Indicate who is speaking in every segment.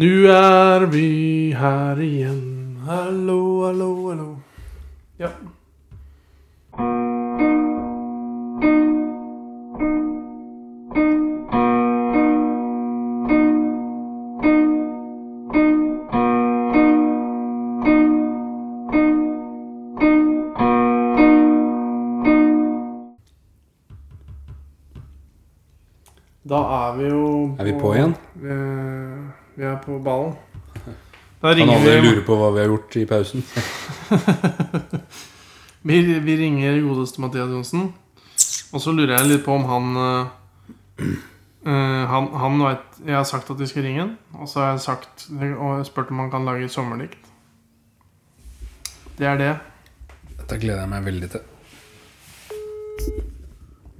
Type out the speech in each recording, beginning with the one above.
Speaker 1: Nu er vi her igjen. Hallo, hallo, hallo. Ja. Da er vi jo
Speaker 2: Er vi på igjen?
Speaker 1: Vi er, vi er på ballen. Da
Speaker 2: Kan
Speaker 1: ringer vi
Speaker 2: alle lure på hva vi har gjort i pausen?
Speaker 1: Vi, vi ringer godeste Mathias Johnsen. Og så lurer jeg litt på om han eh, eh, Han, han vet, Jeg har sagt at vi skal ringe han. Og så har jeg sagt og spurt om han kan lage sommerdikt. Det er det.
Speaker 2: Dette gleder jeg meg veldig til.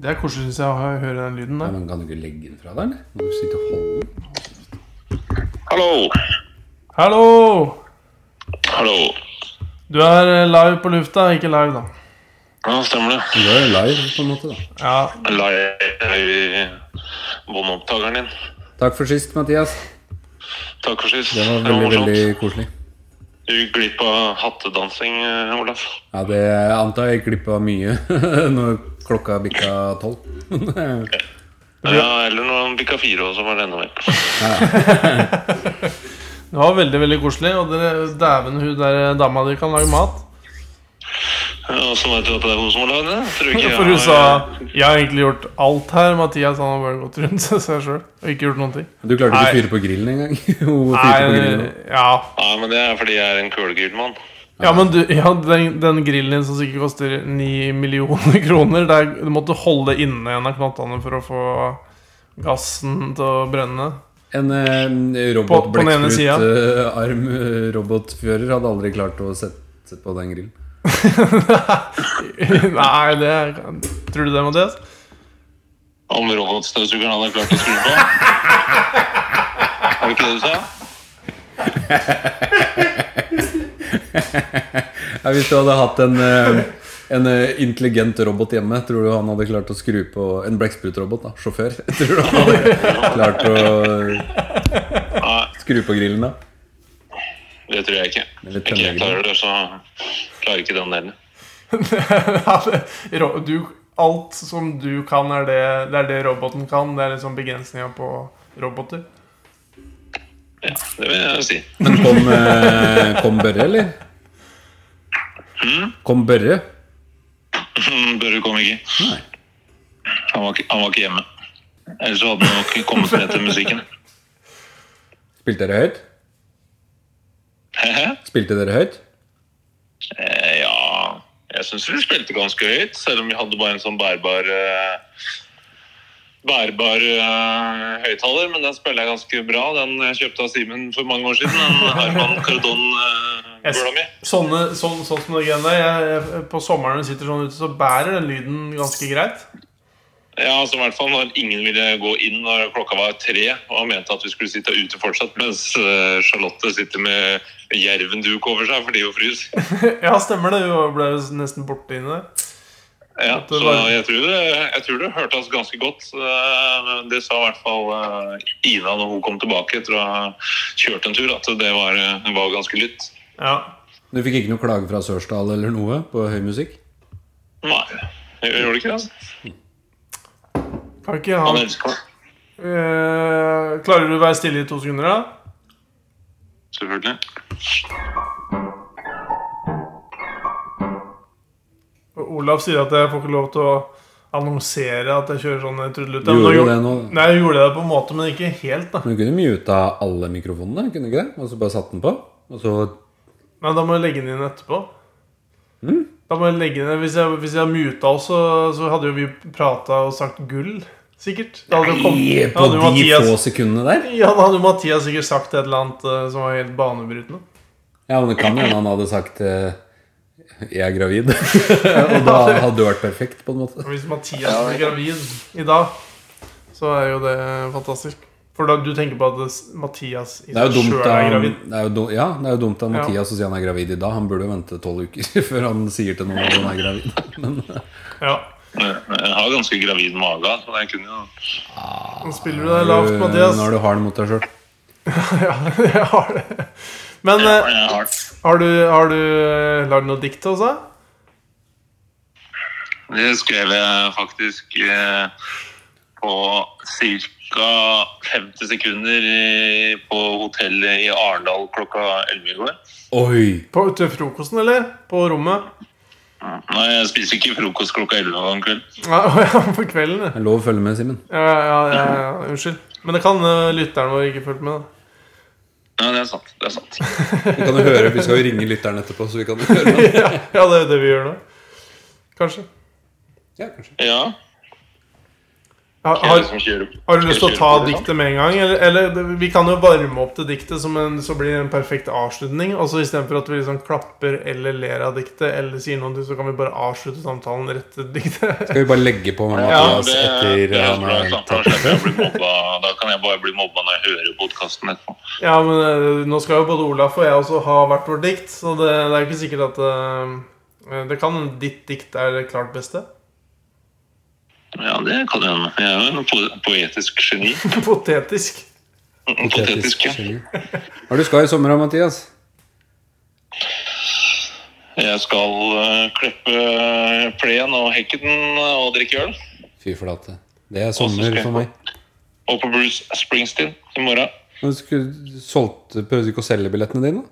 Speaker 1: Det er koselig, syns jeg, å hø- høre den lyden
Speaker 2: Ja,
Speaker 1: der.
Speaker 2: men kan du ikke legge den fra deg, eller? Må du sitte og holde den?
Speaker 3: Hallo.
Speaker 1: Hallo!
Speaker 3: Hallo.
Speaker 1: Du er eh, live på lufta. Ikke live, da.
Speaker 3: Ja, stemmer det.
Speaker 2: Du er jo live, på en måte, da.
Speaker 1: Ja,
Speaker 3: Live i båndopptakeren din.
Speaker 2: Takk for sist, Mathias.
Speaker 3: Takk for sist.
Speaker 2: Det var veldig,
Speaker 3: morsomt.
Speaker 2: veldig koselig.
Speaker 3: Du gikk glipp av hattedansing, eh, Olaf.
Speaker 2: Ja, det antar jeg klippa mye når klokka bikka tolv. ja,
Speaker 3: Ja, eller når han bikka fire, og så var det enda mer.
Speaker 1: Det var veldig veldig koselig. Og dere, dæven, hun der dama di kan lage mat.
Speaker 3: Åssen veit du at det er hun som har lagd det? Tror du ikke jeg
Speaker 1: For hun
Speaker 3: har-
Speaker 1: sa Jeg har egentlig gjort alt her. Mathias han har bare gått rundt seg sjøl og ikke gjort noen ting.
Speaker 2: Du klarte
Speaker 1: Nei.
Speaker 2: ikke å fyre på grillen engang. Hun fyrte på grillen.
Speaker 1: Nei, ja.
Speaker 3: Nei, men det er fordi jeg er en kulegull mann.
Speaker 1: ja, men du, ja, den, den grillen din som sikkert koster ni millioner kroner der, Du måtte holde inne en av knottene for å få gassen til å brenne.
Speaker 2: En eh,
Speaker 1: På- på den ene siden.
Speaker 2: robotblekksprut-arm eh, robotfører hadde aldri klart å sette på den grillen.
Speaker 1: Nei, det er- Tror du det, Mathias?
Speaker 3: Om robotstøvsugeren hadde klart å skru på. Er det ikke det du sa?
Speaker 2: Ja, hvis du hadde hatt en, eh, en eh, intelligent robot hjemme, tror du han hadde klart å skru på En blekksprutrobot, da. Sjåfør. Tror du han hadde klart å
Speaker 3: Nei,
Speaker 2: skru på grillen, da?
Speaker 3: det tror jeg ikke.
Speaker 2: Eller
Speaker 3: Ikke jeg
Speaker 2: tømmergrill.
Speaker 3: klarer det, så klarer ikke den delen.
Speaker 1: Ja, det- ro- du, alt som du kan, er det, det er det roboten kan. Det er liksom begrensninga på roboter.
Speaker 3: Ja, det vil jeg si.
Speaker 2: Men kom, eh, kom Børre, eller? Kom Børre?
Speaker 3: Børre kom ikke.
Speaker 2: Nei.
Speaker 3: Han var, ikke- han var ikke hjemme. Ellers så hadde han nok kommet med til musikken.
Speaker 2: Spilte dere høyt?
Speaker 3: Hehe.
Speaker 2: Spilte dere høyt?
Speaker 3: Eh, ja, jeg syns vi spilte ganske høyt, selv om vi hadde bare en sånn bærbar eh, Bærbar eh, høyttaler, men den spiller jeg ganske bra. Den jeg kjøpte av Simen for mange år siden. Den Harman Cardon-gula mi.
Speaker 1: Sånne, sånn, sånn som det greiene der jeg- jeg- På sommeren når du sitter sånn ute, så bærer den lyden ganske greit.
Speaker 3: Ja, altså i hvert fall når ingen ville gå inn når klokka var tre og mente at vi skulle sitte ute fortsatt, mens eh, Charlotte sitter med jervenduk over seg fordi hun fryser.
Speaker 1: Ja, stemmer det. Hun ble jo nesten borte inni der.
Speaker 3: Ja,
Speaker 1: At det
Speaker 3: så
Speaker 1: var-
Speaker 3: jeg tror, det, jeg tror det hørte oss ganske godt. Eh, Det sa i hvert fall eh, Ina når hun kom tilbake etter å ha kjørt en tur, at det var, eh, var ganske lytt.
Speaker 1: Ja.
Speaker 2: Du fikk ikke noe klage fra Sørsdal eller noe på høy musikk?
Speaker 3: Nei, jeg gjorde ikke det. altså.
Speaker 1: Kan ikke
Speaker 3: Han
Speaker 1: han
Speaker 3: elsker meg.
Speaker 1: Eh, Klarer du å være stille i to sekunder, da?
Speaker 3: Selvfølgelig.
Speaker 1: Og Olav sier at jeg får ikke lov til å annonsere at jeg kjører sånn trudelutt.
Speaker 2: Du
Speaker 1: Men nå
Speaker 2: gjorde jo
Speaker 1: gjorde-
Speaker 2: det nå.
Speaker 1: Nei, jeg gjorde det på en måte, men ikke helt, da.
Speaker 2: Men du kunne muta alle mikrofonene, kunne du ikke det? Og så bare satt den på? Og så
Speaker 1: Nei, da må jeg legge den inn etterpå.
Speaker 2: hmm?
Speaker 1: Da må jeg legge den inn. Hvis jeg, hvis jeg muta oss, så, så hadde jo vi prata og sagt gull, sikkert. Da hadde jo kom-
Speaker 2: Nei,
Speaker 1: da
Speaker 2: På
Speaker 1: hadde jo
Speaker 2: de
Speaker 1: Mathias,
Speaker 2: få sekundene der?
Speaker 1: ja, da hadde jo Mathias sikkert sagt et eller annet eh, som var helt banebrytende.
Speaker 2: Ja, men det kan hende han hadde sagt eh, 'jeg er gravid'. og da hadde du vært perfekt, på en måte.
Speaker 1: Og Hvis Mathias blir gravid i dag, så er jo det fantastisk. For da, du tenker på at det- Mathias i
Speaker 2: Det er
Speaker 1: seg
Speaker 2: jo dumt
Speaker 1: sjøl
Speaker 2: da
Speaker 1: er
Speaker 2: han,
Speaker 1: gravid.
Speaker 2: det er jo dum- ja, det er jo dumt av
Speaker 1: Ja.
Speaker 2: Mathias å si han er gravid i dag. Han burde jo vente tolv uker før han sier til noen at han er gravid. Men
Speaker 1: Ja.
Speaker 3: Jeg har ganske gravid mage, så jeg kunne jo
Speaker 1: Nå spiller du deg lavt, Mathias.
Speaker 2: når du har den mot deg sjøl.
Speaker 1: ja, jeg har det. Men eh,
Speaker 3: Ja, jeg har
Speaker 1: har du, har du eh, lagd noe dikt til oss, da?
Speaker 3: Det skrev jeg faktisk eh, på ca. 50 sekunder i- på hotellet i Arendal klokka 11 i går.
Speaker 2: Oi!
Speaker 1: På, til frokosten, eller? På rommet?
Speaker 3: Nei, jeg spiser ikke frokost klokka 11 om kvelden.
Speaker 1: Ja, å ja, på kvelden, ja.
Speaker 2: Det er lov å følge med, Simen.
Speaker 1: Ja, ja, ja, ja. Unnskyld. Men det kan eh, lytteren vår ikke fulgt med. da.
Speaker 3: Ja, det er sant. det er sant.
Speaker 2: Vi kan jo høre, vi skal jo ringe lytteren etterpå, så vi kan jo høre.
Speaker 1: Ja, ja det er jo det vi gjør nå. Kanskje.
Speaker 2: Ja, kanskje.
Speaker 3: Ja,
Speaker 1: Har,
Speaker 3: jeg er
Speaker 1: har,
Speaker 3: det som kjører.
Speaker 1: har du lyst til å ta
Speaker 3: Kjører på det,
Speaker 1: diktet med en gang? Eller, eller det- vi kan jo varme opp til diktet, som en, så blir det en perfekt avslutning. Og så Istedenfor at vi liksom klapper eller ler av diktet, eller sier noe, så kan vi bare avslutte samtalen rett til diktet.
Speaker 2: Skal vi bare legge på med
Speaker 3: Ja,
Speaker 2: Mathias altså,
Speaker 3: det,
Speaker 2: etter
Speaker 3: det er
Speaker 2: han
Speaker 3: bra.
Speaker 2: er
Speaker 3: sant, Da slipper jeg å bli mobba. Da kan jeg bare bli mobba når jeg hører podkasten etterpå.
Speaker 1: Ja, men eh, nå skal jo både Olaf og jeg også ha hvert vårt dikt, så det, det er jo ikke sikkert at eh, Det kan ditt dikt er det klart beste.
Speaker 3: Ja, det kan jeg hende. Jeg er jo en po- poetisk geni.
Speaker 1: Potetisk.
Speaker 3: Potetisk, ja.
Speaker 2: geni. Hva er det du skal i sommer da, Mathias?
Speaker 3: Jeg skal eh, klippe plen og hekke den og drikke øl.
Speaker 2: Fy flate. Det er
Speaker 3: Og så skal
Speaker 2: sommer
Speaker 3: jeg
Speaker 2: for meg.
Speaker 3: Og på Bruce Springsteen i morgen.
Speaker 2: Men du skulle, solgte, prøvde du ikke å selge billettene dine?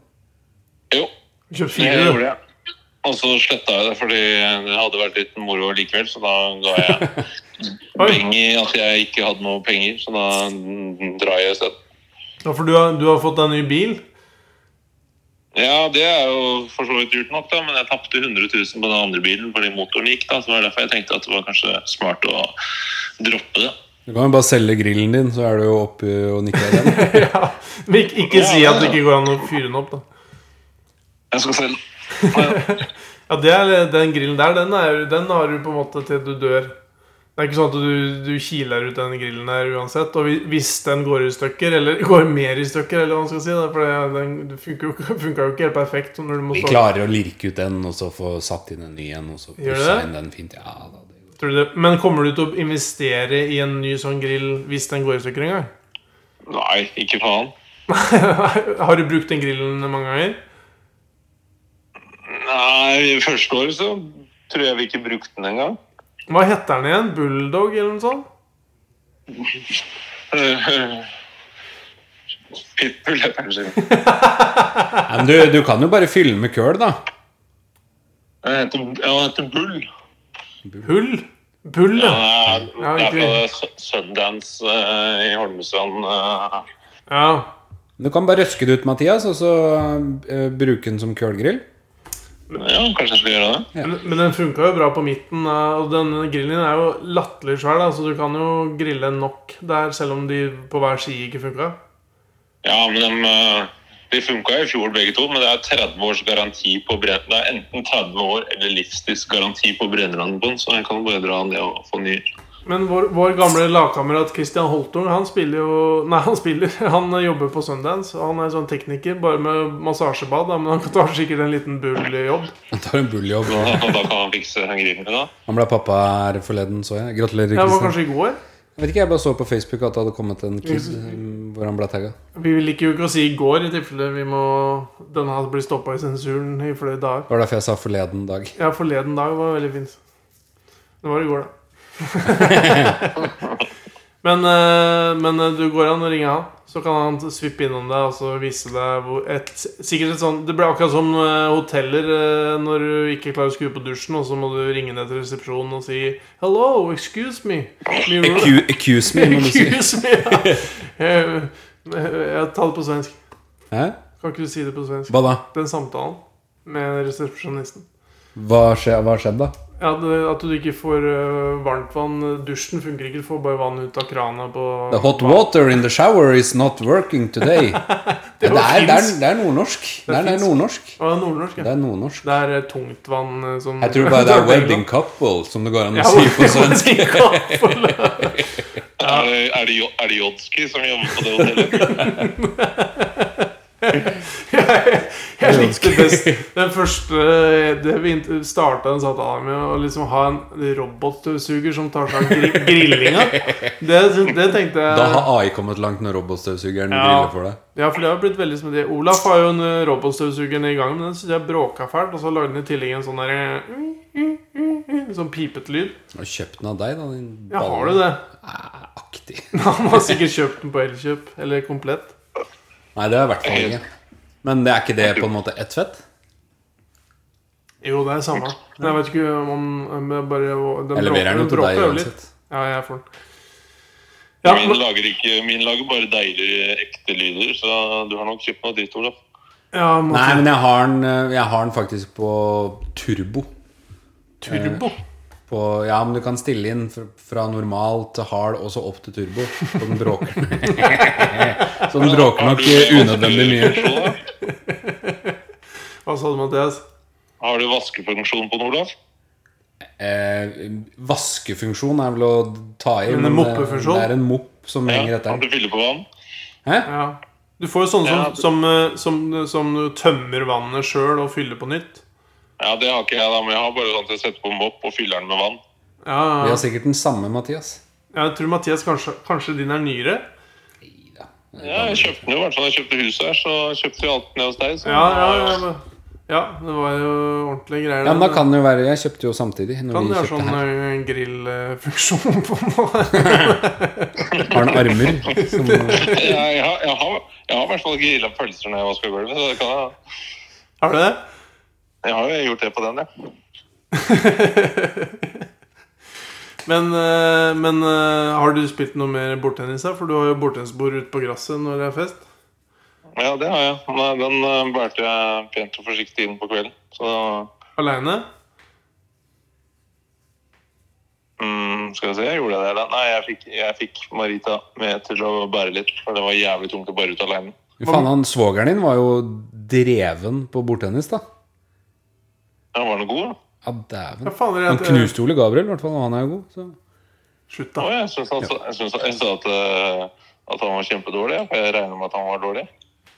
Speaker 3: Jo,
Speaker 1: Kjøpt
Speaker 3: jeg
Speaker 1: fire, du.
Speaker 3: gjorde det. Og så sletta jeg det, fordi det hadde vært litt moro likevel. Så da ga jeg
Speaker 1: Oi,
Speaker 3: penger i at jeg ikke hadde noe penger, så da mm, drar jeg i stedet.
Speaker 1: ja, for du har, du har fått deg ny bil?
Speaker 3: Ja, det er jo for så vidt dyrt nok, da, men jeg tapte 100 000 på den andre bilen fordi motoren gikk. da, så det var derfor jeg tenkte at det var kanskje smart å droppe det.
Speaker 2: Du kan jo bare selge grillen din, så er du jo oppe og nikker igjen.
Speaker 1: Ja. Men ikke, ikke si at det ikke går an å fyre den opp, da.
Speaker 3: Jeg skal selge den.
Speaker 1: Ja, det er, Den grillen der, den, er, jo- den har du på en måte til du dør. Det er ikke sånn at du, du kiler ut den grillen her uansett. Og hvi- hvis den går i stykker, eller går mer i stykker, eller hva man skal si, da, for det- den det funker jo, ikke- funker jo ikke helt perfekt når du må
Speaker 2: Vi
Speaker 1: stå
Speaker 2: klarer å lirke ut den, og så få satt inn en ny en, og så
Speaker 1: Gjør
Speaker 2: pussa
Speaker 1: det?
Speaker 2: inn den fint. Ja, da, det går.
Speaker 1: Tror du det- Men kommer du til å investere i en ny sånn grill hvis den går i stykker en gang?
Speaker 3: Nei, ikke faen.
Speaker 1: har du brukt den grillen mange ganger?
Speaker 3: Nei, første året så tror jeg vi ikke brukte den engang.
Speaker 1: Hva heter den igjen? Bulldog, eller noe sånt?
Speaker 3: Pitbull, jeg kanskje.
Speaker 2: Nei, men du, du kan jo bare fylle med køl, da.
Speaker 3: Den heter, ja, den heter Bull.
Speaker 1: Hull? Bull,
Speaker 3: Ja,
Speaker 1: ja.
Speaker 3: det er- det er
Speaker 1: Ja,
Speaker 3: fra Su- Sundance eh, i Holmestrand. eh.
Speaker 1: ja.
Speaker 2: Du kan bare røske det ut, Mathias, og så eh, bruke den som kølgrill.
Speaker 3: ja, kanskje jeg skal gjøre det.
Speaker 2: Ja.
Speaker 1: Men, men den funka jo bra på midten, eh, og denne grillen din er jo latterlig svær, da, så du kan jo grille nok der, selv om de på hver side ikke funka.
Speaker 3: Ja, men de, eh, de funka i fjor begge to, men det er 30 års garanti på brenn... Det er enten 30 år eller livstidsgaranti på brennerannen på den, så jeg kan bare dra ned og få ny.
Speaker 1: Men vår, vår gamle lagkamerat Christian Holtung, han spiller jo Nei, han spiller. Han jobber på Sundance. og Han er sånn tekniker, bare med massasjebad, da, men han tar sikkert en liten bull-jobb.
Speaker 2: Han tar en bulljobb.
Speaker 3: Da, da kan han fikse grillen min, da.
Speaker 2: Han ble pappa her forleden, så jeg.
Speaker 1: Jeg
Speaker 2: Gratulerer,
Speaker 1: var
Speaker 2: Kristian.
Speaker 1: kanskje i går.
Speaker 2: Jeg vet ikke, jeg bare så på Facebook at det hadde kommet en kid mm, hvor han ble tagga.
Speaker 1: Vi liker jo ikke å si i går, i tilfelle vi må denne her blir stoppa i sensuren i flere dager.
Speaker 2: Det var derfor jeg sa forleden dag.
Speaker 1: Ja, forleden dag var veldig fint. Det var i går, da. men, eh, men eh, du går an å ringe han, så kan han svippe innom deg og så vise deg hvor et, Sikkert et sånn Det blir akkurat som eh, hoteller eh, når du ikke klarer å skru på dusjen, og så må du ringe ned til resepsjonen og si Hello, excuse me. me room-
Speaker 2: Accu- Accuse me, må du si.
Speaker 1: excuse me. Ja. Eh, eh, Jeg tar det på svensk.
Speaker 2: Hæ?
Speaker 1: Kan ikke du si det på svensk?
Speaker 2: Hva da?
Speaker 1: Den samtalen med resepsjonisten.
Speaker 2: Hva skje- hva har skjedd, da?
Speaker 1: Ja, det, At du ikke får øh, varmt vann. Dusjen funker ikke. Du får bare vann ut av krana på
Speaker 2: The hot water in the shower is not working today. det, er, det, er, det, er, det er nordnorsk. Det er, det er
Speaker 1: finsk.
Speaker 2: nordnorsk.
Speaker 1: Å, det er nordnorsk,
Speaker 2: Det
Speaker 1: ja.
Speaker 2: er nordnorsk.
Speaker 1: Det er øh, tungtvann øh, som
Speaker 2: Jeg tror bare det er wedding couple, som det går an
Speaker 1: Ja,
Speaker 2: å si på svensk.
Speaker 1: wedding couple.
Speaker 3: Er det, er det, Jo- er det Jodski som jobber på det hotellet?
Speaker 1: Jeg likte best den første eh, Det vi int- startet den samtalen med, å liksom ha en robotstøvsuger som tar seg av gri- grillinga. Det, det tenkte jeg
Speaker 2: Da har AI kommet langt når robotstøvsugeren
Speaker 1: Ja.
Speaker 2: griller for deg.
Speaker 1: Ja, for det har blitt veldig som det Olaf har jo en eh, robotstøvsuger ned i gangen, men den synes jeg bråka fælt. Og så lagde den i tillegg en sånn derre Sånn pipete lyd.
Speaker 2: Og kjøpt den av deg, da. Din
Speaker 1: Ja, har du det?
Speaker 2: Aktig.
Speaker 1: Han har sikkert kjøpt den på Elkjøp, eller komplett.
Speaker 2: Nei, det er i hvert fall ikke. Men det er ikke det på en måte ett fett?
Speaker 1: Jo, det er samme. Men jeg vet ikke om om jeg bare den
Speaker 2: Jeg leverer den jo til
Speaker 1: bråker
Speaker 2: deg
Speaker 1: jo litt.
Speaker 2: uansett.
Speaker 1: Ja, jeg får den. Ja,
Speaker 3: min,
Speaker 1: men,
Speaker 3: lager ikke, min lager bare deilige, ekte lyder, så du har nok kjøpt noe dritt, Olaf.
Speaker 1: ja, må
Speaker 2: Nei, men jeg har den, eh, jeg har den faktisk på turbo.
Speaker 1: turbo.
Speaker 2: På, ja, men du kan stille inn fra, fra normal til hard og så opp til turbo. Så den bråker Så den bråker nok eh, unødvendig mye.
Speaker 3: mye.
Speaker 1: Hva sa du, Mathias?
Speaker 3: Har du vaskefunksjon på den, Olaf?
Speaker 2: Eh, vaskefunksjon er vel å ta i,
Speaker 1: Men en
Speaker 2: men eh,
Speaker 1: moppefunksjon?
Speaker 2: det er en mopp som henger
Speaker 3: kan
Speaker 2: etter
Speaker 3: du
Speaker 2: den.
Speaker 3: fylle på vann?
Speaker 2: Hæ?
Speaker 1: Ja. Du får jo sånne som,
Speaker 3: Ja, du-
Speaker 1: som, eh, som, som du tømmer vannet sjøl og fyller på nytt.
Speaker 3: Ja, det har ikke jeg, da, men jeg har bare sånn at jeg setter på en mopp og fyller den med vann.
Speaker 1: Ja,
Speaker 2: Vi
Speaker 1: ja.
Speaker 2: har sikkert den samme, Mathias.
Speaker 1: Jeg tror Mathias kanskje, kanskje din er nyere.
Speaker 3: Ja, jeg kjøpte den jo, i hvert fall da jeg kjøpte huset her, så kjøpte jeg alt ned hos deg. Så
Speaker 1: Ja, ja, ja, men- ja det var jo ordentlige greier.
Speaker 2: Ja, men da kan det jo være Jeg kjøpte jo samtidig. Når
Speaker 1: Kan
Speaker 2: vi
Speaker 1: det ha
Speaker 2: kjøpte
Speaker 1: sånn
Speaker 2: her
Speaker 1: eh, grillfunksjon på noe? eh,
Speaker 2: Har den armer som
Speaker 3: Jeg, jeg, har- jeg, har, jeg har i hvert fall ikke illa pølser når jeg vasker gulvet, så det kan jeg
Speaker 1: Har du det?
Speaker 3: Jeg har jo gjort det på den, ja.
Speaker 1: Men, eh, men eh, har du spilt noe mer bordtennis? da? For du har jo bordtennisbord ute på gresset når det er fest.
Speaker 3: Ja, det har jeg. Nei, den eh, bærte jeg pent og forsiktig inn på kvelden. Så
Speaker 1: Aleine?
Speaker 3: mm, skal vi se, jeg gjorde det der. Nei, jeg fikk, jeg fikk Marita med til å bære litt, for det var jævlig tungt å bære ut alene.
Speaker 2: Fy Faen, han svogeren din var jo dreven på bordtennis, da.
Speaker 3: Den var noe god, da.
Speaker 2: Ja, dæven.
Speaker 1: Ja, faen, det er
Speaker 2: Han
Speaker 1: at-
Speaker 2: knuste Ole Gabriel, i hvert fall, og han er jo god. Så.
Speaker 1: eh, Slutt,
Speaker 3: Å,
Speaker 1: da.
Speaker 3: jeg syns han, jeg synes, jeg sa at, eh, at han var kjempedårlig. ja, for Jeg regner med at han var dårlig.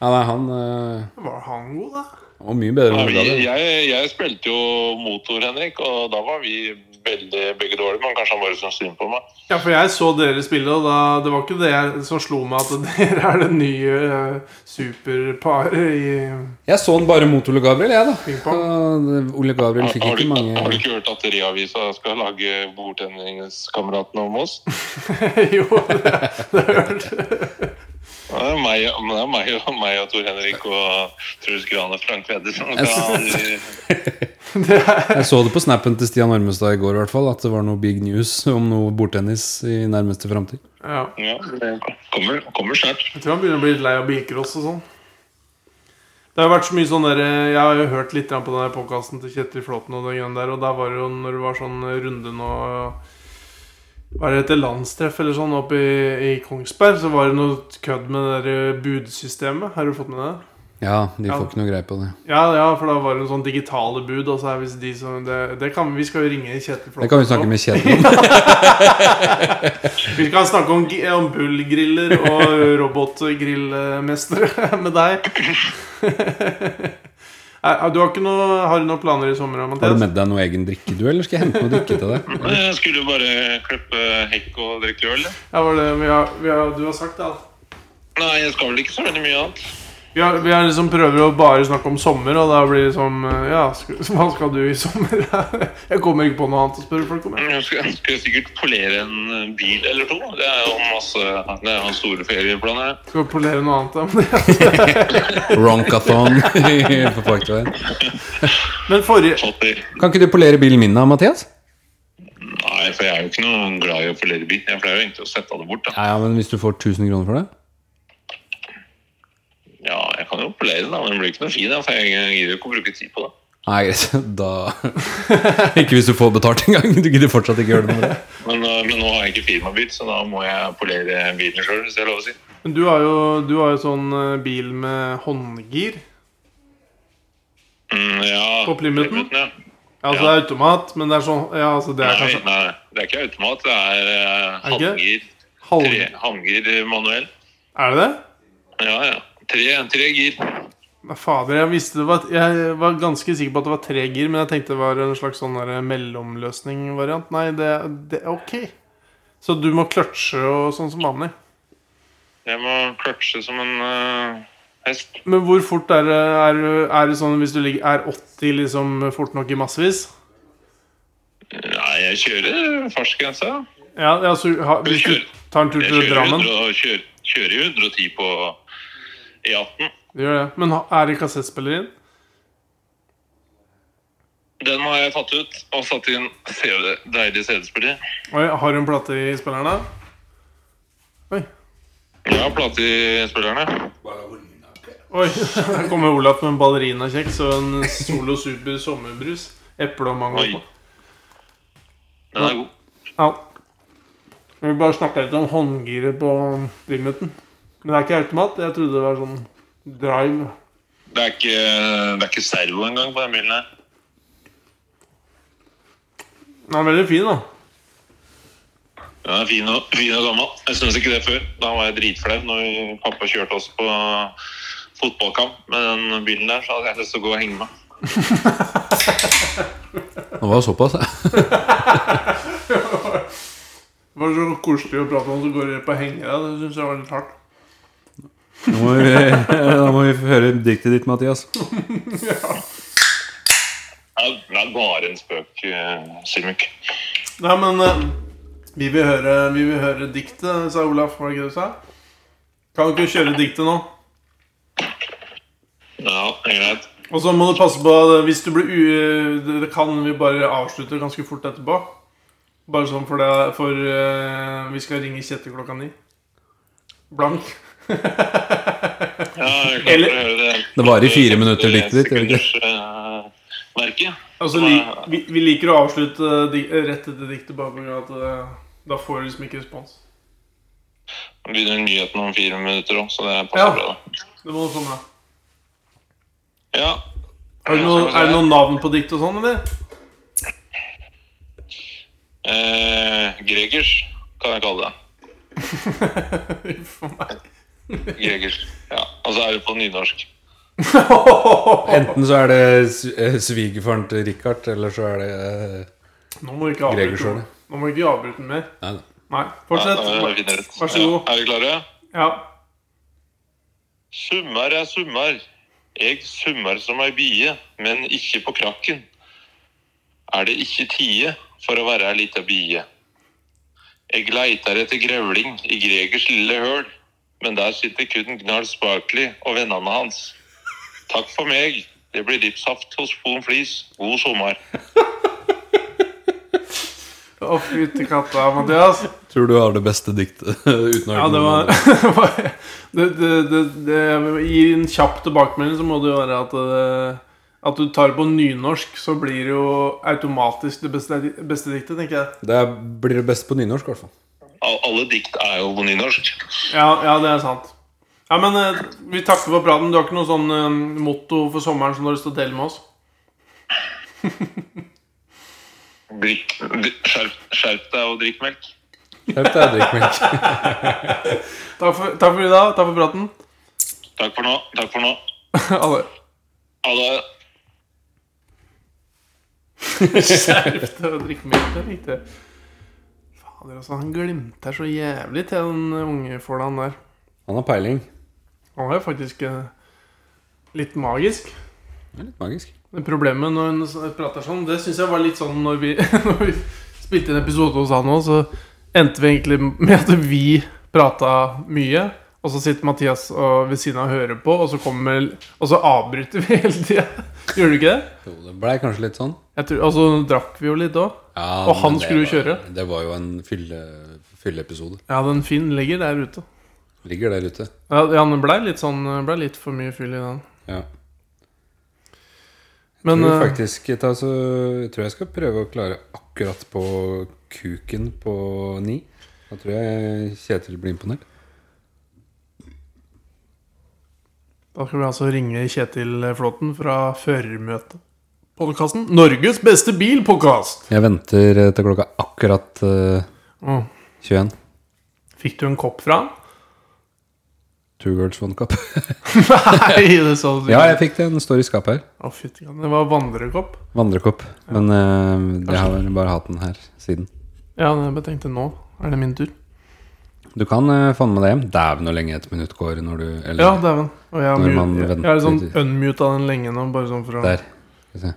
Speaker 2: Ja, nei, han eh,
Speaker 1: Var han god, da?
Speaker 2: var mye bedre enn
Speaker 3: Nei,
Speaker 2: Ole
Speaker 3: vi,
Speaker 2: Gabriel.
Speaker 3: jeg, jeg spilte jo motor, Henrik, og da var vi veldig begge dårlige. Men kanskje han bare syntes synd på meg.
Speaker 1: Ja, for jeg så dere spille, og da, det var ikke det jeg- som slo meg at dere er det nye eh, superparet i
Speaker 2: Jeg så han bare mot Ole Gabriel, jeg, da.
Speaker 1: pingpong.
Speaker 2: Og det- Ole Gabriel
Speaker 3: Har,
Speaker 2: fikk
Speaker 3: har,
Speaker 2: ikke
Speaker 3: du, har du
Speaker 2: mange
Speaker 3: ikke hørt at Reavisa skal lage bordtenniskameratene om oss?
Speaker 1: jo, det har jeg hørt.
Speaker 3: Ja, Det er meg, det er meg, og, meg og Tor Henrik og Truls Gran og Frank Pedersen.
Speaker 2: Jeg Jeg så det på snappen til Stian Ormestad i går, i hvert fall, at det var noe big news om noe bordtennis i nærmeste framtid.
Speaker 1: Ja.
Speaker 3: Ja, det kommer, kommer snart.
Speaker 1: Jeg tror han begynner å bli litt lei av bilcross og sånn. Det har jo vært så mye sånn der, Jeg har jo hørt litt grann på den podkasten til Kjetil Flåten, og den greiene der, og der var det jo når det var sånn runde nå eh, Hva er det heter? Landstreff eller sånn oppe i, i Kongsberg, så var det noe kødd med det der eh, budsystemet. Har du fått med det?
Speaker 2: Ja, de
Speaker 1: Ja.
Speaker 2: får ikke noe greie på det.
Speaker 1: Ja, ja, for da var det en sånn digitale bud. Altså her, hvis de som, det, det kan, vi skal jo ringe Kjetil Flåten.
Speaker 2: Det kan vi snakke med Kjetil om.
Speaker 1: Vi kan snakke om, gi- om bullgriller og robotgrillmestere med deg. Eh, Du har, ikke noe, har du noen planer i sommer,
Speaker 2: Har du
Speaker 1: Mathias?
Speaker 2: med deg noe egen drikke, du, eller skal jeg hente noe drikke til deg?
Speaker 3: Jeg skulle jo bare klippe hekk og drikke øl. jeg.
Speaker 1: Ja, var det, vi har, vi har, du har sagt det. alt.
Speaker 3: Nei, jeg skal vel ikke så veldig mye annet.
Speaker 1: Vi, har, vi har liksom prøver å bare snakke om sommer, og da blir det liksom eh, Ja, sk- hva skal du i sommer? Jeg kommer ikke på noe annet å spørre folk om. jeg.
Speaker 3: Jeg skal, jeg skal sikkert polere en eh, bil eller to. Det er jo masse Det er jo store ferieplaner.
Speaker 1: Skal polere noe annet. ja, men det-
Speaker 2: Ronkathon på Parkveien.
Speaker 1: Men forrige
Speaker 3: Potter.
Speaker 2: Kan ikke du polere bilen min da, Mathias?
Speaker 3: Nei, for jeg er jo ikke noe glad i å polere bil. Jeg pleier jo egentlig å sette det bort. da.
Speaker 2: Ja, ja, men hvis du får 1000 kroner for det?
Speaker 3: Ja, jeg kan jo polere den, da, men den blir ikke noe fin. da, For jeg gidder jo ikke å bruke tid på det.
Speaker 2: Nei, greit. Da Ikke hvis du får betalt engang. Du gidder fortsatt ikke gjøre det med det.
Speaker 3: Men, øh, men nå har jeg ikke firmabil, så da må jeg polere bilen sjøl, hvis det er lov å si.
Speaker 1: Men du har jo, du har jo sånn eh, bil med håndgir.
Speaker 3: Mm, ja.
Speaker 1: På Plymouthen?
Speaker 3: Plymouthen, ja.
Speaker 1: Altså det er automat, men det er sånn Ja, altså det er
Speaker 3: Nei,
Speaker 1: kanskje
Speaker 3: nei, det er ikke automat. Det er eh,
Speaker 1: Er det
Speaker 3: handgir.
Speaker 1: halv...
Speaker 3: Tre, handgir manuell.
Speaker 1: Er det det?
Speaker 3: Ja, ja. Tre, tre gir.
Speaker 1: Nei, Fader, jeg visste det var Jeg var ganske sikker på at det var tre gir, men jeg tenkte det var en slags sånn der mellomløsning-variant. Nei, det, det Ok. Så du må kløtsje og sånn som vanlig.
Speaker 3: Jeg må kløtsje som en eh, hest.
Speaker 1: Men hvor fort er det, er, det- er det sånn hvis du ligger Er 80 liksom fort nok i massevis?
Speaker 3: Nei, jeg kjører fartsgrensa.
Speaker 1: Ja, ja så ha, hvis du tar en tur
Speaker 3: Jeg
Speaker 1: til
Speaker 3: kjører,
Speaker 1: Drammen
Speaker 3: 100 og kjører, kjører jo 110 på E18.
Speaker 1: Du gjør det. Men ha- er det kassettspiller inn?
Speaker 3: Den har jeg tatt ut og satt inn CD, deilig CD-spiller.
Speaker 1: Oi, har du en plate i spilleren, da? Oi.
Speaker 3: Jeg har plate i spillerne.
Speaker 1: Oi, Her kommer Olaf med en ballerinakjeks og en Solo Super sommerbrus. Eple og mango.
Speaker 3: Oi.
Speaker 1: på.
Speaker 3: Den er god.
Speaker 1: Ja. Jeg vil bare snakke litt om håndgiret på Wilmuten. Men det er ikke automat. Jeg trodde det var sånn drive.
Speaker 3: Det er ikke, det er ikke servo engang på den bilen her.
Speaker 1: Den er veldig fin, da.
Speaker 3: Den er fin og, fin og gammel. Jeg syns ikke det før. Da var jeg dritflau når vi- pappa kjørte oss på fotballkamp med den bilen der. Så hadde jeg lyst til å gå og henge meg.
Speaker 2: Det var såpass, ja.
Speaker 1: Det var så koselig å prate om, så går det på hengere. Det syns jeg var litt hardt.
Speaker 2: Nå må vi, da må vi høre diktet ditt, Mathias.
Speaker 3: Ja, Det er bare en spøk, eh, Silmik.
Speaker 1: Nei, men eh, vi, vil høre, vi vil høre diktet, sa Olaf. Var det ikke det du sa? Kan du ikke kjøre diktet nå?
Speaker 3: Ja, det er greit.
Speaker 1: Og så må du passe på at hvis du blir u... Det det kan vi bare avslutte ganske fort etterpå. Bare sånn for det For eh, vi skal ringe Kjetil klokka ni. Blank.
Speaker 3: Ja, jeg kan
Speaker 1: Eller-
Speaker 3: bare høre det. Eh,
Speaker 2: Det varer i fire minutter, diktet ditt, gjør det ikke?
Speaker 3: Sekundersmerket.
Speaker 1: Altså, li, vi, vi liker å avslutte eh, di, rett etter diktet bare pga. at eh, da får du liksom ikke respons.
Speaker 3: Begynner nyheten om fire minutter òg, så det
Speaker 1: Ja.
Speaker 3: passer bra. da.
Speaker 1: Det må sånn da.
Speaker 3: Ja.
Speaker 1: Er det noe- er det noen navn på dikt og sånn, eller?
Speaker 3: Eh, Gregers kan jeg kalle det.
Speaker 1: Uff a meg.
Speaker 3: Gregers. Ja. Og så er det på nynorsk.
Speaker 2: Enten så er det s- eh, svigerfaren til Richard, eller så er det eh,
Speaker 1: Nå må vi ikke avbryte
Speaker 2: Gregers sjøl.
Speaker 1: den. Nå må vi ikke avbryte den mer.
Speaker 2: Nei, nei.
Speaker 1: Nei.
Speaker 3: Ja,
Speaker 1: Fortsett.
Speaker 3: da må jeg finne ut.
Speaker 1: Vær så god.
Speaker 3: Ja, er vi klare?
Speaker 1: Ja.
Speaker 3: Summar er summar. Eg summar som ei bie, men ikke på krakken. Er det ikke tide for å være ei lita bie? Eg leitar etter grevling i Gregers lille høl, men der sitter kun Gnarl Spakli og vennene hans. Takk for meg. Det blir dipsaft hos Fon Flis. God sommer.
Speaker 1: Å, fytti katta, Mathias.
Speaker 2: Tror du har det beste diktet uten å
Speaker 1: Ja, det var det, det, det, det, I en kjapp tilbakemelding så må det jo være at eh, At du tar det på nynorsk, så blir det jo automatisk det beste, beste diktet, tenker jeg.
Speaker 2: Det er- blir det beste på nynorsk, i hvert fall.
Speaker 3: Al- Alle dikt er jo på nynorsk.
Speaker 1: Ja, ja det er sant. Ja, men eh, Vi takker for praten. Du har ikke noe sånn eh, motto for sommeren som du har lyst til å dele med oss?
Speaker 3: Drikk, dri- skjerp, skjerp deg og drikk melk.
Speaker 2: Skjerp deg, drikk melk.
Speaker 1: Takk for, takk for i dag. Takk for praten.
Speaker 3: Takk for nå. Takk for nå.
Speaker 1: Ha det.
Speaker 3: Ha det.
Speaker 1: Skjerp deg og drikk melk. Det er riktig. Fader, altså. Han glimter så jævlig til den unge fålan der.
Speaker 2: Han har peiling.
Speaker 1: Han er jo faktisk eh, litt magisk.
Speaker 2: Det er litt magisk.
Speaker 1: Men Problemet når hun s- prater sånn, det syns jeg var litt sånn når vi, når vi spilte en episode hos han òg, så endte vi egentlig med at vi prata mye. Og så sitter Mathias og ved siden av og hører på, og så, kommer, og så avbryter vi hele tida. Gjør du ikke det?
Speaker 2: Jo, det blei kanskje litt sånn.
Speaker 1: Jeg tror, og så drakk vi jo litt òg.
Speaker 2: Ja,
Speaker 1: Og han
Speaker 2: men det
Speaker 1: skulle jo
Speaker 2: var-
Speaker 1: kjøre.
Speaker 2: Det var jo en fylle- fylleepisode.
Speaker 1: Ja, den Finn ligger der ute.
Speaker 2: Ligger der ute.
Speaker 1: Ja, ja, den blei litt sånn Blei litt for mye fyll i den.
Speaker 2: Ja.
Speaker 1: Men
Speaker 2: tror
Speaker 1: eh,
Speaker 2: faktisk, jeg, tar, så, jeg tror jeg skal prøve å klare akkurat på kuken på ni. Da tror jeg Kjetil blir imponert.
Speaker 1: Da skal vi altså ringe Kjetil eh, Flåten fra Førermøtet. Podkasten Norges beste bilpodkast!
Speaker 2: Jeg venter eh, til klokka akkurat eh,
Speaker 1: Åh,
Speaker 2: 21.
Speaker 1: Fikk du en kopp fra han?
Speaker 2: Two Worlds One Cup.
Speaker 1: Nei, det sa du ikke.
Speaker 2: Ja, jeg fikk det. Den står i skapet her.
Speaker 1: Å, fytti katten. Det var vandrekopp.
Speaker 2: Vandrekopp. Men eh, jeg har bare hatt den her siden.
Speaker 1: Ja, men jeg tenkte nå er det min tur.
Speaker 2: Du kan uh, faen meg deg hjem. Dæven, hvor lenge et minutt går når du eller,
Speaker 1: Ja, dæven. Og jeg, har
Speaker 2: Når man
Speaker 1: mute- jeg,
Speaker 2: venter
Speaker 1: jeg er sånn
Speaker 2: til-
Speaker 1: unmuta den lenge nå, bare sånn for å
Speaker 2: Der. Skal vi se.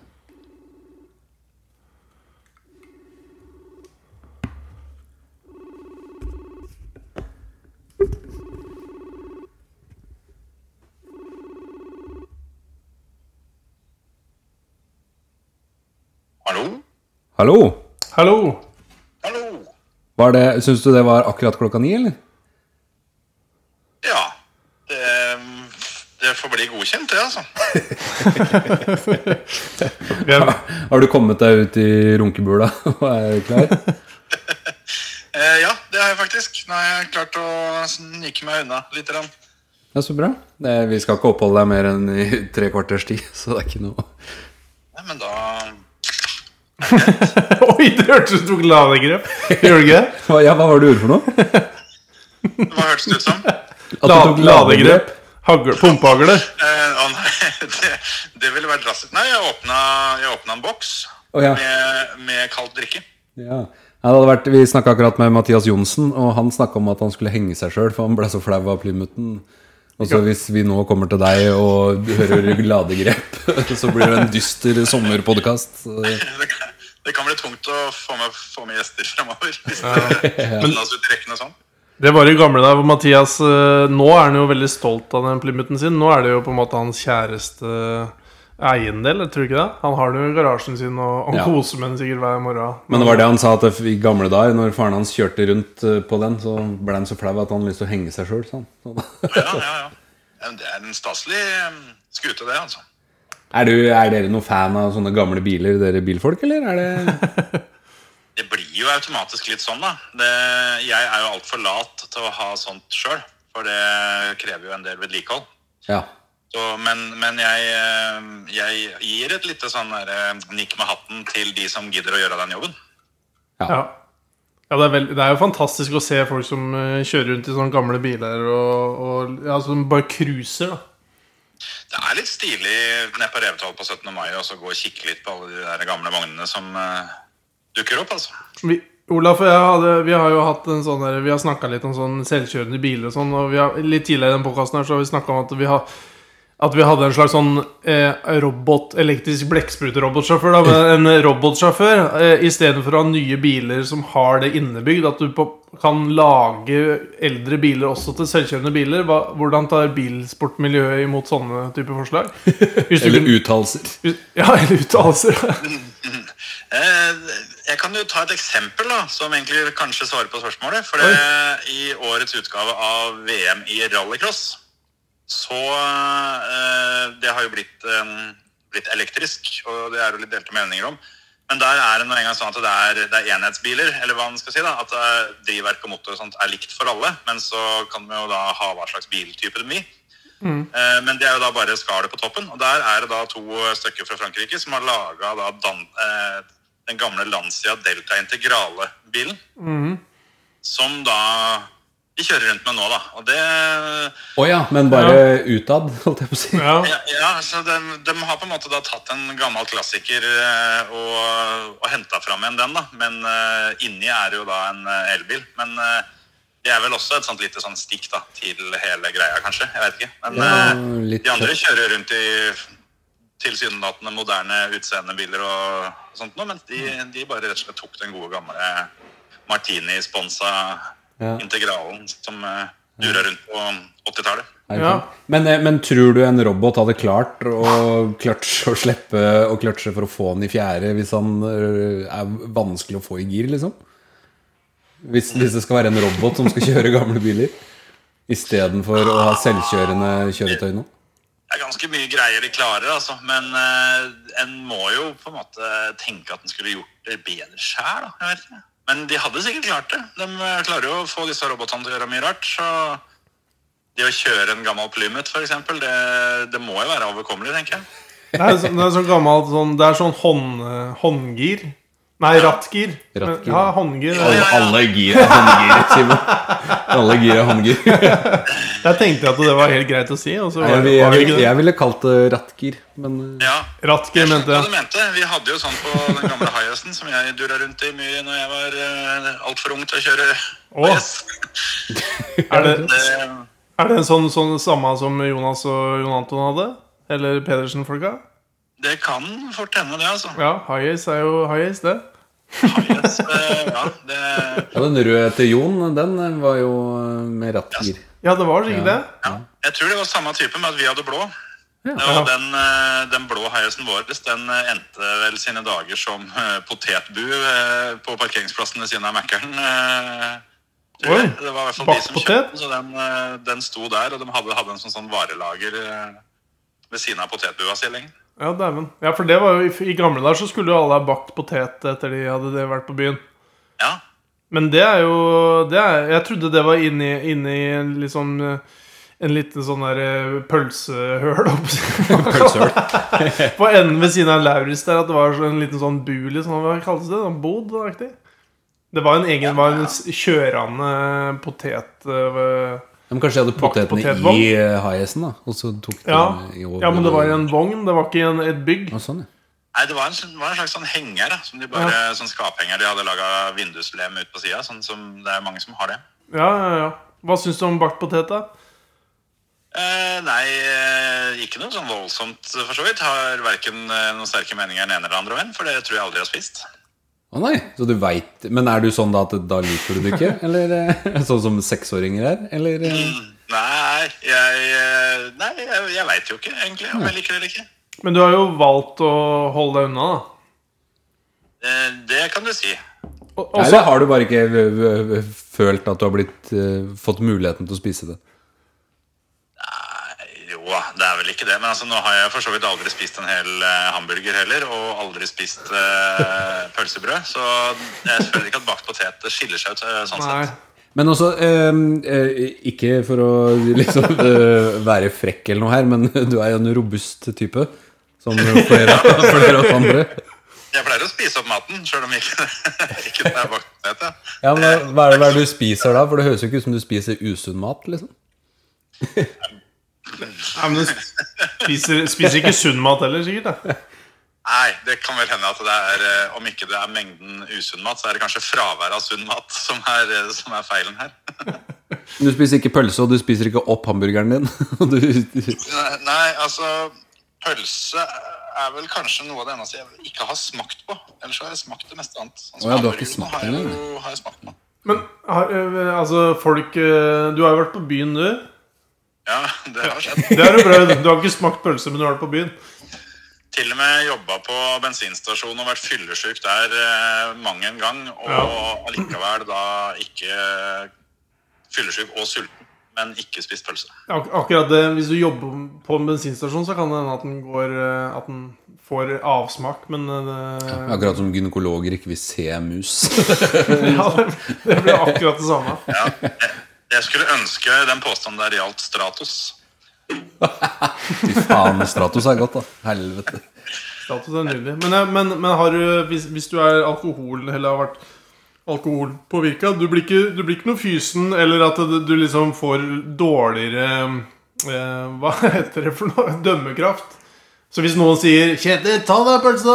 Speaker 4: Hallo?
Speaker 2: Hallo!
Speaker 1: Hallo!
Speaker 4: Hallo?
Speaker 2: Var det, syns du det var akkurat klokka ni, eller?
Speaker 4: Ja. Det, det får bli godkjent, det, altså.
Speaker 1: Jeg,
Speaker 2: Har du kommet deg ut i runkebula og er klar?
Speaker 4: Eh, ja, det har jeg faktisk. Nå har jeg klart å snike meg unna litt. Rann.
Speaker 2: Ja, så bra. Det, vi skal ikke oppholde deg mer enn i tre kvarters tid, så det er ikke noe
Speaker 4: Nei, men da
Speaker 1: oi, det hørtes ut som du tok ladegrep. Gjør du ikke det?
Speaker 2: Hva, ja, hva var det du gjorde for noe?
Speaker 4: Hva hørtes det ut som?
Speaker 2: At
Speaker 1: La-
Speaker 2: du tok ladegrep?
Speaker 1: Hagle, pumpehagle.
Speaker 4: Eh, å nei, det, det ville vært drastisk. Nei, jeg åpna, jeg åpna en boks
Speaker 2: Å, ja.
Speaker 4: med, med kaldt drikke.
Speaker 2: Ja. Nei, det hadde vært, vi snakka akkurat med Mathias Johnsen, og han snakka om at han skulle henge seg sjøl, for han ble så flau av Plymouthen. Og så hvis vi nå kommer til deg og du hører ladegrep, så blir det en dyster sommerpodkast.
Speaker 4: Det kan, det kan bli tungt å få med, få med gjester fremover. Hvis det blandes ut i rekken og sånn.
Speaker 1: Det var i gamle dager. hvor Mathias eh, Nå er han jo veldig stolt av den Plymouthen sin. Nå er det jo på en måte hans kjæreste eiendel, tror du ikke det? Han har den jo i garasjen sin, og han
Speaker 2: Ja.
Speaker 1: koser med den sikkert hver morgen.
Speaker 2: Men det var det han sa at i gamle dager, når faren hans kjørte rundt eh, på den, så ble han så flau at han hadde lyst til å henge seg sjøl. Sånn.
Speaker 4: Å, Ja, ja, ja. Ja, men Det er en staselig eh, skute, det, altså.
Speaker 2: Er, du, er dere noen fan av sånne gamle biler, dere bilfolk, eller? Er det
Speaker 4: Det blir jo automatisk litt sånn, da. Det, jeg er jo altfor lat til å ha sånt sjøl, for det krever jo en del vedlikehold.
Speaker 2: Ja.
Speaker 4: Så, men men jeg, eh, jeg gir et lite sånn der, eh, nikk med hatten til de som gidder å gjøre den jobben.
Speaker 1: Ja. Ja, det, er vel- det er jo fantastisk å se folk som eh, kjører rundt i sånne gamle biler og, og ja, som bare cruiser. da.
Speaker 4: Det er litt stilig nede på Revetal på 17. mai og så gå og kikke litt på alle de der gamle vognene som eh, dukker opp, altså.
Speaker 1: Vi, Olaf og jeg hadde, vi har jo hatt en sånn der, Vi har snakka litt om sånn selvkjørende biler og sånn. Og vi har, litt tidligere i den podkasten har vi snakka om at vi, har, at vi hadde en slags sånn eh, robot, elektrisk blekkspruterobotsjåfør. da, men En robotsjåfør eh, istedenfor å ha nye biler som har det innebygd. At du på, kan lage eldre biler også til selvkjørende biler. Hva, hvordan tar bilsportmiljøet imot sånne typer forslag? Hvis du
Speaker 2: Eller
Speaker 1: kunne,
Speaker 2: uttalelser.
Speaker 1: hvis, ja, eller uttalelser.
Speaker 4: Eh, Jeg kan jo ta et eksempel da, som egentlig kanskje svarer på spørsmålet. For det, i årets utgave av VM i rallycross, så eh, Det har jo blitt, eh, blitt elektrisk, og det er jo litt delte meninger om. Men der er det nå engang sånn at det er, det er enhetsbiler, eller hva man skal si. da, At eh, drivverk og motor og sånt er likt for alle, men så kan man jo da ha hva slags biltype det blir. Eh, Men det er jo da bare skallet på toppen. Og der er det da to eh, stykker fra Frankrike som har laga da Dan eh, den gamle Lancia Delta Integrale-bilen. Som da de kjører rundt med nå, da. Og det
Speaker 2: Å ja, men bare utad, holdt jeg på å si.
Speaker 1: Ja.
Speaker 4: Ja, ja så de, de har på en måte da tatt en gammel klassiker eh, og, og henta fram igjen den, da. Men eh, inni er det jo da en eh, elbil. Men eh, det er vel også et sånt lite sånn stikk da, til hele greia, kanskje. Jeg vet ikke. Men
Speaker 2: Ja,
Speaker 4: eh,
Speaker 2: litt
Speaker 4: de andre kjører rundt i tilsynelatende moderne utseendebiler og sånt noe, mens de, de bare rett og slett tok den gode gamle Martini-sponsa
Speaker 2: Ja.
Speaker 4: integralen som uh, dura rundt på 80-tallet.
Speaker 2: Er det
Speaker 1: Ja.
Speaker 2: sant? Men, eh, men tror du en robot hadde klart å kløtsje og slippe og kløtsje for å få han i fjære hvis han eh, er vanskelig å få i gir, liksom? Hvis, hvis det skal være en robot som skal kjøre gamle biler? Istedenfor å ha selvkjørende kjøretøy nå?
Speaker 4: Det er ganske mye greier de klarer, altså. Men eh, en må jo på en måte tenke at en skulle gjort det bedre sjæl, da. Jeg vet ikke. Men de hadde sikkert klart det. De eh, klarer jo å få disse robotene til å gjøre mye rart. Så det å kjøre en gammel Plymouth, for eksempel, det, det må jo være overkommelig, tenker jeg.
Speaker 1: Det er sånn, det er sånn gammelt sånn, Det er sånn hånd, håndgir. Nei, rattgir. Men-
Speaker 2: Rattgir,
Speaker 1: Ja,
Speaker 2: ja.
Speaker 1: håndgir.
Speaker 4: Ja, ja.
Speaker 2: Alle gir er håndgir, Simon. Alle gira håndgir.
Speaker 1: Jeg tenkte at det var helt greit å si. Og så var
Speaker 2: Jeg,
Speaker 1: det
Speaker 2: jeg,
Speaker 1: var det
Speaker 2: jeg,
Speaker 1: ikke det.
Speaker 2: ville kalt det rattgir, men eh,
Speaker 4: Ja.
Speaker 1: Ratker, mente
Speaker 4: Hva du
Speaker 1: jeg.
Speaker 4: mente? Vi hadde jo sånn på den gamle high-hesten som jeg dura rundt i mye når jeg var uh, altfor ung til å kjøre
Speaker 1: Å.
Speaker 4: high-hest.
Speaker 1: Er det,
Speaker 4: Det-
Speaker 1: er det en sånn, sånn samme som Jonas og Jon Anton hadde? Eller Pedersen-folka?
Speaker 4: Det kan fort hende, det, altså.
Speaker 1: Ja, Hayes er jo Hayes, det.
Speaker 4: Yes, eh, ja, det,
Speaker 2: ja, den røde til Jon, den var jo eh, med rattgir.
Speaker 1: Ja, det var sikkert det.
Speaker 4: ja. Jeg tror det var samme type, men at vi hadde blå.
Speaker 1: Ja.
Speaker 4: Og den, eh, den blå high-hesten vår den eh, endte vel sine dager som eh, potetbu eh, på parkeringsplassen ved siden av Mækkern. eh, tror
Speaker 1: Oi.
Speaker 4: jeg. Det var i hvert fall de
Speaker 1: Bakt
Speaker 4: som
Speaker 1: potet?
Speaker 4: kjøpte den, så den, eh, den sto der. Og de hadde, hadde en sånn, sånn varelager eh, ved siden av potetbua si lenge.
Speaker 1: Ja, dæven. Ja, for det var jo, I gamle dager så skulle jo alle ha bakt potet etter de hadde det vært på byen.
Speaker 4: Ja,
Speaker 1: Men det er jo det er, Jeg trodde det var inni, inni en liksom en liten sånn der eh, pølsehøl holdt jeg på å si.
Speaker 2: Pølsehøl.
Speaker 1: På enden ved siden av Lauritz der at det var en liten sånn buli, sånn, hva kaltes det? Sånn bod-aktig? Det var en egen var en s- kjørende potet... eh,
Speaker 2: Ja, men kanskje de hadde
Speaker 1: Bakte
Speaker 2: potetene
Speaker 1: potetvogn.
Speaker 2: i eh, high-hesten, da. Og så tok de
Speaker 1: Ja.
Speaker 2: i over-
Speaker 1: ja, men det var i en vogn, det var ikke i en, et bygg.
Speaker 2: Ja, sånn, ja.
Speaker 4: Nei, det var en, sånn- det var en slags sånn henger, da, som de bare, sånn skaphenger de hadde laga vinduslem ut på sida. Sånn som det er mange som har det.
Speaker 1: Ja, ja, ja. Hva syns du om bakt potet, da?
Speaker 4: Eh, nei, eh, ikke noe sånn voldsomt, eh, for så vidt. Har verken eh, noen sterke meninger den ene eller andre veien, for det tror jeg aldri jeg har spist.
Speaker 2: Å nei, så du veit Men er du sånn da at da liker du det ikke? Eller eh, sånn som seksåringer er? Eller eh,
Speaker 4: Nei, jeg, eh, nei, jeg, jeg veit jo ikke egentlig om jeg liker det eller ikke.
Speaker 1: Men du har jo valgt å holde deg unna, da.
Speaker 4: Eh, det kan du si.
Speaker 1: Og- og så-
Speaker 2: Eller har du bare ikke v- v- v- følt at du har blitt eh, fått muligheten til å spise det?
Speaker 4: Jo, det er vel ikke det, men altså, nå har jeg for så vidt aldri spist en hel eh, hamburger heller, og aldri spist eh, pølsebrød, så jeg føler ikke at bakt potet skiller seg ut eh, sånn
Speaker 1: Nei.
Speaker 4: sett.
Speaker 2: Men også, eh, eh, ikke for å liksom eh, være frekk eller noe her, men du er jo en robust type. Som flere av flere av oss andre.
Speaker 4: Jeg pleier å spise opp maten, sjøl om ikke, ikke det er bakt potet. Ja.
Speaker 2: Ja, men hva er, det, hva er det du spiser da? For det høres jo ikke ut som du spiser usunn mat. liksom
Speaker 1: Nei, men du spiser, spiser ikke sunn mat heller, sikkert. da
Speaker 4: Nei, det kan vel hende at det er eh, Om ikke det er mengden usunn mat, så er det kanskje fraværet av sunn mat som er, eh, som er feilen her.
Speaker 2: Du spiser ikke pølse, og du spiser ikke opp hamburgeren din. Og du,
Speaker 4: Nei, Nei, altså Pølse er vel kanskje noe av det eneste jeg ikke har smakt på. Ellers har jeg smakt det meste annet. Sånn
Speaker 2: Å
Speaker 4: som
Speaker 2: ja, du har ikke
Speaker 4: hamburgeren
Speaker 2: smakt
Speaker 4: har
Speaker 2: den,
Speaker 4: jeg jo- Har jeg smakt på.
Speaker 1: Men har, ø, altså, folk ø, Du har jo vært på byen, du.
Speaker 4: Ja, det har skjedd.
Speaker 1: Det har du prøvd. Du har ikke smakt pølse, men du har vært på byen.
Speaker 4: Til og med jobba på bensinstasjon og vært fyllesyk der eh, mang en gang. Og allikevel da ikke fyllesyk og sulten, men ikke spist pølse.
Speaker 1: Ak akkurat det, Hvis du jobber på en bensinstasjon, så kan det hende at den går ø, At den får avsmak, men eh, ø, det,
Speaker 2: Akkurat som gynekologer ikke vil se mus.
Speaker 1: ja, det, det blir akkurat det samme.
Speaker 4: Ja, jeg, jeg skulle ønske den påstanden der gjaldt Stratos.
Speaker 2: Fy faen, Stratos er godt, da. Helvete.
Speaker 1: Status er nydelig. Men, ø, men, men har du, hvis, hvis du er alkohol eller har vært alkoholpåvirka, du, blir ikke- du blir ikke noe fysen eller at du, du liksom får dårligere ø, Hva heter det for noe? Dømmekraft. Så hvis noen sier 'Kjetil, ta deg pølsa!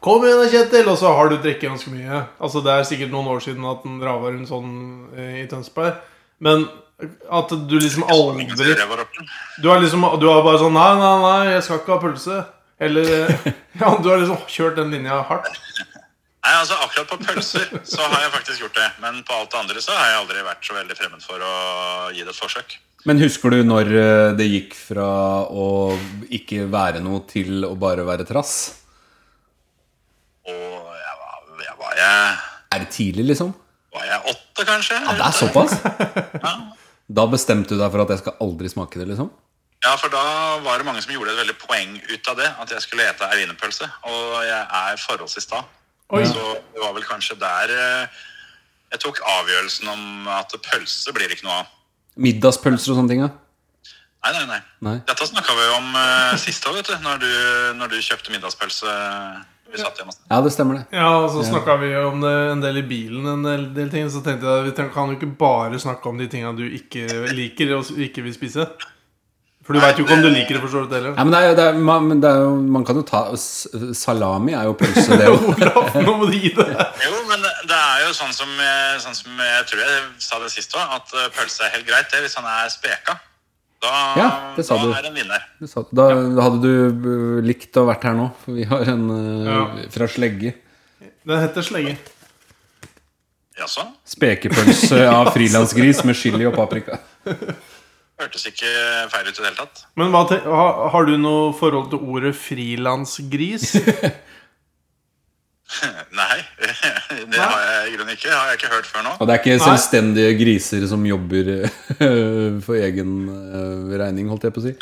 Speaker 1: Kom igjen, da, Kjetil!' Og så har du drukket ganske mye. Altså Det er sikkert noen år siden at den rava rundt sånn eh, i Tønsberg. Men at du liksom aldri
Speaker 4: Det var rocken.
Speaker 1: Du er liksom du er bare sånn 'Nei, nei, nei, jeg skal ikke ha pølse'. Eller eh, Ja, du har liksom kjørt den linja hardt.
Speaker 4: Nei, altså Akkurat på pølser så har jeg faktisk gjort det. Men på alt det andre så har jeg aldri vært så veldig fremmed for å gi det et forsøk.
Speaker 2: Men husker du når eh, det gikk fra å ikke være noe til å bare være trass?
Speaker 4: Og jeg var, jeg var, jeg,
Speaker 2: Er det tidlig, liksom?
Speaker 4: var jeg åtte, kanskje?
Speaker 2: Ja, det er såpass? Da bestemte du deg for at jeg skal aldri smake det, liksom?
Speaker 4: Ja, for da var det mange som gjorde et veldig poeng ut av det. At jeg skulle ete ervinepølse. Og jeg er forholdsvis sta.
Speaker 1: Oi.
Speaker 4: Så det var vel kanskje der eh, jeg tok avgjørelsen om at pølse blir det ikke noe av.
Speaker 2: Middagspølser og sånne ting, ja?
Speaker 4: Nei, nei, nei.
Speaker 2: Nei.
Speaker 4: Dette snakka vi jo om eh, sist òg, vet du. Når du, når du kjøpte middagspølse. Vi satt hjemme
Speaker 2: Ja, det stemmer det.
Speaker 1: Ja, og så snakka vi jo om det en del i bilen, en del, del ting. Så tenkte jeg vi ten- kan jo ikke bare snakke om de tinga du ikke liker og s- ikke vil spise. For du veit jo ikke om du liker det for så vidt heller.
Speaker 2: Ja, men det er, jo- det er, man, men det er jo Man kan jo ta s- Salami er jo pølse, det òg.
Speaker 1: Olav, nå må du gi deg.
Speaker 4: Jo, men det er jo sånn som, eh, sånn som jeg tror jeg sa det sist òg, at eh, pølse er helt greit det hvis han er speka. Da,
Speaker 2: Ja, det sa
Speaker 4: da
Speaker 2: du.
Speaker 4: er en vinner.
Speaker 2: Da hadde du eh, likt å vært her nå. For vi har en eh,
Speaker 1: Ja.
Speaker 2: fra Slegge.
Speaker 1: Den heter slenge.
Speaker 4: Jaså?
Speaker 2: Spekepølse av frilansgris med chili og paprika.
Speaker 4: Hørtes ikke feil ut i det hele tatt.
Speaker 1: Men hva te ha, har du noe forhold til ordet frilansgris?
Speaker 4: Nei, det har jeg i grunnen ikke. Det har jeg ikke hørt før nå.
Speaker 2: Og det er ikke
Speaker 1: Nei.
Speaker 2: selvstendige griser som jobber eh, for egen eh, regning, holdt jeg på å si.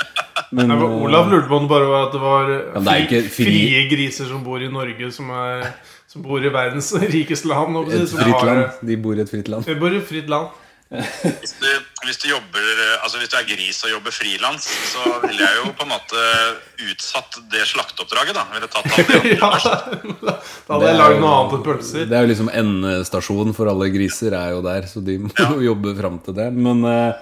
Speaker 2: Men
Speaker 1: Nei, men
Speaker 2: eh,
Speaker 1: Olav lurte på om det bare var at det var
Speaker 2: men det
Speaker 1: fri,
Speaker 2: er ikke fri-
Speaker 1: frie griser som bor i Norge, som, er, som bor i verdens rikeste land. holdt jeg på å
Speaker 2: et
Speaker 1: si, som
Speaker 2: fritt
Speaker 1: har-
Speaker 2: land. De bor i et fritt land.
Speaker 1: Vi bor i fritt land.
Speaker 4: Hvis du, hvis du jobber, eh, altså hvis du er gris og jobber frilans, så ville jeg jo på en måte utsatt det slakteoppdraget, da. Ville tatt alt det.
Speaker 1: Ja, da hadde jeg lagd noe annet enn pølser.
Speaker 2: Det er jo liksom endestasjon for alle griser er jo der, så de må jo jobbe fram til det. Men eh,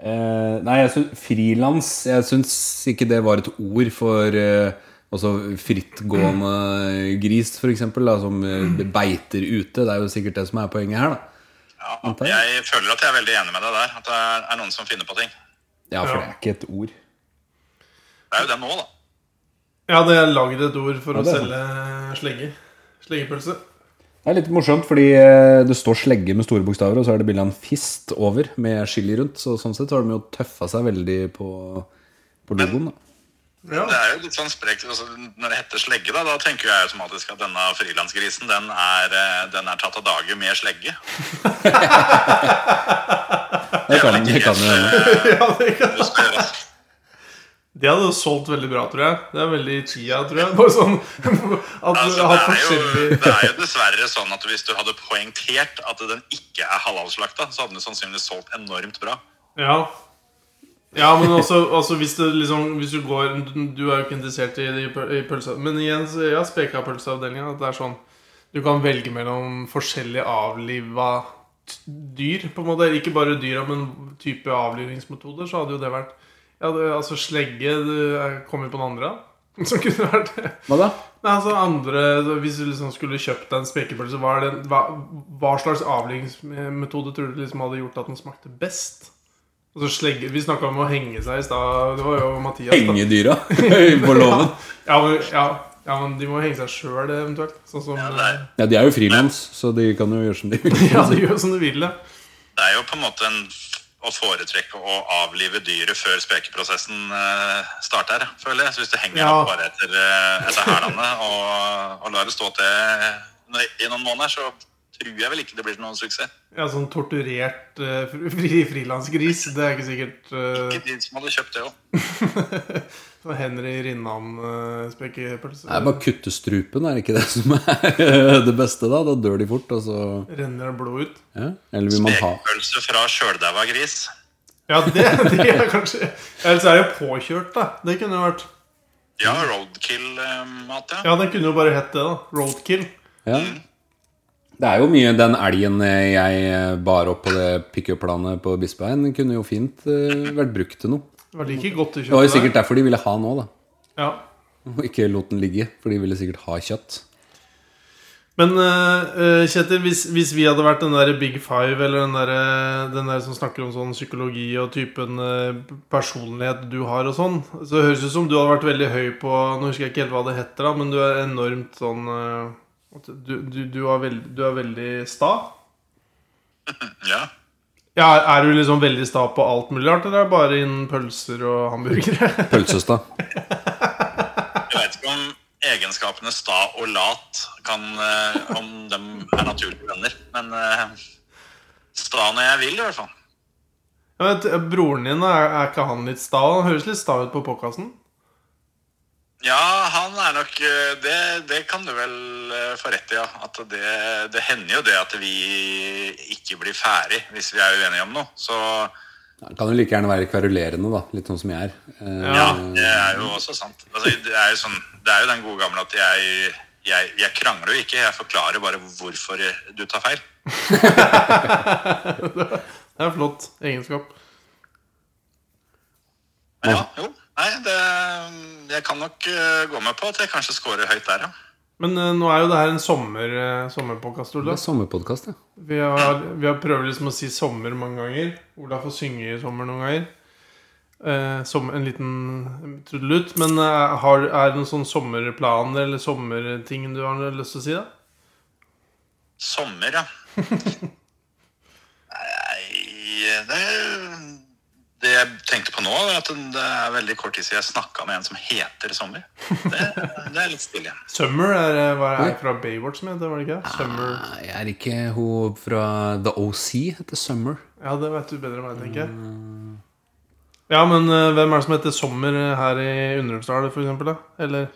Speaker 2: eh, Nei, jeg syns frilans Jeg syns ikke det var et ord for eh, Altså frittgående gris, f.eks., som eh, beiter ute. Det er jo sikkert det som er poenget her, da.
Speaker 4: Ja, jeg føler at jeg er veldig enig med deg der. At det er- er noen som finner på ting.
Speaker 2: Ja, for
Speaker 1: Ja.
Speaker 2: det er ikke et ord.
Speaker 4: Det er jo det nå, da.
Speaker 1: Jeg hadde lagd et ord for
Speaker 2: Ja,
Speaker 1: å
Speaker 2: det er
Speaker 1: selge slegge. Sleggepølse.
Speaker 2: Det er litt morsomt, fordi eh, det står slegge med store bokstaver, og så er det bilde av en fist over med chili rundt. Så sånn sett så har de jo tøffa seg veldig på, på logoen. da.
Speaker 1: Ja.
Speaker 4: Det er jo litt sånn sprekt altså, Når det heter slegge, da, da tenker jeg automatisk at denne frilansgrisen den er, eh, den er tatt av dage med slegge.
Speaker 2: Det kan, det kan jo hende.
Speaker 1: ja, det, kan.
Speaker 4: hende.
Speaker 1: det hadde solgt veldig bra, tror jeg. Det er veldig chia, tror jeg. Bare sånn at du har
Speaker 4: Altså, det, er jo,
Speaker 1: forskjellig
Speaker 4: det er jo dessverre sånn at hvis du hadde poengtert at den ikke er halalslakta, så hadde den sannsynligvis solgt enormt bra.
Speaker 1: Ja. Ja, men også, altså, hvis, det liksom, hvis du går Du er jo ikke interessert i, i, pøl- i pølsa. Men igjen, så ja, speka pølseavdelinga. At det er sånn Du kan velge mellom forskjellig avliva t- dyr. på en måte Ikke bare dyra, men type avlivningsmetoder. Så hadde jo det vært ja, det, Altså slegge det er- Kommer på den andre? Som kunne vært det.
Speaker 2: Hva da?
Speaker 1: Nei, altså andre så Hvis du liksom skulle kjøpt deg en spekepølse, hva, er den- hva, hva slags avlingsmetode tror du liksom hadde gjort at den smakte best? Altså slegge, Vi snakka om å henge seg i stad. Det var jo Mathias. da.
Speaker 2: Henge dyra på låven.
Speaker 1: Ja, men, ja, ja, men de må henge seg sjøl eventuelt. Sånn som
Speaker 4: Ja, det, er,
Speaker 2: Ja, de er jo frilans, så de kan jo gjøre som de vil.
Speaker 1: Ja, de gjør som de vil, det.
Speaker 4: det er jo på en måte en, å foretrekke å avlive dyret før spekeprosessen eh, starter, føler jeg. Så hvis du henger
Speaker 1: Ja.
Speaker 4: opp bare etter, eh, etter hælene og, og lar det stå til no- i noen måneder, så tror jeg vel ikke det blir noen suksess.
Speaker 1: Ja, sånn torturert eh, fri- fri, frilansgris. Det er ikke sikkert eh,
Speaker 4: Ikke de som hadde kjøpt det òg.
Speaker 1: sånn Henry eh, Rinnan-spekepølse.
Speaker 2: Det er bare å kutte strupen, er det ikke det som er det beste, da? Da dør de fort, og så
Speaker 1: Renner det blod ut?
Speaker 2: ja. Eller vil man ha
Speaker 4: Spekepølse fra sjøldaua gris.
Speaker 1: Ja, det, det er kanskje Eller så er det jo påkjørt, da. Det kunne jo vært
Speaker 4: Ja, roadkill-mat, ja.
Speaker 1: Ja, den kunne jo bare hett det, da. Roadkill.
Speaker 2: Ja. Det er jo mye Den elgen jeg bar opp på det pickup-planet på Bispeveien, den kunne jo fint eh, vært brukt til noe.
Speaker 1: Det var like godt å
Speaker 2: Det var
Speaker 1: kjøpe
Speaker 2: jo sikkert derfor de ville ha nå, da.
Speaker 1: Ja.
Speaker 2: Og ikke lot den ligge, for de ville sikkert ha kjøtt.
Speaker 1: Men eh, eh, Kjetil, hvis, hvis vi hadde vært den der Big Five, eller den der, eh, den der som snakker om sånn psykologi og typen eh, personlighet du har og sånn, så høres det ut som du hadde vært veldig høy på Nå husker jeg ikke helt hva det heter, da, men du er enormt sånn eh, at du, du, du, er veld, du er veldig sta.
Speaker 4: ja.
Speaker 1: Ja, Er du liksom veldig sta på alt mulig rart, eller er det bare innen pølser og hamburgere?
Speaker 2: Pølsestad.
Speaker 4: Jeg vet ikke om egenskapene sta og lat kan eh, Om dem er naturlige venner. Men eh, sta når jeg vil, i hvert fall.
Speaker 1: Ja, men t- Broren din, er, er ikke han litt sta? Han høres litt sta ut på podkasten.
Speaker 4: Ja, han er nok eh, Det, det kan du vel eh, få rett i, ja. At det, det hender jo det at vi ikke blir ferdig hvis vi er uenige om noe. Så
Speaker 2: Han kan jo like gjerne være kverulerende, da. Litt sånn som jeg er. Eh,
Speaker 4: ja, det er jo også sant. Altså, det, er jo sånn, det er jo den gode gamle at jeg jeg, jeg krangler jo ikke, jeg forklarer bare hvorfor jeg- du tar feil.
Speaker 1: Det er flott egenskap.
Speaker 4: Men ja, jo. Nei, det, jeg kan nok eh, gå med på at jeg kanskje scorer høyt der, ja.
Speaker 1: Men eh, nå er jo det her en sommer, uh, sommerpodkast,
Speaker 2: Det
Speaker 1: Ola.
Speaker 2: er sommerpodkast, ja.
Speaker 1: Vi har, vi har prøvd liksom å si sommer mange ganger. Ola får synge i sommer noen ganger. Eh, som en liten trudelutt. Men eh, har, er det noen sånne sommerplaner eller sommerting du har lyst til å si, da?
Speaker 4: Sommer, ja. Nei, det, det jeg tenkte på nå, er at det er veldig kort tid siden jeg snakka med en som heter Sommer. Det, det er litt stille.
Speaker 1: Summer er eh, hva er det fra Baywatch som heter, var det ikke? det? Summer.
Speaker 2: Nei, er ikke hun fra The OC heter Summer?
Speaker 1: Ja, det vet du bedre enn meg, tenker jeg. Mm. Ja, men eh, hvem er det som heter Sommer eh, her i Undrumsdal, for eksempel? Da? Eller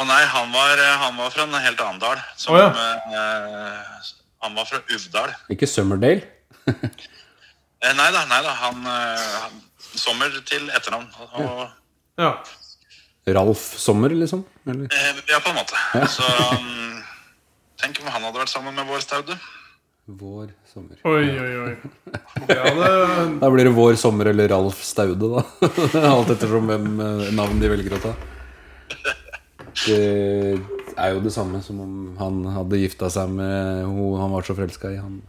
Speaker 4: Å nei, han var, han var fra en helt annen dal. Som,
Speaker 1: Å ja.
Speaker 4: eh, han var fra Uvdal.
Speaker 2: Ikke Summerdale?
Speaker 4: Eh, nei da, nei da. Han, eh, han Sommer til etternavn. Og,
Speaker 1: Ja.
Speaker 2: Ralf Sommer, liksom? Eller?
Speaker 4: eh, ja, på en måte. Så mm, tenk om han hadde vært sammen med vår Staude.
Speaker 2: Vår sommer.
Speaker 1: Oi, oi, oi. Ja, det,
Speaker 2: Da blir det Vår sommer eller Ralf Staude, da. Alt ettersom hvem eh, navn de velger å ta. Det er jo det samme som om han hadde gifta seg med hun han var så forelska i. Han.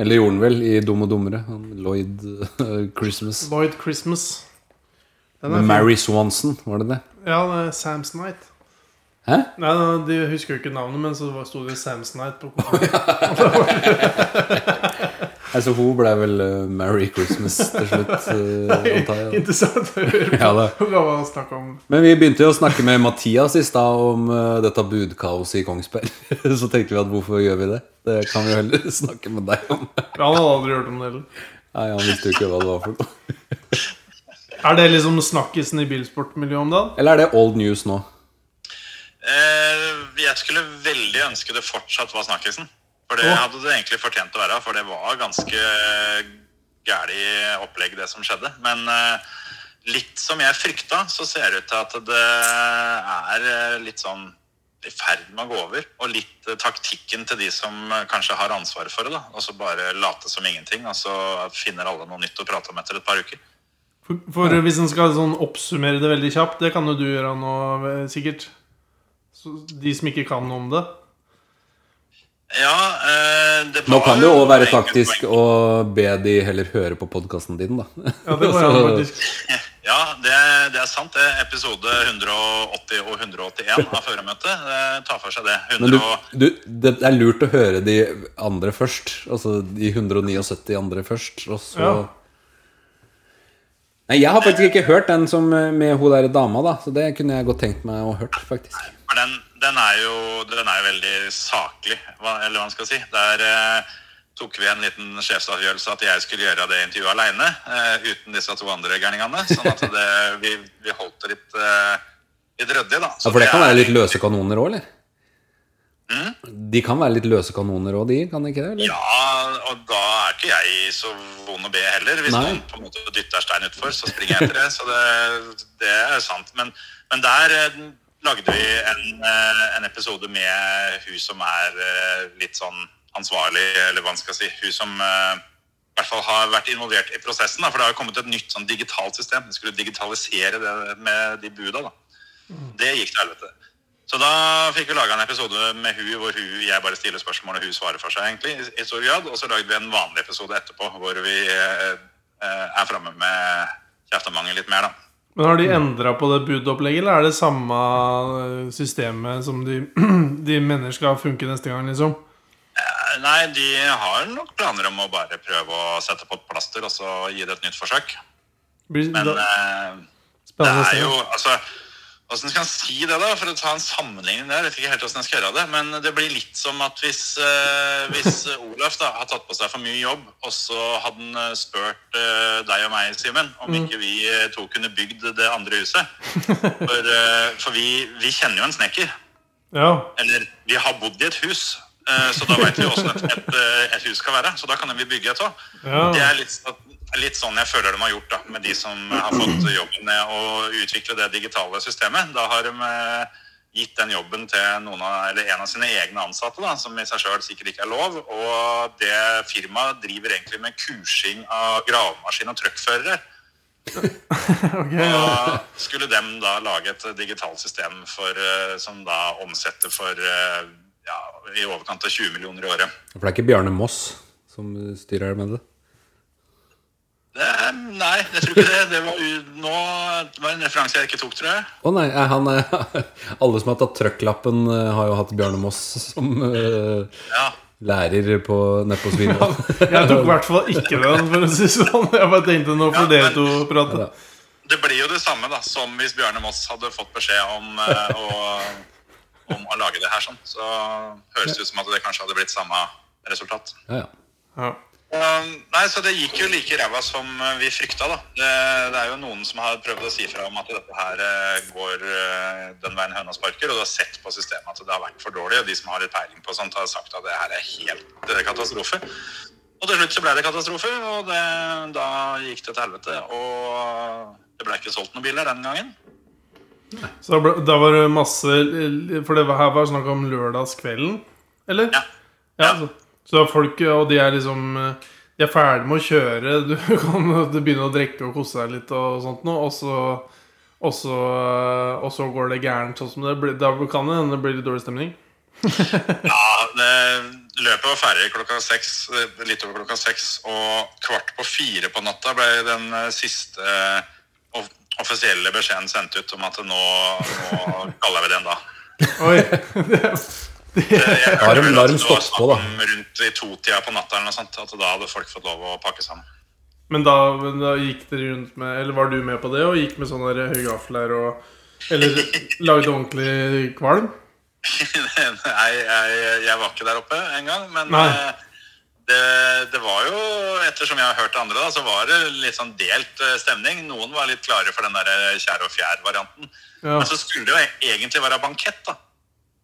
Speaker 2: Eller gjorde han vel, i Dum og dummere. Han Lloyd eh, Christmas.
Speaker 1: Lloyd Christmas. Den er fin.
Speaker 2: Mary Swanson, var det det?
Speaker 1: Ja, det er Sam's Night.
Speaker 2: Hæ?
Speaker 1: Nei, nei, De husker jo ikke navnet, men så var- sto det Sam's Night på kortet.
Speaker 2: Altså, hun ble vel eh, Merry Christmas til slutt, eh, antar jeg.
Speaker 1: Interessant å høre
Speaker 2: Ja, det.
Speaker 1: på hva man snakker om.
Speaker 2: Men vi begynte jo å snakke med Mathias i stad om eh, dette budkaoset i Kongsberg. Så tenkte vi at hvorfor gjør vi det? Det kan vi jo heller snakke med deg om.
Speaker 1: Ja, han hadde aldri hørt om det heller.
Speaker 2: Nei, han visste jo ikke hva det var for noe.
Speaker 1: Er det liksom snakkisen i bilsportmiljøet om dagen?
Speaker 2: Eller er det old news nå?
Speaker 4: Eh, jeg skulle veldig ønske det fortsatt var snakkisen. For det hadde det egentlig fortjent å være, for det var ganske gæli opplegg, det som skjedde. Men eh, litt som jeg frykta, så ser det ut til at det er eh, litt sånn i ferd med å gå over. Og litt eh, taktikken til de som eh, kanskje har ansvaret for det. da, Og så bare late som ingenting, og så finner alle noe nytt å prate om etter et par uker.
Speaker 1: For, for hvis en skal sånn oppsummere det veldig kjapt, det kan jo du gjøre nå, eh, sikkert. Så de som ikke kan noe om det.
Speaker 4: Ja, eh, det
Speaker 2: Nå
Speaker 4: var
Speaker 2: kan det jo òg være
Speaker 4: enkelte
Speaker 2: taktisk å be de heller høre på podkasten din, da.
Speaker 1: Ja, det går an, faktisk.
Speaker 4: Ja, det, det er sant. Det er episode 180 og 181 av føremøtet eh, tar for seg det.
Speaker 2: Men du,
Speaker 4: 100 og,
Speaker 2: du, det er lurt å høre de andre først. Altså de 179 andre først, og så
Speaker 1: Ja.
Speaker 2: Nei, jeg har faktisk ikke hørt den som eh, med hun der dama, da. Så det kunne jeg godt tenkt meg å hørt, faktisk.
Speaker 4: for den, den, er jo, den er jo veldig saklig, hva, eller hva man skal si. Der eh, tok vi en liten sjefsavgjørelse at jeg skulle gjøre det intervjuet aleine. Eh, uten disse to andre gærningene. Sånn at det, vi, vi holdt det litt, eh, litt ryddig, da.
Speaker 2: Ja, For det kan være litt løse kanoner òg, eller? De kan være litt løse kanoner òg, de? Kan de ikke det? Eller?
Speaker 4: Ja, og da er ikke jeg så vond å be heller. Hvis
Speaker 2: Nei.
Speaker 4: noen på en måte dytter stein utfor, så springer jeg etter det. Så det, det er sant. Men, men der eh, lagde vi en, eh, en episode med hun som er eh, litt sånn ansvarlig, eller hva man skal si. Hun som eh, i hvert fall har vært involvert i prosessen. Da, for det har jo kommet et nytt sånn digitalt system. Vi skulle digitalisere det med de buda. da. Det gikk til helvete. Så da fikk vi laga en episode med hun hvor hun, jeg bare stiller spørsmål og hun svarer for seg. egentlig, i- i stor grad. Og så lagde vi en vanlig episode etterpå hvor vi eh, eh, er framme med kjeftemangen litt mer, da.
Speaker 1: Men har de endra på det budopplegget, eller er det samme eh, systemet som de, de mener skal funke neste gang, liksom?
Speaker 4: Eh, Nei, de har nok planer om å bare prøve å sette på et plaster og så gi det et nytt forsøk.
Speaker 1: Blir,
Speaker 4: Men
Speaker 1: da,
Speaker 4: eh, Det
Speaker 1: spennende å se.
Speaker 4: er jo, altså Åssen skal en si det, da? For å ta en sammenligning der. Jeg vet ikke helt hvordan jeg skal gjøre det, men det blir litt som at hvis, eh, hvis Olaf da, har tatt på seg for mye jobb, og så hadde han eh, spurt eh, deg og meg, Simen, om ikke vi eh, to kunne bygd det andre huset. For, eh, for vi, vi kjenner jo en snekker.
Speaker 1: Ja.
Speaker 4: Eller vi har bodd i et hus, eh, så da veit vi åssen et, et, eh, et hus skal være. Så da kan vi bygge et òg.
Speaker 1: Ja.
Speaker 4: Det er litt, litt sånn jeg føler de har gjort da, med de som har fått jobben med å utvikle det digitale systemet. Da har de eh, gitt den jobben til noen av, eller en av sine egne ansatte, da, som i seg sjøl sikkert ikke er lov. Og det firmaet driver egentlig med kursing av gravemaskin og truckførere.
Speaker 1: Ok, ja.
Speaker 4: Og skulle dem da lage et digitalt system for, eh, som da omsetter for eh, ja, i overkant av 20 millioner i året.
Speaker 2: For det er ikke Bjarne Moss som styrer med det?
Speaker 4: Det, nei, jeg tror ikke det. Det var, u- nå, det var en referanse jeg ikke tok, tror jeg.
Speaker 2: Å nei, er han er, alle som har tatt trøkklappen, eh, har jo hatt Bjarne Moss som eh,
Speaker 4: Ja.
Speaker 2: lærer på, nede på Svinvoll.
Speaker 1: Jeg tok i hvert fall ikke den, for å si det sånn. Jeg bare tenkte nå får dere to prate.
Speaker 4: Det blir jo det samme da, som hvis Bjørne Moss hadde fått beskjed om, eh, å, om å lage det her sånn. Så høres det ut som at det kanskje hadde blitt samme resultat.
Speaker 2: Ja, ja.
Speaker 1: Ja.
Speaker 4: Um, nei, så det gikk jo like ræva som eh, vi frykta, da. Det, det er jo noen som har prøvd å si fra om at dette her eh, går eh, den veien høna sparker, og du har sett på systemet at det har vært for dårlig, og de som har litt peiling på sånt, har sagt at det her er helt eh, katastrofe. Og til slutt så ble det katastrofe, og det, da gikk det til helvete. Og det ble ikke solgt noen biler den gangen.
Speaker 1: Så da, ble, da var det masse For det var- her var snakk om lørdagskvelden, eller?
Speaker 4: Ja.
Speaker 1: Ja, så, så da folk, og de er liksom eh, De er ferdig med å kjøre, du kan du begynner å drikke og kose deg litt og sånt noe, og så og så, eh, og så går det gærent, sånn som det blir. Da kan det hende det blir litt dårlig stemning.
Speaker 4: Ja, det, løpet var ferdig klokka seks, eh, litt over klokka seks, og kvart på fire på natta ble den eh, siste eh, off offisielle beskjeden sendt ut om at nå, nå kaller vi den da.
Speaker 1: Oi! det-
Speaker 4: Eh, jeg hørte
Speaker 2: Larm-
Speaker 4: vel at
Speaker 2: larm
Speaker 4: det var
Speaker 2: stoppet på, da.
Speaker 4: snakk om Rundt i totida på natta eller noe sånt, at da hadde folk fått lov å pakke sammen.
Speaker 1: Men da, men da gikk dere rundt med Eller var du med på det og gikk med sånne der høye gafler og Eller lagde ordentlig kvalm?
Speaker 4: Nei, jeg, jeg var ikke der oppe engang, men
Speaker 1: Nei.
Speaker 4: eh, det, det var jo, ettersom jeg har hørt andre, da, så var det litt sånn delt eh, stemning. Noen var litt klare for den der eh, kjære og fjær-varianten.
Speaker 1: Ja.
Speaker 4: Men så skulle det jo egentlig være bankett, da.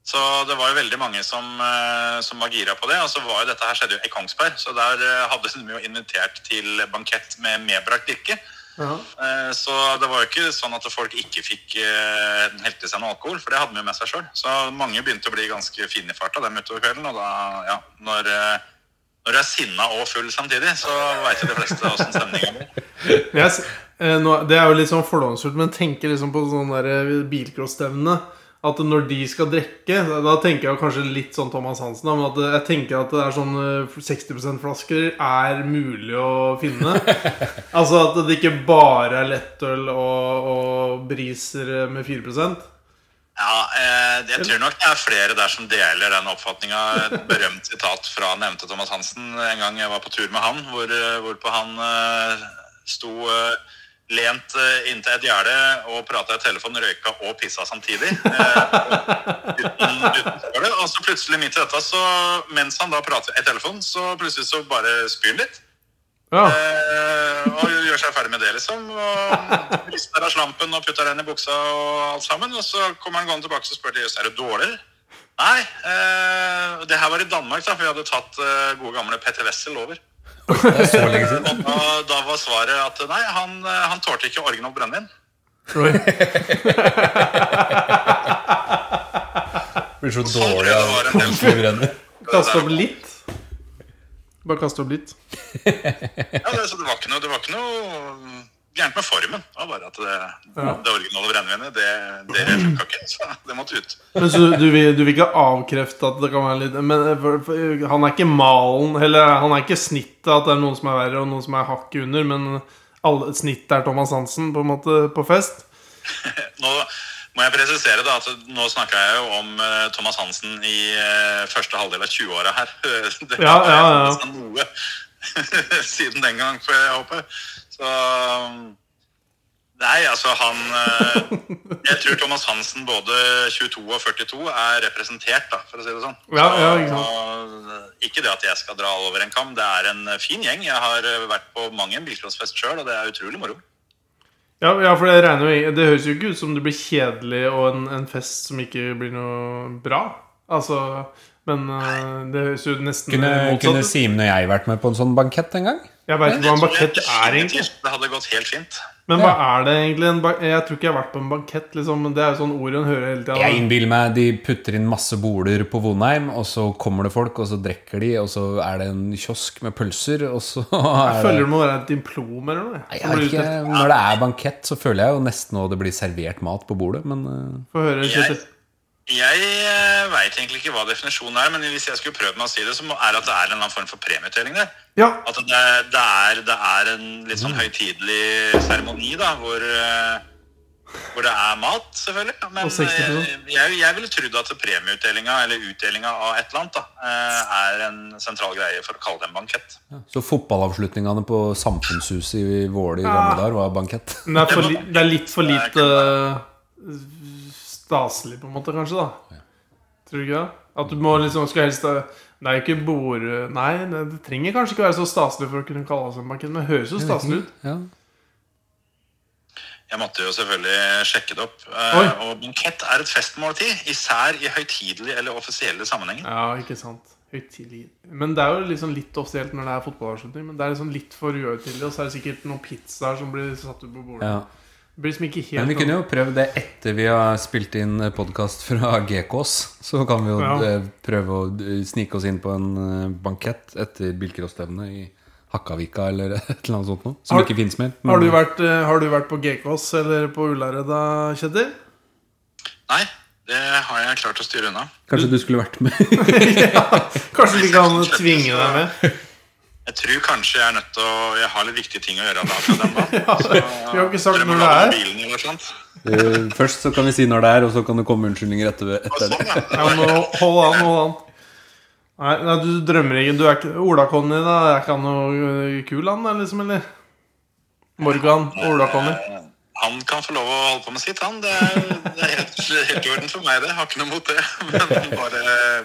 Speaker 4: Så det var jo veldig mange som, eh, som var gira på det. Og så var jo dette her skjedde jo i Kongsberg, så der eh, hadde de jo invitert til bankett med medbrakt drikke.
Speaker 1: ja.
Speaker 4: Eh, Så det var jo ikke sånn at folk ikke fikk eh, helt i seg noe alkohol, for det hadde de jo med seg sjøl. Så mange begynte å bli ganske fine i farta dem utover kvelden. Og da, ja, når, eh, når du er sinna og full samtidig, så veit jo de fleste åssen stemninga blir.
Speaker 1: Jeg, s- eh, nå, det er jo litt sånn fordomsfullt, men tenker liksom på sånne der bilcrossstevne. At når de skal drikke, da- da tenker jeg kanskje litt sånn Thomas Hansen. da, Men at jeg tenker at det er sånn eh, 60 flasker er mulig å finne. altså at det ikke bare er lettøl og, og briser eh, med 4
Speaker 4: Ja, eh, jeg tror nok det er flere der som deler den oppfatninga. Et berømt sitat fra nevnte Thomas Hansen en gang jeg var på tur med han, hvor, eh, hvorpå han eh, sto eh, lent eh, inntil et gjerde og prata i telefonen, røyka og pissa samtidig. Eh, uten, uten skole. Og så plutselig midt i dette, så mens han da prater i telefonen, så plutselig så bare spyr han litt.
Speaker 1: Ja.
Speaker 4: Eh, og gjør seg ferdig med det, liksom. Og rister av slampen og putter den i buksa og alt sammen. Og så kommer han gående tilbake og spør de, er du dårlig. Nei, eh, det her var i Danmark, da, for vi hadde tatt eh, gode gamle Petter Wessel over. Og da, da var svaret at nei, han, eh, han tålte ikke original brennevin.
Speaker 2: Blir så
Speaker 4: dårlig av
Speaker 2: konfigurene.
Speaker 1: Kaste opp litt. Bare kaste opp litt.
Speaker 4: Ja, det, så det var ikke noe, det var ikke noe gærent med formen. Det var bare at det, det originale brennevinet, det, det funka ikke. Så det måtte ut.
Speaker 1: Men så du vil, du vil ikke avkrefte at det kan være litt Men eh, for, for, han er ikke malen Eller han er ikke snittet at det er noen som er verre og noen som er hakket under, men alle, snittet er Thomas Hansen på en måte på fest.
Speaker 4: Nå må jeg presisere da, at nå snakker jeg jo om eh, Thomas Hansen i eh, første halvdel av 20-åra her. Det
Speaker 1: Ja, ja, ja.
Speaker 4: er nesten noe siden den gang, får jeg håpe. Så mm, Nei, altså han eh, Jeg tror Thomas Hansen både 22 og 42 er representert, da, for å si det sånn.
Speaker 1: Ja, ja, ikke
Speaker 4: Og, eh, ikke det at jeg skal dra alle over en kam. Det er en fin gjeng. Jeg har eh, vært på mange en bilcrossfest sjøl, og det er utrolig moro.
Speaker 1: Ja, ja for det regner jo Det høres jo ikke ut som det blir kjedelig og en, en fest som ikke blir noe bra. Altså Men eh, det høres jo nesten
Speaker 2: Kunne,
Speaker 1: motsatt
Speaker 2: kunne
Speaker 1: ut.
Speaker 2: Simen og jeg vært med på en sånn bankett en gang?
Speaker 1: Jeg veit ikke hva en bakett er, egentlig.
Speaker 4: Definitivt, Det hadde gått helt fint.
Speaker 1: Men hva er det egentlig? En ba jeg tror ikke jeg har vært på en bakett. Liksom. men Det er jo sånn ord en hører hele
Speaker 2: Jeg
Speaker 1: tida.
Speaker 2: innbiller meg de putter inn masse boler på Vonheim, og så kommer det folk, og så drikker de, og så er det en kiosk med pølser, og så er det
Speaker 1: Føler det må være et diplom eller noe.
Speaker 2: Nei,
Speaker 1: Jeg
Speaker 2: jeg har ikke, Når det er bankett, så føler jeg jo nesten at det blir servert mat på bordet, men eh,
Speaker 1: Få høre, Kjetil.
Speaker 4: Jeg eh, vet egentlig ikke hva definisjonen er, men hvis jeg skulle prøvd meg å si det, så må- er det at det er en eller annen form for premieutdeling der.
Speaker 1: Ja,
Speaker 4: At det, det, er, det er en litt
Speaker 1: Mm.
Speaker 4: sånn høytidelig seremoni, da, hvor, eh, hvor det er mat, selvfølgelig. Men
Speaker 1: Og 60%.
Speaker 4: eh, jeg, jeg ville trodd at premieutdelinga, eller utdelinga av et eller annet, da, eh, er en sentral greie for å kalle det en bankett.
Speaker 2: eh, Så fotballavslutningene på Samfunnshuset i Våle i gamle dager var bankett.
Speaker 1: men det er, for li det er litt for lite eh, staselig, på en måte, kanskje, da. Tror du ikke det? At du må liksom skal helst eh, Det er jo ikke bord... Nei, det, det trenger kanskje ikke være så staselig for å kunne kalle det en bakett, men det høres jo staselig ut.
Speaker 2: Ja.
Speaker 4: Jeg måtte jo selvfølgelig sjekke det opp. eh,
Speaker 1: Oi.
Speaker 4: Og bankett er et festmåltid, især i høytidelige eller offisielle sammenhenger.
Speaker 1: Ja, ikke sant. Høytidelig. Men det er jo liksom litt offisielt når det er fotballavslutning. Men det er liksom litt for uhøytidelig, og så er det sikkert noen pizzaer som blir satt ut på bordet.
Speaker 2: Ja.
Speaker 1: Det blir liksom ikke helt
Speaker 2: Men vi kunne jo prøvd det etter vi har spilt inn podkast fra GKs. Så kan vi jo
Speaker 1: Ja.
Speaker 2: eh, prøve å eh, snike oss inn på en eh, bankett etter bilcrossstevnet i Hakkavika eller et eller annet sånt noe. Som
Speaker 1: Har-
Speaker 2: ikke fins mer.
Speaker 1: har, du vært, eh, har du vært på GKs eller på Ullared da, Kjetil?
Speaker 4: Nei, det har jeg klart å styre unna.
Speaker 2: Kanskje du skulle vært med?
Speaker 1: Kanskje vi kan tvinge deg med?
Speaker 4: Jeg tror kanskje jeg er nødt til å Jeg har litt viktige ting å gjøre da fra den dagen.
Speaker 1: Vi har ikke sagt når det er.
Speaker 4: Bilen, eller noe sånt.
Speaker 2: Eh, Først så kan vi si når det er, og så kan det komme unnskyldninger etter, etter det.
Speaker 4: Sånn, ja.
Speaker 1: Ja, men hold an, hold an. Nei, nei, du drømmer ikke. Du er ikke Ola-Conny, da? Er ikke han noe eh, kul, han, eller liksom, eller? Morgan Ola-Conny.
Speaker 4: Han kan få lov å holde på med sitt, han. Det er, det er helt, helt i orden for meg, det. Jeg har ikke noe mot det. Men bare,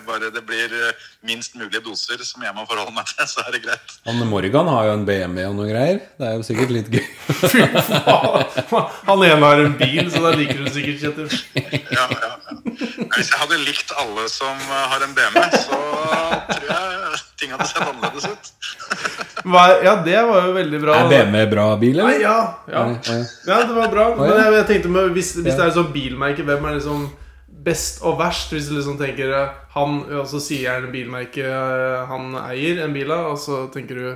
Speaker 4: bare det blir eh, minst mulig doser som jeg må forholde meg til, så er det greit.
Speaker 2: Anne Morgan har jo en BMW og noe greier. Det er jo sikkert litt gøy.
Speaker 1: Fy faen! Han ene har en bil, så da liker du sikkert Kjetil.
Speaker 4: Ja, ja. Hvis jeg hadde likt alle som eh, har en BMW, så tror jeg ting hadde sett annerledes ut.
Speaker 1: Hva, ja, det var jo veldig bra.
Speaker 2: Er Mm. BMW bra bil,
Speaker 1: Nei,
Speaker 2: eller?
Speaker 1: ja, ja.
Speaker 2: Å, ja.
Speaker 1: ja, det var bra. Men jeg, jeg tenkte med, hvis, hvis
Speaker 2: Ja.
Speaker 1: det er sånn bilmerke, hvem er liksom best og verst? Hvis du liksom tenker eh, han, og så sier jeg en bilmerke eh, han eier en bil av, og så tenker du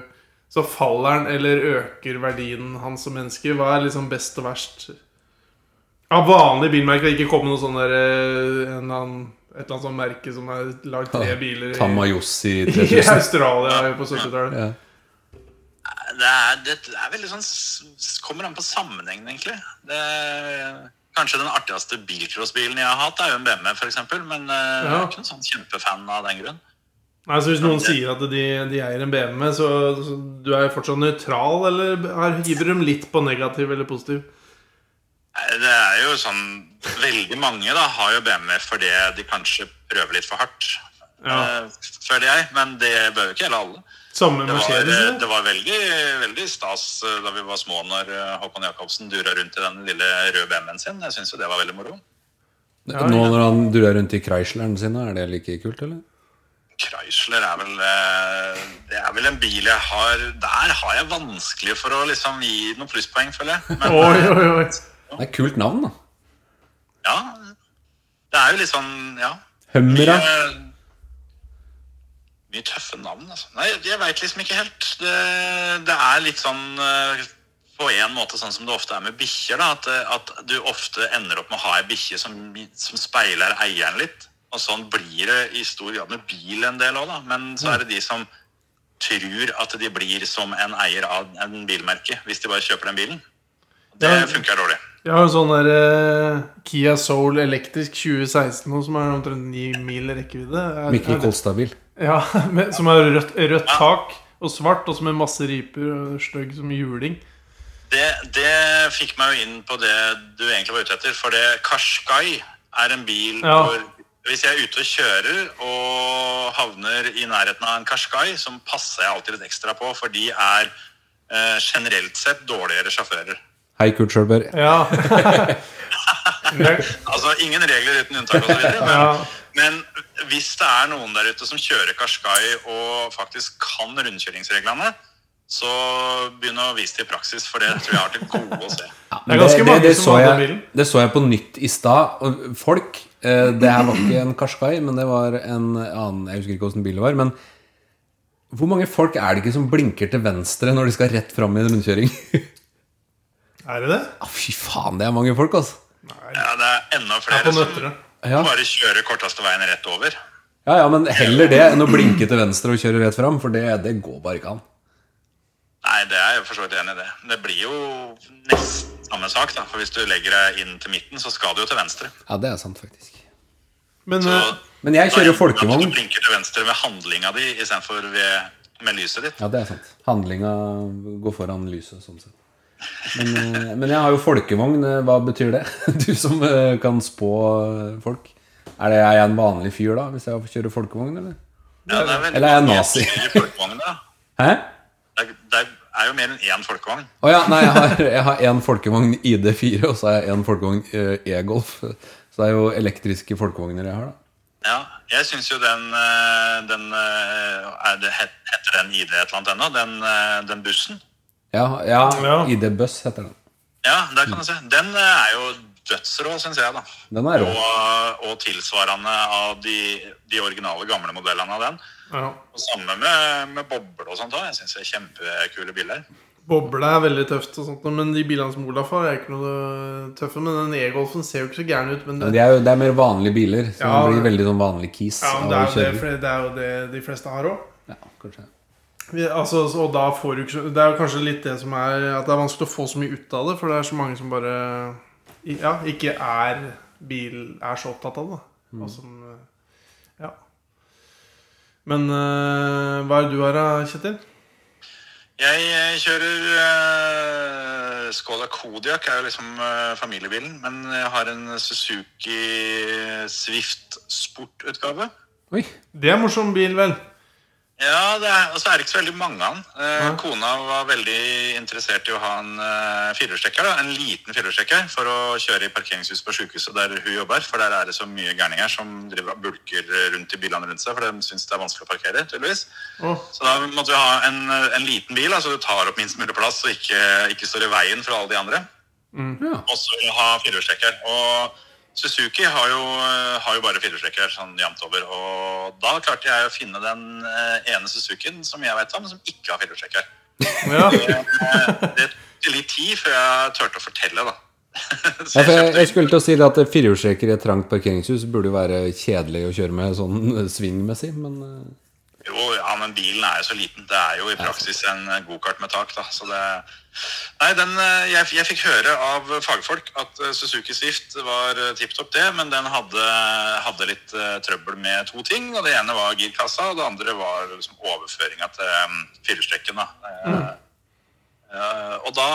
Speaker 1: Så faller han eller øker verdien hans som menneske. Hva er liksom best og verst? Av vanlige bilmerker ikke komme noe sånn der eh, en eller annen, Et eller annet sånt merke som er lagd tre biler i,
Speaker 2: Tamayoshi
Speaker 1: i
Speaker 2: 3000.
Speaker 1: Australia på 70-tallet.
Speaker 2: Ja.
Speaker 4: Det er, det er veldig sånn s- s- Kommer an på sammenhengen, egentlig. Det er, kanskje den artigste bilcrossbilen jeg har hatt, er jo en BMW, f.eks. Men eh, jeg
Speaker 1: Ja.
Speaker 4: er ikke en sånn kjempefan av den grunn.
Speaker 1: Nei, så Hvis noen sier at de, de eier en BMW, så, så du er fortsatt nøytral, eller er, hiver dem litt på negativ eller positiv?
Speaker 4: Nei, Det er jo sånn Veldig mange da har jo BMW fordi de kanskje prøver litt for hardt.
Speaker 1: Ja.
Speaker 4: eh, føler jeg, men det bør jo ikke gjelde alle.
Speaker 1: Samme
Speaker 4: Det var,
Speaker 1: Mercedes?
Speaker 4: eh,
Speaker 1: eller?
Speaker 4: det var veldig, veldig stas eh, da vi var små når eh, Håkon Jacobsen dura rundt i den lille røde BMW-en sin. Jeg syns jo det var veldig moro.
Speaker 2: Nå når han durer rundt i Chrysleren sin, er det like kult, eller?
Speaker 4: Chrysler er vel eh, Det er vel en bil jeg har Der har jeg vanskelig for å liksom gi noen plusspoeng, føler jeg. Men
Speaker 1: Oi, oi, oi.
Speaker 2: Det er et kult navn, da.
Speaker 4: ja, det er jo litt sånn Ja.
Speaker 2: Hummer, da.
Speaker 4: Mye, mye tøffe navn, altså. Nei, jeg veit liksom ikke helt. Det, det er litt sånn eh, på en måte sånn som det ofte er med bikkjer, da. At, eh, at du ofte ender opp med å ha ei bikkje som, som speiler eieren litt. Og sånn blir det i stor grad med bil en del òg, da. Men så er det de som tror at de blir som en eier av en bilmerke, hvis de bare kjøper den bilen. Det
Speaker 1: Ja.
Speaker 4: funker dårlig.
Speaker 1: Jeg har en sånn der eh, Kia Soul elektrisk 2016 nå, som er omtrent 9 mil rekkevidde. Er-
Speaker 2: Mikkel
Speaker 1: er det-
Speaker 2: Kolstadbil.
Speaker 1: Ja, med, Som har rødt, rødt tak og svart, og som med masse riper og stygg som juling.
Speaker 4: Det, det fikk meg jo inn på det du egentlig var ute etter. For det Qashqai er en bil
Speaker 1: Ja.
Speaker 4: hvor Hvis jeg er ute og kjører og havner i nærheten av en Qashqai, så passer jeg alltid litt ekstra på, for de er eh, generelt sett dårligere sjåfører.
Speaker 2: Hei, Kurt Schølberg.
Speaker 1: Ja. Det-
Speaker 4: Altså ingen regler uten unntak osv. Men,
Speaker 1: ja.
Speaker 4: men hvis det er noen der ute som kjører Qashqai og faktisk kan rundkjøringsreglene, så begynn å vise det i praksis, for det tror jeg har til gode å se.
Speaker 1: Det er ganske mange som
Speaker 2: så
Speaker 1: har den
Speaker 2: jeg,
Speaker 1: bilen.
Speaker 2: det så jeg på nytt i stad. og Folk eh, Det her var ikke en Qashqai, men det var en annen Jeg husker ikke åssen bil det var. Men hvor mange folk er det ikke som blinker til venstre når de skal rett fram i en rundkjøring?
Speaker 1: Er det det?
Speaker 2: ah, fy faen, det er mange folk, altså.
Speaker 4: Ja, det er enda
Speaker 1: Det er
Speaker 4: flere
Speaker 1: på
Speaker 4: som
Speaker 1: Nøtterøy.
Speaker 2: Ja.
Speaker 4: bare kjører korteste veien rett over.
Speaker 2: Ja, ja, men heller det enn å blinke til venstre og kjøre rett fram, for det, det går bare ikke an.
Speaker 4: Nei, det er jeg for så vidt enig i det. Det blir jo nesten samme sak, da. For hvis du legger deg inn til midten, så skal du jo til venstre.
Speaker 2: Ja, det er sant, faktisk.
Speaker 1: Men
Speaker 4: Så
Speaker 1: eh,
Speaker 2: Men jeg kjører jo
Speaker 4: Du
Speaker 2: folkevogn.
Speaker 4: blinker til venstre ved handlinga di istedenfor med lyset ditt.
Speaker 2: Ja, det er sant. Handlinga går foran lyset, sånn sett. Men, eh, men jeg har jo folkevogn. eh, Hva betyr det? Du som eh, kan spå eh, folk. Er, det, er jeg en vanlig fyr da, hvis jeg kjører folkevogn, eller?
Speaker 4: Ja, det er vel-
Speaker 2: Eller er jeg nazi?
Speaker 4: Det er folkevogn, da.
Speaker 2: Hæ?
Speaker 4: Det er, det er jo mer enn én folkevogn.
Speaker 2: Å ja, nei, jeg har- jeg har én folkevogn ID4, og så har jeg én folkevogn eh, E-Golf. Så det er jo elektriske folkevogner jeg har, da.
Speaker 4: Ja, jeg syns jo den, eh, den eh, er det, het- Heter den ID et eller annet ennå? Den, eh, den bussen?
Speaker 2: Ja, ja
Speaker 1: Ja.
Speaker 2: ID-buss heter den.
Speaker 4: Ja, der kan du se. Den eh, er jo dødsrå, syns jeg, da.
Speaker 2: Den er rå.
Speaker 4: Og, og tilsvarende av de, de originale, gamle modellene av den.
Speaker 1: ja.
Speaker 4: Og samme med, med boble og sånt òg. Jeg syns det er kjempekule biler.
Speaker 1: Boble er veldig tøft, og sånt, men de bilene som Olaf har, er ikke noe tøffe. Men den E-Golfen ser jo ikke så gæren ut. Men
Speaker 2: Men
Speaker 1: det,
Speaker 2: det er jo det er mer vanlige biler, så
Speaker 1: Ja,
Speaker 2: det blir
Speaker 1: det-
Speaker 2: veldig sånn vanlig kis.
Speaker 1: ja, men det,
Speaker 2: av å
Speaker 1: er jo det,
Speaker 2: kjøre.
Speaker 1: for det er jo det de fleste har òg.
Speaker 2: Ja, kanskje.
Speaker 1: Altså, så- og da får du ikke så- Det er jo kanskje litt det som er At det er vanskelig å få så mye ut av det, for det er så mange som bare i- Ja, ikke er bil Er så opptatt av det. da. Og som, eh, ja. Men eh, hva er det du har da, Kjetil?
Speaker 4: Jeg eh, kjører uh, Skoda Kodiak, er jo liksom eh, familiebilen. Men jeg har en Suzuki Swift Sport-utgave.
Speaker 2: Oi.
Speaker 1: Det er en morsom bil, vel?
Speaker 4: Ja, det er, og så er det ikke så veldig mange av den. Eh,
Speaker 1: Nei.
Speaker 4: Kona var veldig interessert i å ha en uh, firehjulstrekker. da, En liten firehjulstrekker for å kjøre i parkeringshuset på sykehuset der hun jobber. For der er det så mye gærninger som driver og bulker rundt i bilene rundt seg. For de syns det er vanskelig å parkere, tydeligvis.
Speaker 1: Åh,
Speaker 4: Så da måtte vi ha en, eh, en liten bil, da, så du tar opp minst mulig plass og ikke, ikke står i veien for alle de andre.
Speaker 2: Ja.
Speaker 4: Og så vil jeg ha firehjulstrekker. Og Suzuki har jo, eh, har jo bare firehjulstrekker sånn jevnt over. Og da klarte jeg å finne den eh, ene Suzukien som jeg vet om, som ikke har firehjulstrekker.
Speaker 1: Ja.
Speaker 4: Eh, Det tok litt tid før jeg turte å fortelle, da.
Speaker 2: Ja,
Speaker 4: Så
Speaker 2: for jeg,
Speaker 4: kjøpte-
Speaker 2: jeg skulle til å si det at firehjulstrekker i et trangt parkeringshus burde jo være kjedelig å kjøre med sånn eh, svingmessig, men eh,
Speaker 4: Jo, ja, men bilen er jo så liten. Det er jo i praksis en eh, gokart med tak, da. Så det Nei, den eh, Jeg, jeg fikk høre av fagfolk at eh, Suzuki Swift var eh, tipp topp, det, men den hadde, hadde litt eh, trøbbel med to ting. Og det ene var girkassa, og det andre var liksom overføringa til um, firestrekken, da. Eh, eh, og da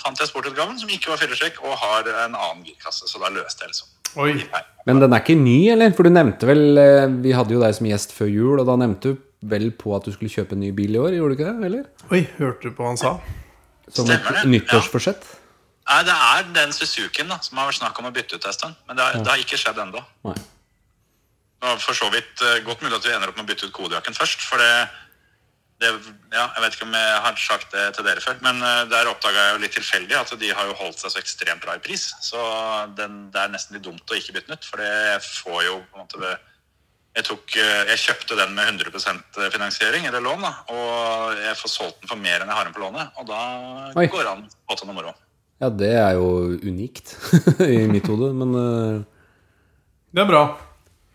Speaker 4: fant jeg sportutgaven som ikke var firestrekk, og har en annen girkasse. Så da løste jeg liksom.
Speaker 1: Oi.
Speaker 4: Nei.
Speaker 2: Men den er ikke ny, eller? For du nevnte vel eh, Vi hadde jo deg som gjest før jul, og da nevnte du vel på at du skulle kjøpe en ny bil i år, gjorde du ikke det? Eller?
Speaker 1: Oi, hørte du på hva han sa?
Speaker 2: Som et
Speaker 4: Stemmer det,
Speaker 2: nyttårsforsett?
Speaker 4: Nei, det er den Suzukien da, som har vært snakk om å bytte ut en stund. Men det har, det har ikke skjedd ennå.
Speaker 2: Nei.
Speaker 4: Det var for så vidt eh, godt mulig at vi ender opp med å bytte ut kodejakken først. For det, det Ja, jeg vet ikke om jeg har sagt det til dere før, men eh, der oppdaga jeg jo litt tilfeldig at de har jo holdt seg så ekstremt bra i pris. Så den, det er nesten litt dumt å ikke bytte den ut, for det får jo på en måte det, jeg, tok, eh, jeg kjøpte den med 100 finansiering, eller lån, da, og jeg får solgt den for mer enn jeg har den på lånet. Og da
Speaker 2: Oi.
Speaker 4: går det an å ta noe moro.
Speaker 2: Ja, det er jo unikt i mitt hode, men eh,
Speaker 1: Det er bra.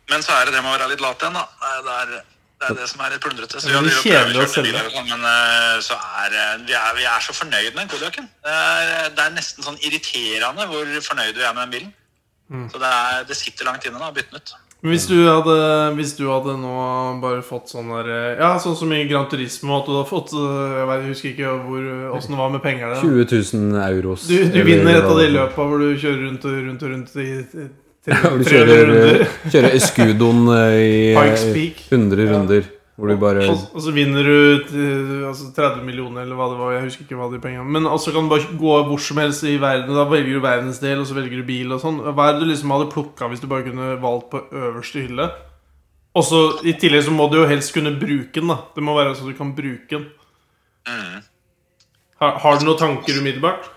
Speaker 4: Men så er det det med å være litt lat igjen, da. Det er det, er, det er det som er litt plundrete. Så vi
Speaker 1: Det
Speaker 4: har
Speaker 1: blir
Speaker 4: drivet og
Speaker 1: kjedelig å
Speaker 4: prøvekjørt
Speaker 1: selge.
Speaker 4: biler og sånn, Men eh, så er, eh, vi, er vi er så fornøyd med den Kodiaken. Det er, det er nesten sånn irriterende hvor fornøyd vi er med den bilen.
Speaker 1: Mm.
Speaker 4: Så det, er, det sitter langt inne da, å bytte den ut.
Speaker 1: Men Hvis du hadde, hvis du hadde nå bare fått sånn der eh, Ja, sånn som i Gran Turismo, at du hadde fått eh, Jeg vet- jeg husker ikke hvor- åssen det var med penger der.
Speaker 2: 20 000 euros.
Speaker 1: Du, du
Speaker 2: eller
Speaker 1: vinner et av
Speaker 2: hva-
Speaker 1: de løpa hvor du kjører rundt og rundt og rundt i i-
Speaker 2: Ja, hvor
Speaker 1: tre-
Speaker 2: du
Speaker 1: 300
Speaker 2: kjører, eh,
Speaker 1: runder.
Speaker 2: kjører Escudoen eh, i
Speaker 1: Pikes
Speaker 2: eh,
Speaker 1: Peak.
Speaker 2: 100 runder. Hvor du bare
Speaker 1: Og, og så vinner du eh, altså 30 millioner, eller hva det var. Jeg husker ikke hva de pengene Men altså kan du bare gå hvor som helst i verden. Da velger du verdensdel, og så velger du bil og sånn. Hva er det du liksom hadde plukka hvis du bare kunne valgt på øverste hylle? Og så I tillegg så må du jo helst kunne bruke den. da Det må være sånn at du kan bruke den. Har, har du noen tanker umiddelbart?
Speaker 4: Nei,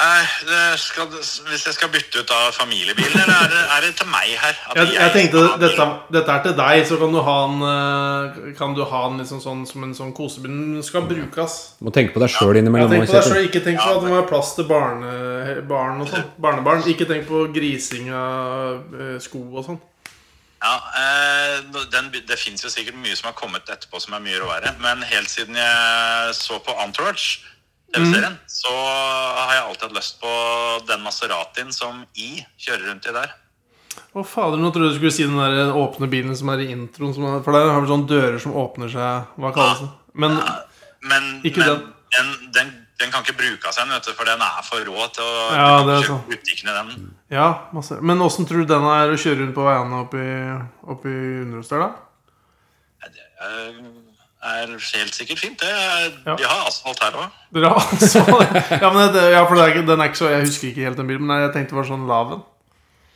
Speaker 4: Eh, det skal, hvis jeg skal bytte ut av familiebilen, eller er det, er det til meg her? At
Speaker 1: Jeg, jeg tenkte
Speaker 4: skal ha
Speaker 1: dette,
Speaker 4: bilen?
Speaker 1: dette er til deg, så kan du ha en, eh, kan du ha en liksom sånn, som en sånn kosebund. Den skal brukes.
Speaker 2: Du må tenke på deg sjøl
Speaker 1: Ja,
Speaker 2: innimellom.
Speaker 1: tenk på deg
Speaker 2: Kjetil.
Speaker 1: selv, ikke tenk på at det må være plass til barne, barn og sånn. Barnebarn. Ikke tenk på grising av eh, sko og sånn.
Speaker 4: Ja, eh, den, by- Det fins jo sikkert mye som har kommet etterpå som er mye råere, men helt siden jeg så på Entourage,
Speaker 1: Mm.
Speaker 4: TV-serien, så har jeg alltid hatt lyst på den Maseratien som I kjører rundt i der.
Speaker 1: Å fader, nå trodde du skulle si den der eh, åpne bilen som er i introen. Som er, for der har vi sånne dører som åpner seg. Hva kalles det? Men
Speaker 4: Men,
Speaker 1: Ikke
Speaker 4: men
Speaker 1: den.
Speaker 4: den. Den, den, kan ikke brukes igjen, vet du, for den er for rå til å
Speaker 1: Ja, det er
Speaker 4: kjøpe
Speaker 1: sant.
Speaker 4: butikkene den.
Speaker 1: ja, masse. Men åssen tror du den er å kjøre rundt på veiene oppi, oppi Underhus der, da?
Speaker 4: Eh, er helt sikkert fint, det. Er,
Speaker 1: Ja.
Speaker 4: Vi har asfalt her òg.
Speaker 1: Dere har altså Ja, men det, ja, for det er, ikke- den er ikke så Jeg husker ikke helt den bilen, men jeg tenkte det var sånn laven.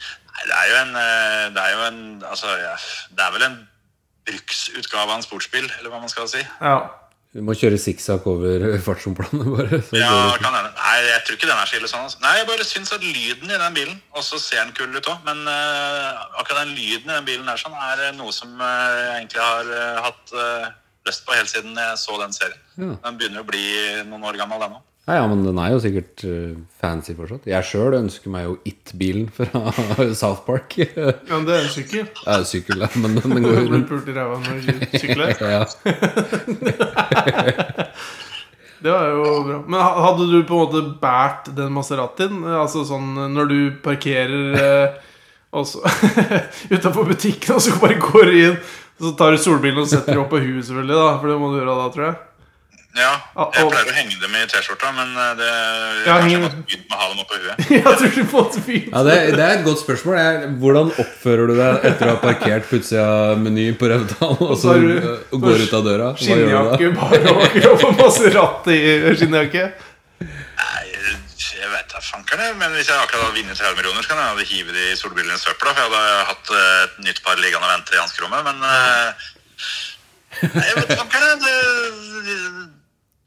Speaker 4: Nei, det er jo en, eh, det er, jo en altså, ja, det er vel en bruksutgave av en sportsbil, eller hva man skal si.
Speaker 1: Ja.
Speaker 2: Du må kjøre sikksakk over fartsomplanet, bare. Så
Speaker 4: Ja,
Speaker 2: går det.
Speaker 4: kan hende. Nei, jeg tror ikke den er så ille sånn. Altså. Nei, jeg bare syns at lyden i den bilen, og så ser den kul ut òg, men eh, akkurat den lyden i den bilen der sånn, er eh, noe som eh, jeg egentlig har eh, hatt eh, lyst på helt siden jeg så den serien.
Speaker 2: Ja.
Speaker 4: Den begynner å bli noen år gammel, den òg.
Speaker 2: Ja, ja, men den er jo sikkert eh, fancy fortsatt. Jeg sjøl ønsker meg jo It-bilen fra South Park. Jeg
Speaker 1: ja, men det er en sykkel.
Speaker 2: er jo sykkel, da, men den går jo
Speaker 1: Du blir
Speaker 2: rundt.
Speaker 1: pult i ræva når du sykler.
Speaker 2: Ja.
Speaker 1: Det var jo bra. Men ha- hadde du på en måte båret den Maseratien? Eh, Altså sånn eh, når du parkerer eh, og så- utenfor butikken, og så bare går du inn, så tar du solbilen og setter deg opp på huet, selvfølgelig, da. For det må du gjøre da, tror jeg.
Speaker 4: Ja,
Speaker 1: Ah,
Speaker 4: jeg
Speaker 1: og-
Speaker 4: pleier å henge dem i T-skjorta, men eh, det jeg
Speaker 1: Ja,
Speaker 4: har kanskje
Speaker 1: heng-
Speaker 4: måtte begynt med å ha dem oppå huet.
Speaker 1: Jeg tror du på en måte fint.
Speaker 2: Ja, det, det er et godt spørsmål. Jeg, hvordan oppfører du deg etter å ha parkert plutselig av Meny på Rautan og så
Speaker 1: tar du-
Speaker 2: eh, og går ut av døra? Hva gjør du da?
Speaker 1: Skinnjakke, barnehage og på Maserati skinnjakke.
Speaker 4: Nei, jeg vet da fanker det, men hvis jeg akkurat hadde vunnet 30 millioner, så kan jeg hadde hivet de solbrillene i søpla, for jeg hadde hatt eh, et nytt par liggende og vente i hanskerommet, men eh, Nei, jeg vet fanker det, det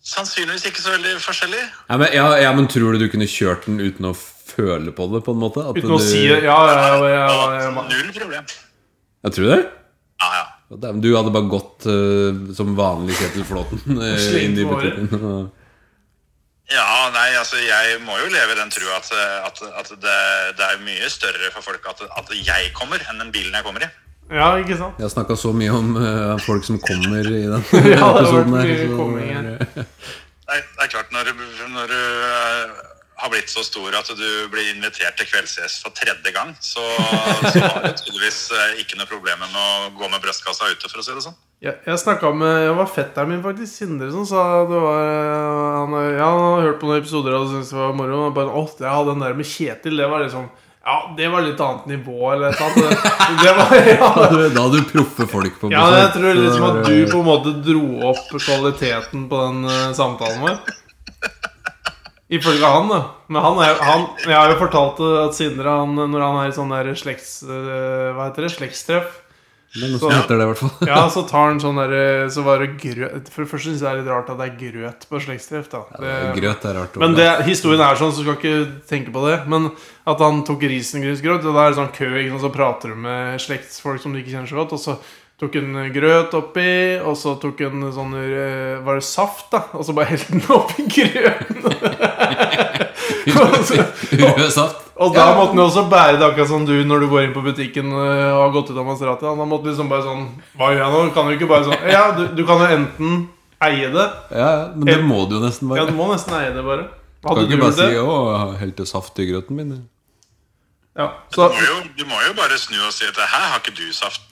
Speaker 4: Sannsynligvis ikke så veldig forskjellig.
Speaker 2: Ja men, ja, ja, men tror du du kunne kjørt den uten å føle på det, på en måte? At
Speaker 1: Uten å
Speaker 2: du-
Speaker 1: si Ja, ja, ja. ja, ja, ja.
Speaker 4: Null problem.
Speaker 2: Jeg tror det.
Speaker 4: Ja, ja.
Speaker 2: Og dæven, Du hadde bare gått eh, som vanlig Kjetil Flåten eh,
Speaker 1: Slengt
Speaker 2: inn i
Speaker 1: på håret.
Speaker 2: butikken. og-
Speaker 4: Ja, nei, altså jeg må jo leve i den trua at, at, at det, det er mye større for folk at, at jeg kommer, enn den bilen jeg kommer i.
Speaker 1: ja, ikke sant?
Speaker 2: Jeg har snakka så mye om eh, folk som kommer i den
Speaker 1: det har vært
Speaker 2: episoden her.
Speaker 1: mye
Speaker 2: så-
Speaker 1: komming her.
Speaker 4: Nei, det er klart, når, du- når du eh, har blitt så stor at du blir invitert til kveldsgjest for tredje gang, så, så har du tydeligvis eh, ikke noe problem med å gå med brystkassa ute, for å si det sånn.
Speaker 1: Jeg, jeg snakka med Jeg var fetteren min, faktisk. Sindre som sa det var eh, Han, ja, han hadde hørt på noen episoder og syntes det var moro. Og bare, Åh, ja, den der med Kjetil, det var liksom Ja, det var litt annet nivå, eller et eller annet. Det var,
Speaker 2: Da
Speaker 1: ja,
Speaker 2: hadde du- da hadde du proffe folk på
Speaker 1: ja, jeg tror
Speaker 2: Så
Speaker 1: liksom
Speaker 2: det
Speaker 1: at
Speaker 2: var-
Speaker 1: du på en måte dro opp kvaliteten på den eh, samtalen vår. Ifølge han, da. Men han er, han, jeg har jo fortalt det at Sindre, han, når han er i sånn der slekts... eh, Hva heter det? Slektstreff.
Speaker 2: Det er noe som heter det, i hvert fall.
Speaker 1: Ja, så tar han sånn der Så var det grøt For det første synes jeg det er litt rart at det er grøt på slektstreff da Det-
Speaker 2: Grøt er rart. å-
Speaker 1: Men det, historien er sånn, så skal ikke tenke på det Men at han tok risengrynsgrøt Og da er det sånn kø, ikke sant, så prater du med slektsfolk som du ikke kjenner så godt Og så tok han grøt oppi Og så tok han sånn, eh, var det saft da Og så bare helte den oppi grøten Og så-
Speaker 2: Rød saft.
Speaker 1: og da måtte han jo også bære det akkurat som du når du går inn på butikken øh, og har gått ut av Maserati. Da måtte han liksom bare sånn Hva gjør jeg nå? Kan du ikke bare sånn Ja, du, du kan jo enten eie det
Speaker 2: Ja, ja, men det må du jo nesten
Speaker 1: Ja,
Speaker 2: bare.
Speaker 1: du må nesten eie det, bare.
Speaker 2: Kan
Speaker 1: Hadde du
Speaker 2: ikke bare
Speaker 1: det?
Speaker 2: si 'Å, jeg helte saft i grøten min'.
Speaker 1: Ja,
Speaker 4: Du
Speaker 1: så
Speaker 4: må, jo, du må jo bare snu og si at her har ikke du saft.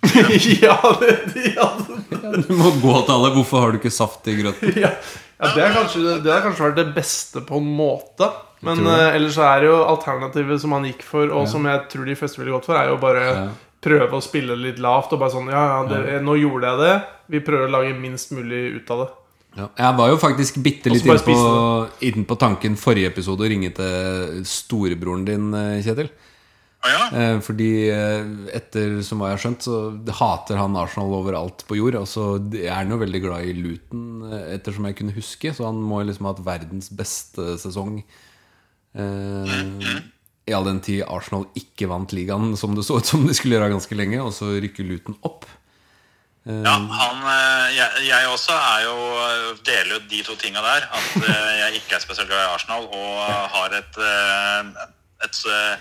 Speaker 1: Ja, det, de hadde
Speaker 2: Du må gå til alle. Hvorfor har du ikke saft i grøten?
Speaker 1: ja. ja, det har kanskje, det har kanskje vært det beste på en måte. Men
Speaker 2: tror
Speaker 1: eh, ellers så er det jo alternativet som han gikk for, og som jeg tror de fleste ville gått for, er jo bare
Speaker 2: Ja.
Speaker 1: prøve å spille litt lavt. Og bare sånn Ja, ja, det, nå gjorde jeg det. Vi prøver å lage minst mulig ut av det.
Speaker 2: Ja, jeg var jo faktisk bitte litt
Speaker 1: Og
Speaker 2: inne
Speaker 1: så bare
Speaker 2: på, inn på tanken forrige episode å ringe til storebroren din, eh, Kjetil.
Speaker 4: Å ja?
Speaker 2: Eh, Fordi eh, etter som hva jeg har skjønt, så hater han Arsenal overalt på jord. Og så er han jo veldig glad i Luton, eh, ettersom jeg kunne huske. Så han må jo liksom ha hatt verdens beste sesong. Eh, I all den tid Arsenal ikke vant ligaen, som det så ut som de skulle gjøre ganske lenge. Og så rykker Luton opp.
Speaker 4: Ja,
Speaker 2: Mm.
Speaker 4: han, eh, jeg, jeg også er jo, eh, deler jo de to tinga der. At eh, jeg ikke er spesielt glad i Arsenal og har et, eh, et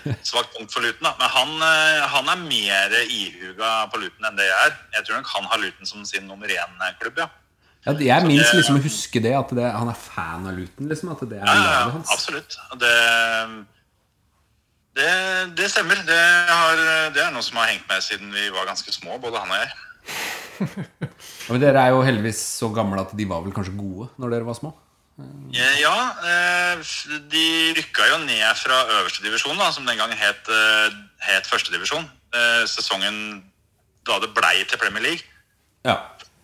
Speaker 4: eh, svakt punkt for Luton. Da. Men han, eh, han er mer ihuga på Luton enn det jeg er. Jeg tror nok han har Luton som sin nummer én-klubb, ja.
Speaker 2: Ja, jeg minst
Speaker 4: det-
Speaker 2: liksom å huske det, at det, han er fan av Luton. Liksom, at det er
Speaker 4: Ja, ja,
Speaker 2: laget
Speaker 4: ja,
Speaker 2: hans.
Speaker 4: absolutt. Det, det, det stemmer. Det, har, det er noe som har hengt med siden vi var ganske små, både han og jeg.
Speaker 2: Ja, men dere er jo heldigvis så gamle at de var vel kanskje gode når dere var små?
Speaker 4: Eh, Ja, eh, f- de rykka jo ned fra øverste divisjon, da, som den gang het, eh, het førstedivisjon. Sesongen da det blei til Premier League.
Speaker 2: Ja.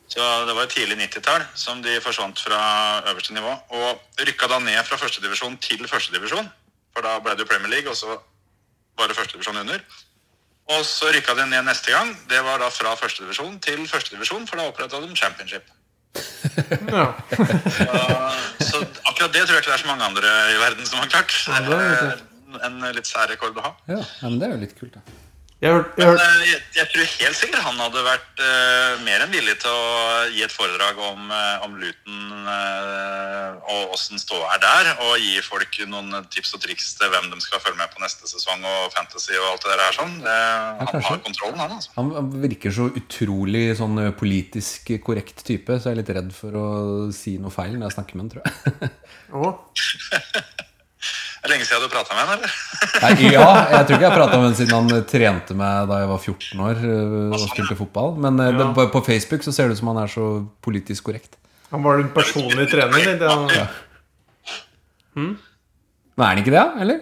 Speaker 4: Så Det var jo tidlig 90-tall som de forsvant fra øverste nivå. Og rykka da ned fra førstedivisjon til førstedivisjon. For da ble det jo Premier League, og så var det førstedivisjon under. Og så rykka de ned neste gang. Det var da fra førstedivisjon til førstedivisjon, for da oppretta de championship.
Speaker 1: Ja.
Speaker 4: Så akkurat det tror jeg ikke det er så mange andre i verden som har klart.
Speaker 1: det er
Speaker 4: Det er en eh, litt særrekord å ha.
Speaker 2: Ja, ja, men det er jo litt kult, da.
Speaker 1: Jeg hørte jeg
Speaker 4: Men
Speaker 1: hørte-
Speaker 4: eh, jeg, jeg tror helt sikkert han hadde vært eh, mer enn villig til å gi et foredrag om, eh, om Luton eh, og åssen ståa er der, og gi folk noen tips og triks til hvem de skal følge med på neste sesong og Fantasy og alt det der her sånn. Det, han
Speaker 2: kanskje.
Speaker 4: har kontrollen, han altså.
Speaker 2: Han han virker så utrolig sånn ø, politisk korrekt type, så jeg er litt redd for å si noe feil når jeg snakker med han, tror jeg.
Speaker 1: Å,
Speaker 4: Er det Lenge siden du prata med han, eller?
Speaker 2: Nei, ja, jeg tror ikke jeg har prata med han siden han ø, trente meg da jeg var 14 år ø, og spilte fotball. Men ø, det,
Speaker 1: Ja.
Speaker 2: bare på Facebook så ser det ut som han er så politisk korrekt.
Speaker 1: han var din personlige trener? tenkte jeg.
Speaker 2: Men er han ikke det, da? Eller?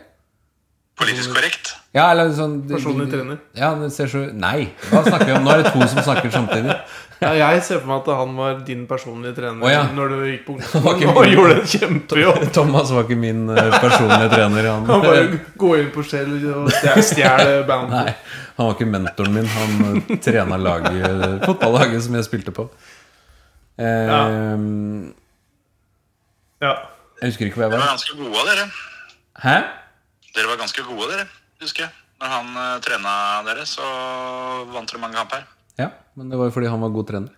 Speaker 4: Politisk korrekt.
Speaker 2: Ja, eller sånn
Speaker 1: Personlig trener.
Speaker 2: Ja, det ser så Nei, hva snakker vi om? Nå er det to som snakker samtidig.
Speaker 1: Ja, jeg ser for meg at han var din personlige trener
Speaker 2: Å, ja.
Speaker 1: når du gikk på
Speaker 2: var ikke
Speaker 1: ungdomsskolen og
Speaker 2: min.
Speaker 1: gjorde en kjempejobb.
Speaker 2: Thomas var ikke min ø, personlige trener.
Speaker 1: Han bare gå inn på Shell og stjel- stjel bandet.
Speaker 2: Nei, han var ikke mentoren min. Han eh, trena laget, eh, fotballaget som jeg spilte på. Eh,
Speaker 1: Ja.
Speaker 2: Jeg husker ikke hvor jeg
Speaker 4: Dere
Speaker 2: var.
Speaker 4: var ganske gode av dere.
Speaker 2: Hæ?
Speaker 4: Dere var ganske gode, dere, husker jeg. Når han uh, trena dere, så vant dere mange kamper.
Speaker 2: Ja, men det var jo fordi han var god trener.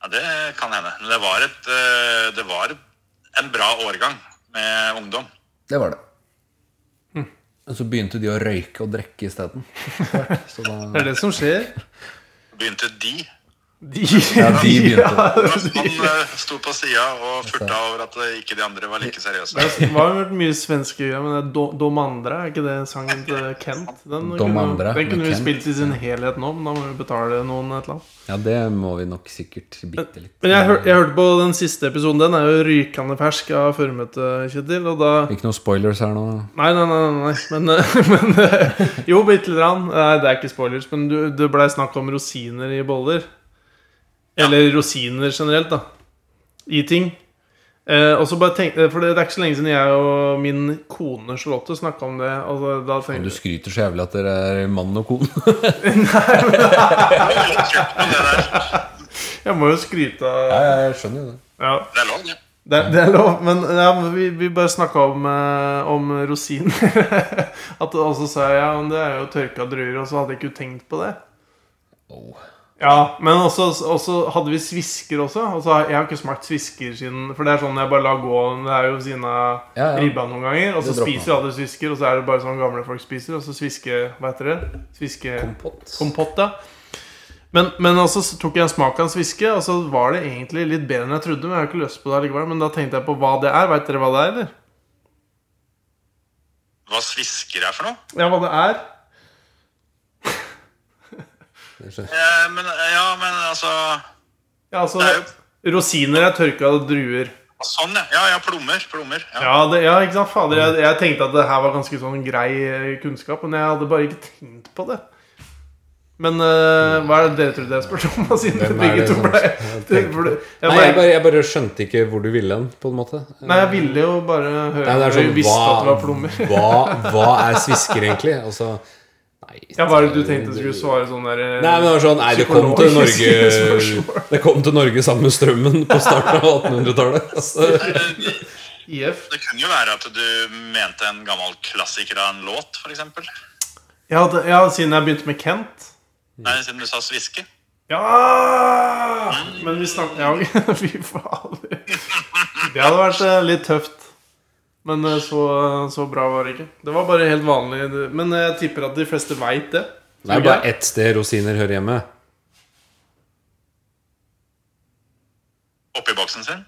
Speaker 4: Ja, Det kan hende. Men det var, et, eh, det var en bra årgang med ungdom.
Speaker 2: Det var det. Og så begynte de å røyke og drikke isteden. Så da
Speaker 1: Det er det som skjer.
Speaker 4: Begynte de.
Speaker 1: De,
Speaker 2: Ja, de begynte.
Speaker 4: Han eh, sto på sida og furta over at eh, ikke de andre var like seriøse.
Speaker 1: Det har jo vært mye svenske greier, men det er Do- Dom Andra, er ikke det sangen til Kent? Den
Speaker 2: Dom
Speaker 1: kunne,
Speaker 2: Andra
Speaker 1: den kunne
Speaker 2: med
Speaker 1: vi
Speaker 2: Kent.
Speaker 1: spilt i sin helhet nå, men da må vi betale noen et eller annet.
Speaker 2: Ja, det må vi nok sikkert bitte litt.
Speaker 1: Men jeg, hør, jeg hørte på den siste episoden. Den er jo rykende fersk av førmøtet, Kjetil. Og da
Speaker 2: Ikke noen spoilers her nå.
Speaker 1: Nei, nei, nei, nei, nei. Men, eh, men eh, Jo, bitte lite grann. Nei, det er ikke spoilers, men du, det blei snakk om rosiner i boller. Eller rosiner generelt, da. I ting. Eh, og så bare tenk, eh, For det, det er ikke så lenge siden jeg og min kone Charlotte snakka om det. Og da, da
Speaker 2: Men
Speaker 1: tenkte
Speaker 2: Du
Speaker 1: jeg
Speaker 2: skryter så jævlig at dere er mann og kone.
Speaker 1: Jeg må jo skryte av
Speaker 2: Jeg skjønner jo det.
Speaker 1: ja.
Speaker 4: Det er lov, det.
Speaker 1: Det, er- det er lov, men ja, men vi, vi bare snakka om, eh, om rosiner. At Og så sa jeg ja, men det er jo tørka druer, og så hadde jeg ikke tenkt på det.
Speaker 2: Åh.
Speaker 1: Ja, men også, også hadde vi svisker også. Altså, jeg har ikke smakt svisker siden For det er sånn jeg bare lar gå. Det er jo ved siden av
Speaker 2: Ja, ja.
Speaker 1: ribba noen ganger. Og så
Speaker 2: Det dropper
Speaker 1: spiser jo alle svisker, og så er det bare sånn gamle folk spiser. Og så sviske Hva heter det? Sviske...
Speaker 2: Kompott.
Speaker 1: Kompott, ja. Men, men altså så tok jeg en smak av en sviske, og så var det egentlig litt bedre enn jeg trodde. Men jeg har ikke lyst på det likevel. Men da tenkte jeg på hva det er. Veit dere hva det er, eller?
Speaker 4: Hva svisker er for noe?
Speaker 1: Ja, hva det er?
Speaker 2: Jeg skjønner.
Speaker 4: Eh, men, eh, ja, men altså
Speaker 1: Ja, altså
Speaker 4: Det er jo-
Speaker 1: Rosiner er tørka druer.
Speaker 4: Sånn, ja. ja. Ja, plommer. Plommer. Ja.
Speaker 1: Ja, det, ja ikke sant, fader. Jeg, jeg tenkte at det her var ganske sånn grei eh, kunnskap, men jeg hadde bare ikke tenkt på det. Men eh, hva er det dere trodde jeg spurte om? da, Siden
Speaker 2: Hvem er
Speaker 1: begge
Speaker 2: det
Speaker 1: to
Speaker 2: som
Speaker 1: ble
Speaker 2: har tenkt på
Speaker 1: ble-
Speaker 2: Nei,
Speaker 1: jeg
Speaker 2: jeg
Speaker 1: bare,
Speaker 2: bare, jeg bare skjønte ikke hvor du ville hen, på en måte.
Speaker 1: nei, jeg ville jo bare høre
Speaker 2: Nei, det er sånn,
Speaker 1: Jeg visste at det var plommer.
Speaker 2: hva, hva er svisker, egentlig? Altså, Nei,
Speaker 1: Jeg bare du tenkte du skulle svare sånn der eh,
Speaker 2: Nei, men det var sånn Nei, det kom til Norge Det kom til Norge sammen med strømmen på starten av 1800-tallet. Altså,
Speaker 1: IF.
Speaker 4: Eh, Det kunne jo være at du mente en gammel klassiker av en låt, f.eks.
Speaker 1: Ja, det, ja, siden jeg begynte med Kent.
Speaker 4: Nei, siden du sa sviske.
Speaker 1: Ja! Men vi snakker Ja, ok. fy fader. Det hadde vært eh, litt tøft. Men eh, så, så bra var det ikke. Det var bare helt vanlig. det- Men eh, jeg tipper at de fleste veit det.
Speaker 2: det er bare ett sted rosiner hører hjemme.
Speaker 4: Oppi boksen sin.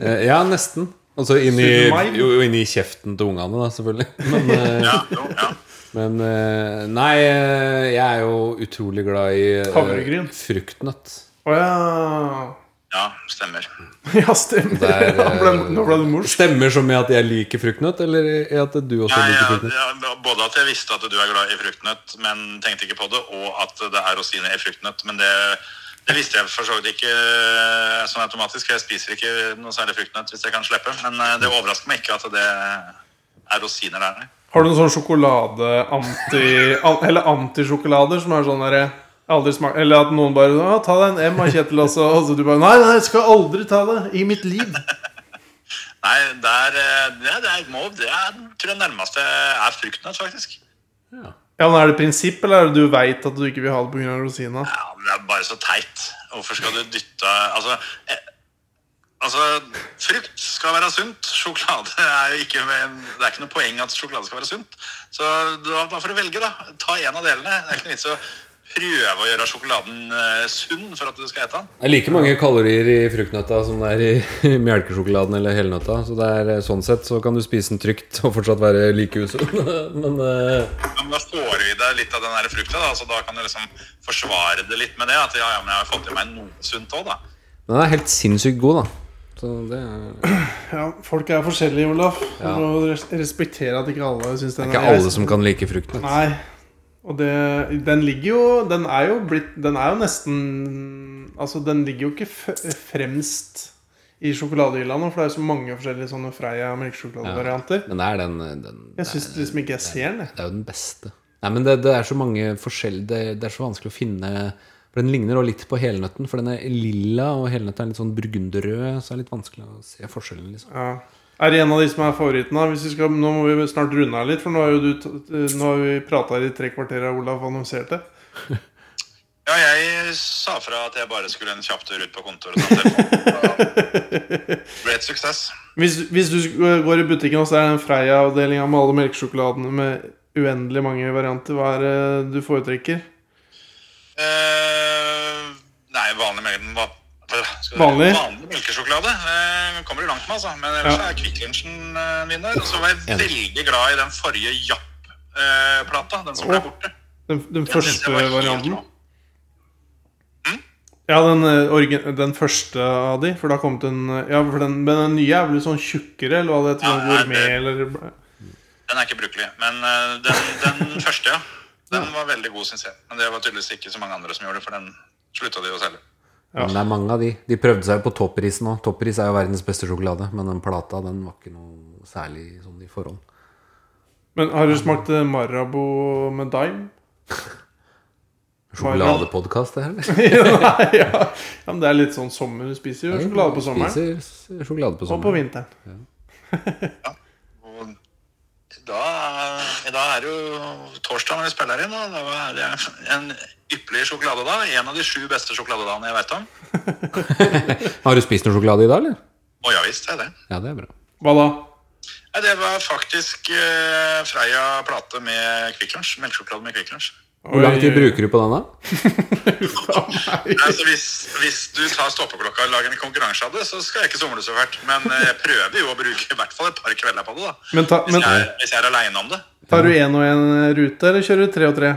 Speaker 2: Eh, Ja, nesten. Altså inni, jo, jo, inni kjeften til ungene, da, selvfølgelig. Men, eh,
Speaker 4: Ja, jo, ja.
Speaker 2: men eh, Nei, eh, jeg er jo utrolig glad i eh,
Speaker 1: Havregryn.
Speaker 2: fruktnøtt.
Speaker 1: Å ja.
Speaker 4: ja stemmer.
Speaker 1: Ja, stemmer.
Speaker 2: Der,
Speaker 1: Nå ble,
Speaker 2: eh,
Speaker 1: nå ble det morsk.
Speaker 2: Stemmer som i at jeg liker fruktnøtt, eller i at du også
Speaker 4: Nei,
Speaker 2: liker
Speaker 4: ja,
Speaker 2: fruktnøtt?
Speaker 4: ja, både at jeg visste at du er glad i fruktnøtt, men tenkte ikke på det, og at det er rosiner i fruktnøtt. Men det, det visste jeg for så vidt ikke eh, sånn automatisk. for Jeg spiser ikke noe særlig fruktnøtt hvis jeg kan slippe, men eh, det overrasker meg ikke at det er rosiner der. nei.
Speaker 1: Har du noen sånn sjokolade anti, an- Eller antisjokolader som er sånn derre jeg har aldri smakt, Eller at noen bare «Å, 'Ta deg en M av Kjetil', og så og så du bare 'Nei, nei, jeg skal aldri ta det i mitt liv'.
Speaker 4: Nei, der, eh, det, det er mov. Det er, tror jeg nærmeste er fruktnøtt, faktisk.
Speaker 1: Ja, men Er det prinsipp, eller er det du veit at du ikke vil ha det pga. rosina?
Speaker 4: Ja, men det er bare så teit. Hvorfor skal du dytte Altså, eh, altså frukt skal være sunt. Sjokolade er jo ikke Det er ikke noe poeng at sjokolade skal være sunt. Så da, da får du velge, da. Ta en av delene. Det er ikke noe vits å prøve å gjøre sjokoladen eh, sunn for at du skal ete den.
Speaker 2: Det er like mange kalorier i fruktnøtta som det er i melkesjokoladen eller helnøtta. Så det er sånn sett så kan du spise den trygt og fortsatt være like usunn. Men eh,
Speaker 4: Ja, men da får vi i deg litt av den der frukta, da. Så da kan du liksom forsvare det litt med det. At ja, ja, men jeg har fått i meg noe sunt òg, da.
Speaker 2: den er helt sinnssykt god, da. Så det er
Speaker 1: Ja, Folk er forskjellige, Olaf. Du må res- respektere at ikke alle syns den
Speaker 2: ikke alle som kan like fruktnøtt.
Speaker 1: Nei. Og det, den ligger jo Den er jo blitt Den er jo nesten Altså, den ligger jo ikke f fremst i sjokoladehylla nå, for det er jo så mange forskjellige sånne Freia melkesjokoladevarianter.
Speaker 2: Men det er den, eh, den
Speaker 1: Jeg syns liksom ikke jeg ser den, jeg.
Speaker 2: Det er jo den beste. Nei, men det, det er så mange forskjellige det, det er så vanskelig å finne For den ligner også litt på helnøtten, for den er lilla, og helnøtta er litt sånn burgunderrød, så det er litt vanskelig å se forskjellen, liksom.
Speaker 1: Ja. Er det en av de som er favoritten? da? Hvis vi skal, nå må vi snart runde her litt, for nå har, jo du, t- eh, nå har vi prata i tre kvarter, og Olaf annonserte.
Speaker 4: Ja, jeg sa fra at jeg bare skulle en kjapp tur ut på kontoret. sånn og ta en telefon. Det ble et suksess.
Speaker 1: Hvis, hvis du sk- eh, går i butikken, og så er det en Freia-avdeling med alle melkesjokoladene med uendelig mange varianter, hva er det du foretrekker?
Speaker 4: Eh, nei, vanlig melk hva- hva- skal du-
Speaker 1: Vanlig?
Speaker 4: vanlig melkesjokolade. Eh, kommer du langt med, altså. Men ellers er Kvikk Lunsjen eh, min der. Og så var jeg
Speaker 2: Enig.
Speaker 4: veldig glad i den forrige Japp-plata. Den som ble borte.
Speaker 1: Den, den
Speaker 4: Den synes
Speaker 1: første
Speaker 4: jeg var helt
Speaker 1: varianten?
Speaker 4: rå.
Speaker 1: Ja, den, eh, orgi- den første av de. For det har kommet en eh, Ja, for den, men den nye er vel litt sånn tjukkere, eller hva det heter?
Speaker 4: Ja,
Speaker 1: sånn
Speaker 4: nei,
Speaker 1: gourmet,
Speaker 4: det-
Speaker 1: eller
Speaker 4: Den er ikke brukelig. Men eh, den, den første, ja. Den var veldig god, syns jeg. Men det var tydeligvis ikke så mange andre som gjorde det, for den slutta de å selge.
Speaker 1: Ja.
Speaker 2: Men det er mange av de. De prøvde seg jo på toppris nå. Toppris er jo verdens beste sjokolade, men den plata den var ikke noe særlig sånn i forhold.
Speaker 1: Men har du smakt eh, Marabou med dime?
Speaker 2: Sjokoladepodkast, det her? eller?
Speaker 1: Nei, ja. ja, men det er litt sånn sommer. Du spiser jo sjokolade på sommeren.
Speaker 2: Spiser s- sjokolade
Speaker 1: Og
Speaker 2: på
Speaker 1: på
Speaker 2: sommeren.
Speaker 1: vinteren.
Speaker 4: Og da, i dag er det jo torsdag når vi spiller inn. Og da er det en ypperlig sjokoladedag. En av de sju beste sjokoladedagene jeg vet om.
Speaker 2: Har du spist noe sjokolade i dag, eller?
Speaker 4: Og ja visst, det er det.
Speaker 2: Ja, det er bra.
Speaker 1: Hva da?
Speaker 4: Ja, det var faktisk eh, Freia plate med Kvikk Lunsj. Melkesjokolade med Kvikk Lunsj.
Speaker 2: Hvor lang tid bruker du på den, da?
Speaker 4: Altså, hvis, hvis du tar stoppeklokka og lager en konkurranse av det, så skal jeg ikke somle så fælt. Men eh, jeg prøver jo å bruke i hvert fall et par kvelder på det, da.
Speaker 1: Men, ta,
Speaker 4: Hvis
Speaker 1: men
Speaker 4: jeg, er- hvis jeg er aleine om det.
Speaker 1: tar du én og én rute, eller kjører du tre og tre?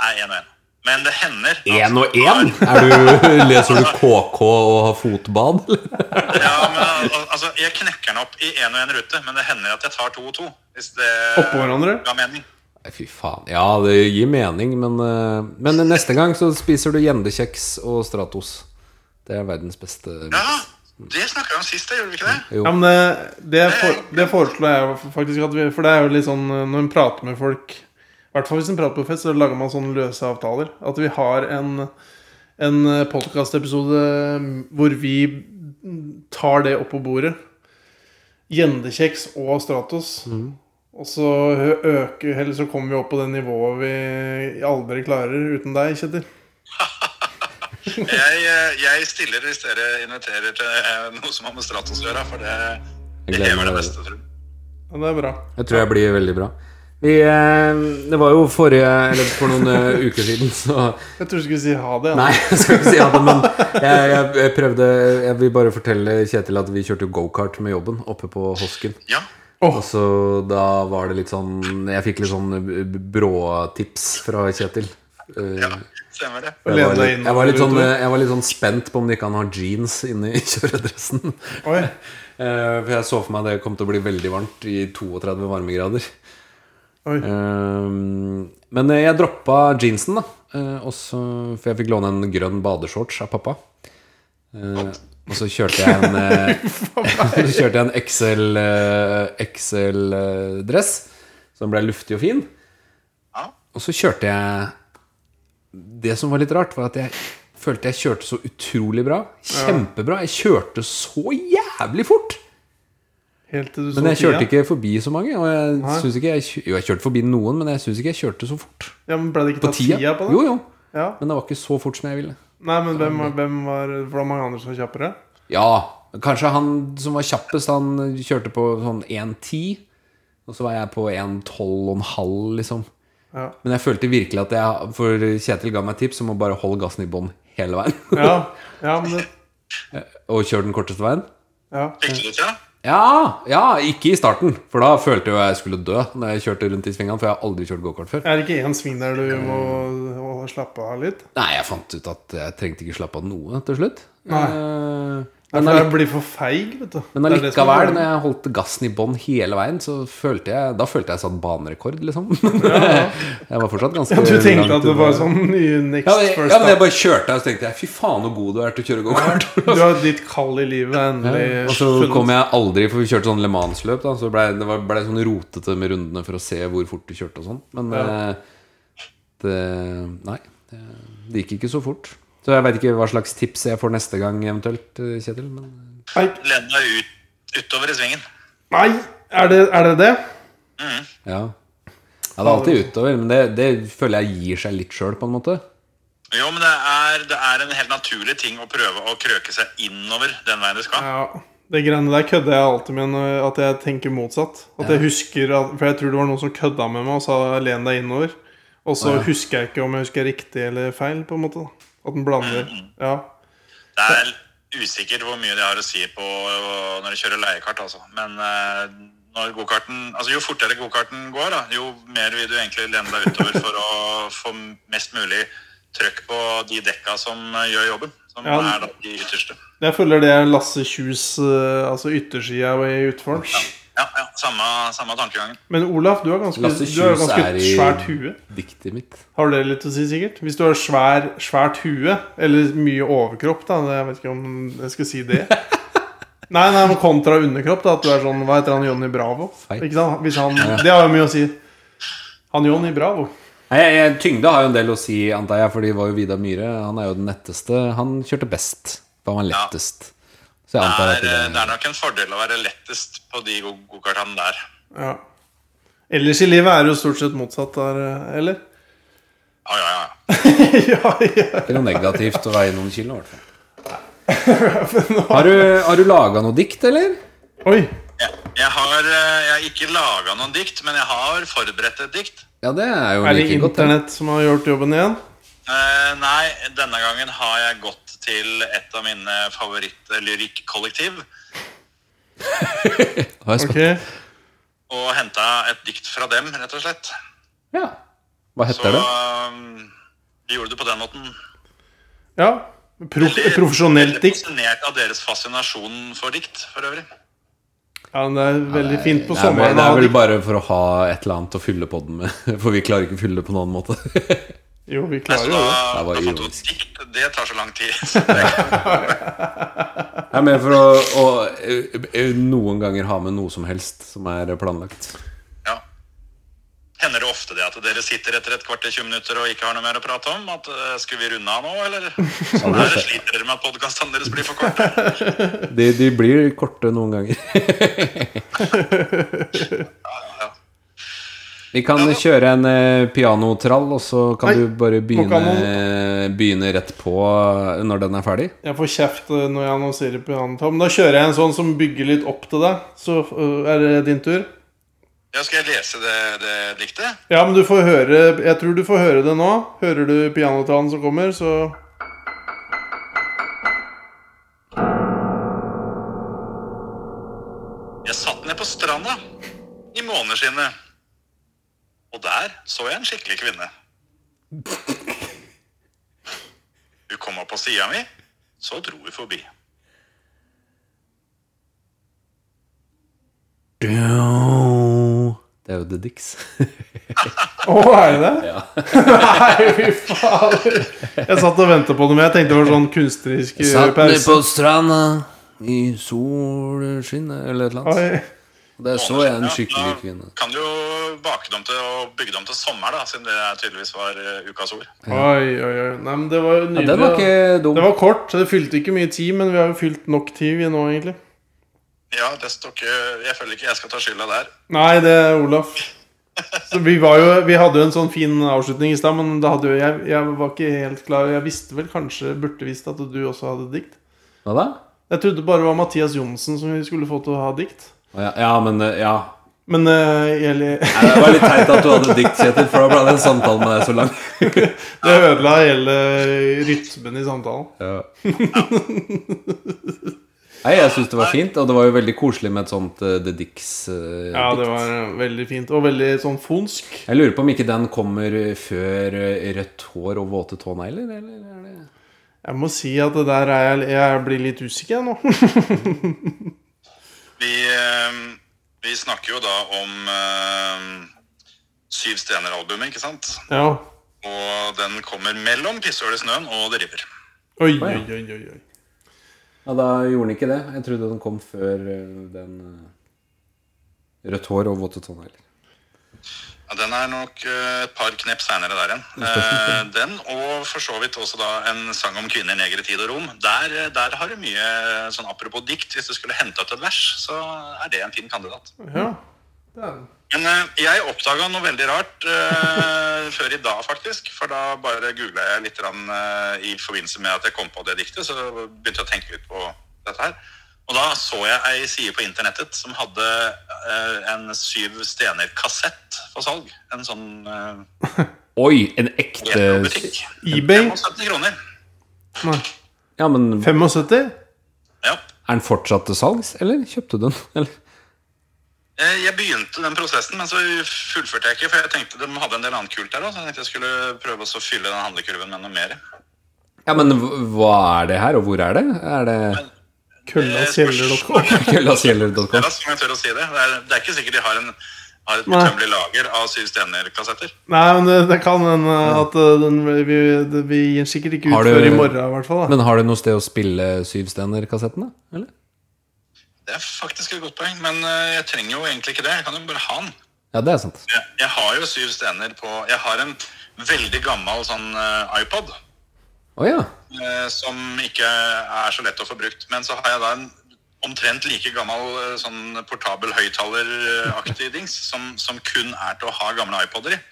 Speaker 4: Nei, én og én. Men det hender.
Speaker 2: Én og én? Er du, leser du KK og har fotbad, eller?
Speaker 4: Ja, men al- altså, Jeg knekker den opp i én og én rute, men det hender at jeg tar to og to. Hvis det
Speaker 1: Oppå hverandre?
Speaker 4: ga mening.
Speaker 2: Nei, Fy faen. Ja, det gir mening, men, eh, men neste gang så spiser du gjendekjeks og Stratos. Det er verdens beste
Speaker 4: Ja, det snakka vi om sist, da, gjorde vi ikke det?
Speaker 1: Ja, men det, det, for, det foreslår jeg faktisk at vi For det er jo litt sånn eh, når en prater med folk I hvert fall hvis en prater på fest, så lager man sånne løse avtaler. At vi har en, en podkastepisode hvor vi tar det opp på bordet. Gjendekjeks og Stratos. Og så hø- øker Eller så kommer vi opp på det nivået vi aldri klarer uten deg, Kjetil.
Speaker 4: Jeg, eh, jeg stiller hvis dere inviterer til eh, noe som har med Stratos å gjøre, for det, det
Speaker 2: Jeg gleder meg
Speaker 4: hever det
Speaker 2: til
Speaker 4: beste, tror jeg.
Speaker 1: Ja, det er bra.
Speaker 2: Jeg tror jeg blir veldig bra. Vi, eh, det var jo forrige Eller for noen eh, uker siden, så
Speaker 1: Jeg tror du skulle si ha det. ja.
Speaker 2: Nei, jeg skal ikke si ja til det, men jeg, jeg, jeg prøvde Jeg vil bare fortelle Kjetil at vi kjørte jo gokart med jobben oppe på Hosken.
Speaker 4: Ja.
Speaker 2: Og så da var det litt sånn Jeg fikk litt sånn b- b- bråtips fra Kjetil. Eh,
Speaker 4: ja, stemmer det.
Speaker 2: Jeg var,
Speaker 1: Lene deg
Speaker 2: litt,
Speaker 1: inn
Speaker 2: jeg, var litt sånn,
Speaker 1: utover.
Speaker 2: eh, jeg var litt sånn spent på om ikke han har jeans inne i kjøredressen.
Speaker 1: Oi.
Speaker 2: Eh, For jeg så for meg det kom til å bli veldig varmt i 32 varmegrader.
Speaker 1: Oi.
Speaker 2: Eh, Men jeg droppa jeansen, da. eh, og så- for jeg fikk låne en grønn badeshorts av pappa. Eh, Og så kjørte jeg en eh, Så kjørte jeg en XL, eh, XL eh, dress som ble luftig og fin.
Speaker 4: Ja.
Speaker 2: Og så kjørte jeg Det som var litt rart, var at jeg følte jeg kjørte så utrolig bra. Kjempebra. Jeg kjørte så jævlig fort!
Speaker 1: Helt til du så
Speaker 2: Men jeg kjørte
Speaker 1: tida.
Speaker 2: ikke forbi så mange. Og
Speaker 1: Nei.
Speaker 2: jeg synes ikke jeg, kjø- jo, jeg kjørte forbi noen, men jeg syns ikke jeg kjørte så fort.
Speaker 1: Ja, men Ble det ikke
Speaker 2: På
Speaker 1: tatt
Speaker 2: tida?
Speaker 1: tida på det?
Speaker 2: Jo, jo.
Speaker 1: Ja.
Speaker 2: Men det var ikke så fort som jeg ville.
Speaker 1: Nei, men hvem, hvem var For det var mange andre som var kjappere?
Speaker 2: Ja, kanskje han som var kjappest, han kjørte på sånn 1.10. Og så var jeg på 1.12,5, liksom.
Speaker 1: Ja.
Speaker 2: Men jeg følte virkelig at jeg For Kjetil ga meg tips om å bare holde gassen i bånn hele veien.
Speaker 1: Ja, ja men det
Speaker 2: og kjøre den korteste veien.
Speaker 1: ja.
Speaker 4: Fikk du det til?
Speaker 2: Ja, ja, ikke i starten, for da følte jeg jo jeg skulle dø. Når jeg kjørte rundt i svingene, For jeg har aldri kjørt gokart før.
Speaker 1: Er det ikke én sving der du må å, slappe av litt?
Speaker 2: Nei, jeg fant ut at jeg trengte ikke slappe av noe til slutt.
Speaker 1: Nei.
Speaker 2: Eh,
Speaker 1: Nei,
Speaker 2: Men,
Speaker 1: for
Speaker 2: allike-
Speaker 1: jeg blir for feig, vet du.
Speaker 2: men
Speaker 1: Det er det som er
Speaker 2: allikevel, når
Speaker 1: problemet.
Speaker 2: jeg holdt gassen i bånn hele veien, så følte jeg Da følte jeg satt banerekord, liksom. jeg var fortsatt ganske
Speaker 1: ja, Du
Speaker 2: langt
Speaker 1: tenkte at det
Speaker 2: unna.
Speaker 1: var sånn nye next
Speaker 2: ja, men,
Speaker 1: first
Speaker 2: ja, men jeg
Speaker 1: step?
Speaker 2: bare kjørte, og så tenkte jeg fy faen så god du er til å kjøre gokart.
Speaker 1: Du har ditt kall i livet er
Speaker 2: Ja,
Speaker 1: endelig
Speaker 2: Og så
Speaker 1: funnet.
Speaker 2: kom jeg aldri, for vi kjørte sånn Le Mans-løp. da, Så ble, det var- ble sånn rotete med rundene for å se hvor fort du kjørte og sånn. Men
Speaker 1: Ja.
Speaker 2: eh, det Nei. Det, det gikk ikke så fort. Så jeg veit ikke hva slags tips jeg får neste gang eventuelt, eh, Kjetil. Men
Speaker 1: Nei,
Speaker 4: Lene deg ut, utover i svingen.
Speaker 1: Nei, er det er det? det?
Speaker 2: ja. Ja, det er alltid utover, men det, det føler jeg gir seg litt sjøl, på en måte.
Speaker 4: Jo, men det er, det er en helt naturlig ting å prøve å krøke seg innover den veien du skal.
Speaker 1: Ja. Det greiene der kødder jeg alltid med når at jeg tenker motsatt. At jeg husker at, For jeg tror det var noen som kødda med meg og sa 'len deg innover'. Og så husker jeg ikke om jeg husker riktig eller feil, på en måte. da. At den blander. Ja.
Speaker 4: Det er usikkert hvor mye det har å si på øh, når du kjører leiekart, altså. Men øh, når gokarten Altså, jo fortere gokarten går, da, jo mer vil du egentlig lene deg utover for å få mest mulig trøkk på de dekka som øh, gjør jobben. Som
Speaker 1: Ja.
Speaker 4: er da de ytterste.
Speaker 1: Jeg føler det er Lasse Kjus, eh, altså yttersida i utfor.
Speaker 4: Ja, ja. Samme, samme tankegangen.
Speaker 1: Men Olaf, du har ganske,
Speaker 2: Lasse
Speaker 1: du har
Speaker 2: Kjus
Speaker 1: ganske
Speaker 2: er i-
Speaker 1: svært hue.
Speaker 2: Diktet mitt.
Speaker 1: Har du det litt å si, sikkert? Hvis du har svær, svært hue, eller mye overkropp, da Jeg vet ikke om jeg skal si det. Nei, nei, men kontra underkropp, da. At du er sånn Hva heter han Johnny Bravo?
Speaker 2: Feit.
Speaker 1: Ikke sant? Hvis han, det har jo mye å si. Han Johnny Bravo.
Speaker 2: Nei, jeg, jeg, tyngde har jo en del å si, antar jeg, for det var jo Vidar Myhre. Han er jo den letteste. Han kjørte best. Da var han
Speaker 4: Ja.
Speaker 2: lettest. Så jeg
Speaker 4: Det
Speaker 2: antar
Speaker 4: er,
Speaker 2: at det
Speaker 4: øh, det er nok en fordel å være lettest på de go- gokartene der.
Speaker 1: Ja. Ellers i livet er det jo stort sett motsatt der, eh, eller?
Speaker 4: Ja, ja, ja.
Speaker 1: ja, ja.
Speaker 2: Ikke noe negativt å veie noen kilo, i hvert fall. Har du, har du laga noe dikt, eller?
Speaker 1: Oi.
Speaker 4: Jeg, jeg, har, eh, jeg har ikke laga noen dikt, men jeg har forberedt et dikt.
Speaker 2: Ja, det er jo
Speaker 1: Er det
Speaker 2: like godt. det.
Speaker 1: Internett som har gjort jobben igjen?
Speaker 4: Eh, nei, denne gangen har jeg gått til et av mine favorittlyrikkollektiv
Speaker 2: Har jeg
Speaker 1: Ok.
Speaker 2: skatt-
Speaker 4: og henta et dikt fra dem, rett og slett.
Speaker 2: Ja. Hva
Speaker 4: Så
Speaker 2: heter det?
Speaker 4: eh, vi gjorde det på den måten.
Speaker 1: Ja. Pro profesjonelt dikt.
Speaker 4: Fascinert av deres fascinasjon for dikt, for øvrig.
Speaker 1: Ja, men det er veldig fint på
Speaker 2: Nei, men
Speaker 1: sommeren. å
Speaker 2: det
Speaker 1: ha
Speaker 2: er vel
Speaker 1: dikt.
Speaker 2: bare for å ha et eller annet å fylle podden med. For vi klarer ikke å fylle det på noen annen måte.
Speaker 1: Jo, vi
Speaker 4: Nei,
Speaker 1: klarer jo
Speaker 4: så
Speaker 1: det.
Speaker 4: da,
Speaker 2: Det var
Speaker 4: da fant du
Speaker 2: ironisk.
Speaker 4: et dikt. Det tar så lang tid.
Speaker 2: Jeg er mer for å, å eh, ø, ø, noen ganger ha med noe som helst som er planlagt.
Speaker 4: ja. Hender det ofte det at dere sitter etter et kvarter 20 minutter og ikke har noe mer å prate om? At eh, Skulle vi runde av nå, eller? Sånn er det. Sliter dere med at podkastene deres blir for korte?
Speaker 2: De, de blir korte noen ganger. Vi kan kjøre en eh, pianotrall, og så kan
Speaker 1: Nei,
Speaker 2: du bare
Speaker 1: må ikke ha
Speaker 2: begynne, begynne rett på eh, når den er ferdig.
Speaker 1: Jeg får kjeft eh, når jeg annonserer på annen tom. Da kjører jeg en sånn som bygger litt opp til deg. Så eh, er det din tur.
Speaker 4: Ja, skal jeg lese det, det diktet?
Speaker 1: Ja, men du får høre Jeg tror du får høre det nå. Hører du pianotrallen som kommer, så
Speaker 4: Jeg satt ned på stranda i måneskinnet. Og der så jeg en skikkelig kvinne. Hun kom opp på sida mi, så dro hun forbi.
Speaker 2: Det er jo The Dicks.
Speaker 1: Å, er det det? Nei, fy fader. Jeg satt og ventet på det, men jeg tenkte det var sånn kunstnerisk eh,
Speaker 2: Satt ned
Speaker 1: pause.
Speaker 2: på stranda i solskinnet eller et eller annet.
Speaker 1: Oi.
Speaker 2: Der så jeg en
Speaker 4: Ja,
Speaker 2: skikkelig
Speaker 4: da
Speaker 2: kvinne.
Speaker 4: Kan du jo bake dem til og bygge dem til sommer, da, siden det tydeligvis var eh, ukas ord.
Speaker 1: Oi, oi, oi. Nei, men det var jo
Speaker 2: Ja,
Speaker 1: nydelig.
Speaker 2: den var
Speaker 1: da.
Speaker 2: ikke dum.
Speaker 1: det var kort. Det fylte ikke mye tid, men vi har jo fylt nok tid vi nå, egentlig.
Speaker 4: Ja, det står ikke Jeg føler ikke jeg skal ta skylda der.
Speaker 1: Nei, det er Olaf. Så vi, var jo, vi hadde jo en sånn fin avslutning i stad, men da hadde jo, jeg, jeg var ikke helt klar. Jeg visste vel kanskje, burde visst, at du også hadde dikt.
Speaker 2: Hva da?
Speaker 1: Jeg trodde bare det var Mathias Johnsen som vi skulle få til å ha dikt.
Speaker 2: Å Ja, ja, men eh, ja.
Speaker 1: Men eh, Eli-
Speaker 2: Nei, Det var litt teit at du hadde dikt, Kjetil, for da ble den samtalen med deg så lang.
Speaker 1: det ødela hele rytmen i samtalen.
Speaker 2: Ja. Nei, jeg syns det var fint, og det var jo veldig koselig med et sånt eh, The Dicks. eh,
Speaker 1: Ja,
Speaker 2: dikt.
Speaker 1: det var veldig fint. Og veldig sånn fonsk.
Speaker 2: Jeg lurer på om ikke den kommer før eh, rødt hår og våte tånegler? Eller er det
Speaker 1: Jeg må si at det der er jeg, jeg blir litt usikker jeg nå.
Speaker 4: Vi, eh, vi snakker jo da om eh, Syv stener-albumet, ikke sant?
Speaker 1: Ja.
Speaker 4: Og den kommer mellom Pissøl i snøen og Det river.
Speaker 1: Oi, oi, oi, oi. oi.
Speaker 2: Ja, da gjorde den ikke det. Jeg trodde den kom før eh, den eh, Rødt hår og våte tånegler.
Speaker 4: Ja, den er nok eh, et par knep seinere der igjen. Eh, den, og for så vidt også da en sang om kvinner, negere, tid og rom. Der, eh, der har du mye eh, sånn apropos dikt. Hvis du skulle hente ut et vers, så er det en fin kandidat.
Speaker 1: Ja. Det er den.
Speaker 4: Men eh, jeg oppdaga noe veldig rart eh, før i dag, faktisk. For da bare googla jeg litt grann, eh, i forbindelse med at jeg kom på det diktet. Så begynte jeg å tenke litt på dette her. Og da så jeg ei side på internettet som hadde eh, en Syv Stener-kassett for salg. En sånn eh,
Speaker 2: Oi, en ekte
Speaker 4: retrobutikk.
Speaker 1: eBay?
Speaker 4: 75 kroner.
Speaker 1: Nei.
Speaker 2: Ja, men er
Speaker 1: 75?
Speaker 4: Ja.
Speaker 2: den fortsatt til salgs, eller kjøpte du den? Eller?
Speaker 4: Eh, Jeg begynte den prosessen, men så fullførte jeg ikke. For jeg tenkte de hadde en del annet kult der òg, så jeg tenkte jeg skulle prøve å så fylle den handlekurven med noe mer.
Speaker 2: Ja, men hv- hva er det her, og hvor er det? Er det
Speaker 1: Køllakjeller.com.
Speaker 2: Køllasgjeller.com?
Speaker 4: Eller, som jeg tør å si det. Det er, det er ikke sikkert de har, en, har et
Speaker 1: Nei.
Speaker 4: utømmelig lager av Syv Stener-kassetter.
Speaker 1: Nei, men det, det kan hende at eh, den, vi, det, vi gir den sikkert ikke
Speaker 2: Har
Speaker 1: ut
Speaker 2: du-
Speaker 1: før i morgen, i hvert fall. Da.
Speaker 2: Men har du noe sted å spille Syvstener-kassettene? Eller?
Speaker 4: Det er faktisk et godt poeng, men eh, jeg trenger jo egentlig ikke det. Jeg kan jo bare ha den.
Speaker 2: Ja, det er sant.
Speaker 4: Jeg, jeg har jo Syv Stener på Jeg har en veldig gammel sånn eh, iPod
Speaker 2: Å ja.
Speaker 4: eh, som ikke er så lett å få brukt. Men så har jeg da en omtrent like gammel eh, sånn portabel høyttaleraktig dings som, som kun er til å ha gamle iPoder i.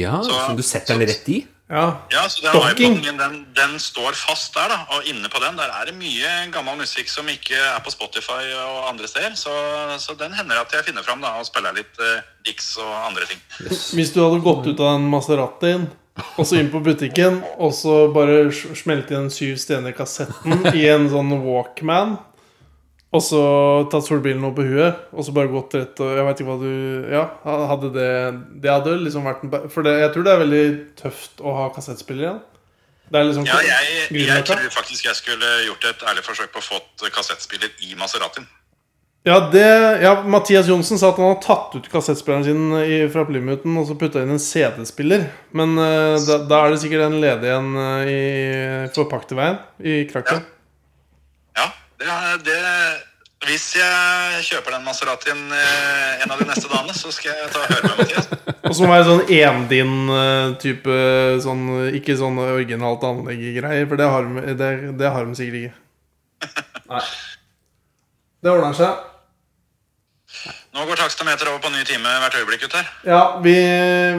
Speaker 2: Ja,
Speaker 4: Så-
Speaker 2: så du setter den rett i?
Speaker 1: Ja.
Speaker 4: Ja, så den
Speaker 1: Stocking.
Speaker 4: iPoden min, den, den står fast der, da. Og inne på den der er det mye gammel musikk som ikke er på Spotify og andre steder. Så, så den hender at jeg finner fram da, og spiller litt eh, Dix og andre ting.
Speaker 1: Hvis du hadde gått ut av den Maseratien, og så inn på butikken, og så bare s- smelte inn syv stener i kassetten i en sånn Walkman, og så tatt solbrillene opp på huet, og så bare gått rett og Jeg veit ikke hva du Ja, hadde det Det hadde liksom vært en ba- For det, jeg tror det er veldig tøft å ha kassettspiller igjen. Det er liksom
Speaker 4: Ja, jeg, jeg
Speaker 1: grunnløkka.
Speaker 4: tror faktisk jeg skulle gjort et ærlig forsøk på å fått kassettspiller i Maseratin.
Speaker 1: Ja, det, ja, Mathias Johnsen sa at han hadde tatt ut kassettspilleren sin i, fra Plymouthen og så putta inn en CD-spiller. Men eh, da, da er det sikkert en ledig en eh, i, på Pakterveien i Krakken.
Speaker 4: Ja, det, er- det Hvis jeg kjøper den Maseratien eh, en av de neste dagene, så skal jeg ta og høre med Mathias.
Speaker 1: Og så må jeg sånn endin-type sånn, Ikke sånn originalt anlegg-greier, for det har, de, det, det har de sikkert ikke. Nei. Det ordner seg.
Speaker 4: Nå går takstameter over på ny time hvert øyeblikk, gutter.
Speaker 1: Ja, vi,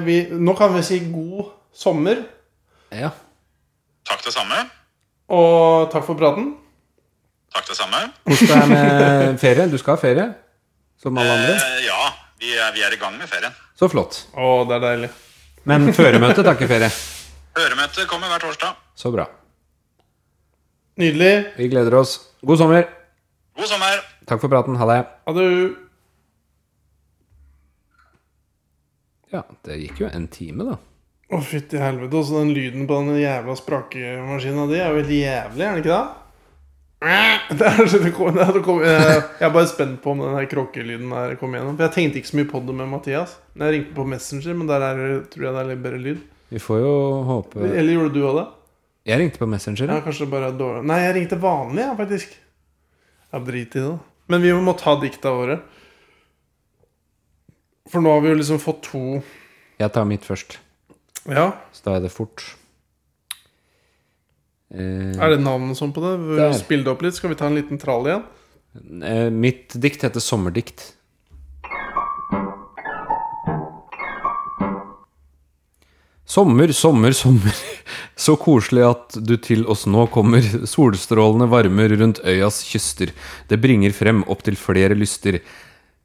Speaker 1: vi Nå kan vi si god sommer,
Speaker 2: Ja.
Speaker 4: Takk det samme.
Speaker 1: og takk for praten.
Speaker 4: Takk det samme.
Speaker 2: Kos deg med ferie. Du skal ha ferie, som alle andre.
Speaker 4: Eh, ja, vi er, vi er i gang med ferien.
Speaker 2: Så flott.
Speaker 1: Å, det er deilig.
Speaker 2: Men føremøtet tar ikke ferie.
Speaker 4: Høremøte kommer hver torsdag.
Speaker 2: Så bra.
Speaker 1: Nydelig.
Speaker 2: Vi gleder oss. God sommer.
Speaker 4: God sommer!
Speaker 2: Takk for praten. Ha det.
Speaker 1: Adjø.
Speaker 2: Ja, det gikk jo en time, da.
Speaker 1: Å, fytti helvete. Også den lyden på den jævla sprakemaskina di er jo helt jævlig, er den ikke det? Det er så det kom, det er, det kom, jeg, jeg er bare spent på om den her krokkelyden her kom igjennom. For jeg tenkte ikke så mye på det med Mathias. Men Jeg ringte på Messenger, men der er, det- tror jeg det er litt bedre lyd.
Speaker 2: Vi får jo håpe
Speaker 1: Eller gjorde du òg det?
Speaker 2: Jeg ringte på Messenger.
Speaker 1: Ja,
Speaker 2: Ja.
Speaker 1: kanskje det bare er dårlig Nei, jeg ringte vanlig, ja, faktisk. Ja, drit i det. da. Men vi må ta dikta våre. For nå har vi jo liksom fått to
Speaker 2: Jeg tar mitt først.
Speaker 1: Ja,
Speaker 2: Så da er det fort. Eh,
Speaker 1: er det navnet sånn på det?
Speaker 2: Der.
Speaker 1: Spill det opp litt. Skal vi ta en liten trall igjen?
Speaker 2: eh, mitt dikt heter 'Sommerdikt'. Sommer, sommer, sommer. Så koselig at du til oss nå kommer. Solstrålene varmer rundt øyas kyster. Det bringer frem opptil flere lyster.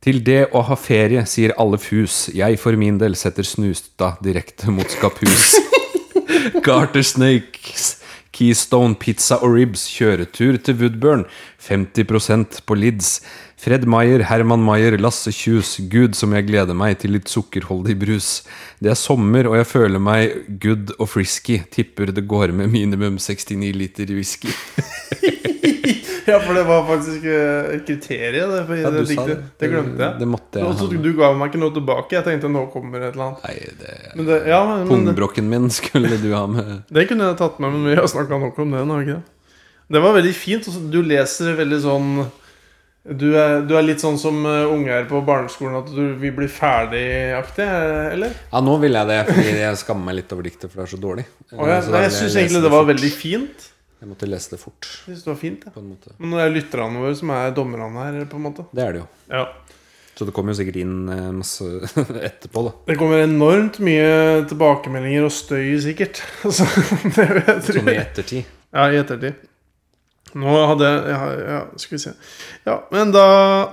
Speaker 2: Til det å ha ferie, sier alle fus. Jeg for min del setter snusta direkte mot skapus. Garter Snakes, Keystone Pizza og Ribs, kjøretur til Woodburn, 50 på Lids. Fred Meyer, Herman Meyer, Lasse Kjus, gud som jeg gleder meg til litt sukkerholdig brus. Det er sommer og jeg føler meg good og frisky, tipper det går med minimum 69 liter whisky.
Speaker 1: Ja, for det var faktisk eh, et kriterium. Det, for det, diktet. det. glemte jeg.
Speaker 2: Det måtte
Speaker 1: Og
Speaker 2: jeg
Speaker 1: så
Speaker 2: ha.
Speaker 1: du ga meg ikke noe tilbake. Jeg tenkte nå kommer et eller annet.
Speaker 2: Nei, det
Speaker 1: Men det, ja, men det,
Speaker 2: Pungbrokken min skulle du ha med.
Speaker 1: det kunne jeg tatt med, men vi har snakka nok om det. nå, har vi ikke det? Det var veldig fint. og så- Du leser veldig sånn du er, du er litt sånn som eh, unger på barneskolen, at du vil bli ferdig-aktig, eh, eller?
Speaker 2: Ja, nå vil jeg det, fordi jeg skammer meg litt over diktet, for det er så dårlig.
Speaker 1: Og jeg
Speaker 2: Så da
Speaker 1: nei, jeg
Speaker 2: vil
Speaker 1: syns
Speaker 2: lese
Speaker 1: egentlig det var
Speaker 2: fort.
Speaker 1: veldig fint.
Speaker 2: Jeg måtte lese det fort,
Speaker 1: Jeg synes det var fint, ja.
Speaker 2: på en måte.
Speaker 1: Men nå er det lytterne våre som er dommerne her, på en måte.
Speaker 2: Det er det jo.
Speaker 1: Ja.
Speaker 2: Så det kommer jo sikkert inn eh, masse etterpå, da.
Speaker 1: Det kommer enormt mye tilbakemeldinger og støy, sikkert. Så det vil jeg tro.
Speaker 2: Sånn i ettertid.
Speaker 1: Ja, i ettertid. Nå hadde jeg ja, ja, skal vi se. Ja, men da,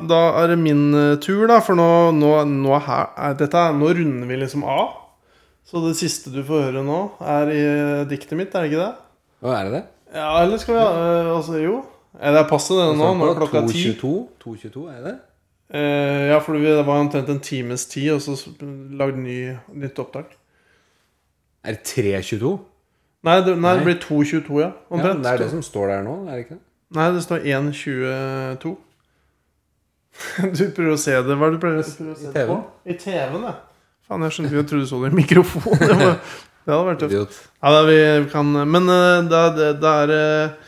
Speaker 1: da er det min eh, tur, da. For nå, nå, nå, er her, er dette, er- nå runder vi liksom av. Så det siste du får høre nå, er i eh, diktet mitt, er det ikke det?
Speaker 2: Å, er det det?
Speaker 1: Ja, eller skal vi ha eh, Altså, jo. Ja, det er passe det nå. Nå er klokka ti.
Speaker 2: 2.22, 2.22, er det det?
Speaker 1: Eh, ja, for det var omtrent en times tid, og så s- lagd ny, nytt opptak.
Speaker 2: Er det 3.22?
Speaker 1: Nei, det, nei, det
Speaker 2: Nei.
Speaker 1: blir 2.22, ja.
Speaker 2: Ja,
Speaker 1: Omtrent.
Speaker 2: det er det som står der nå, er det ikke det?
Speaker 1: Nei, det står 1.22. Du prøver å se det. Hva er det du prøver å prøver å se det på? I TV-en, ja. Faen, jeg skjønte ikke, jeg trodde du så det i mikrofonen. Det, var, det hadde vært tøft.
Speaker 2: Idiot.
Speaker 1: Ja, da, vi kan, men eh, da, det, det er eh,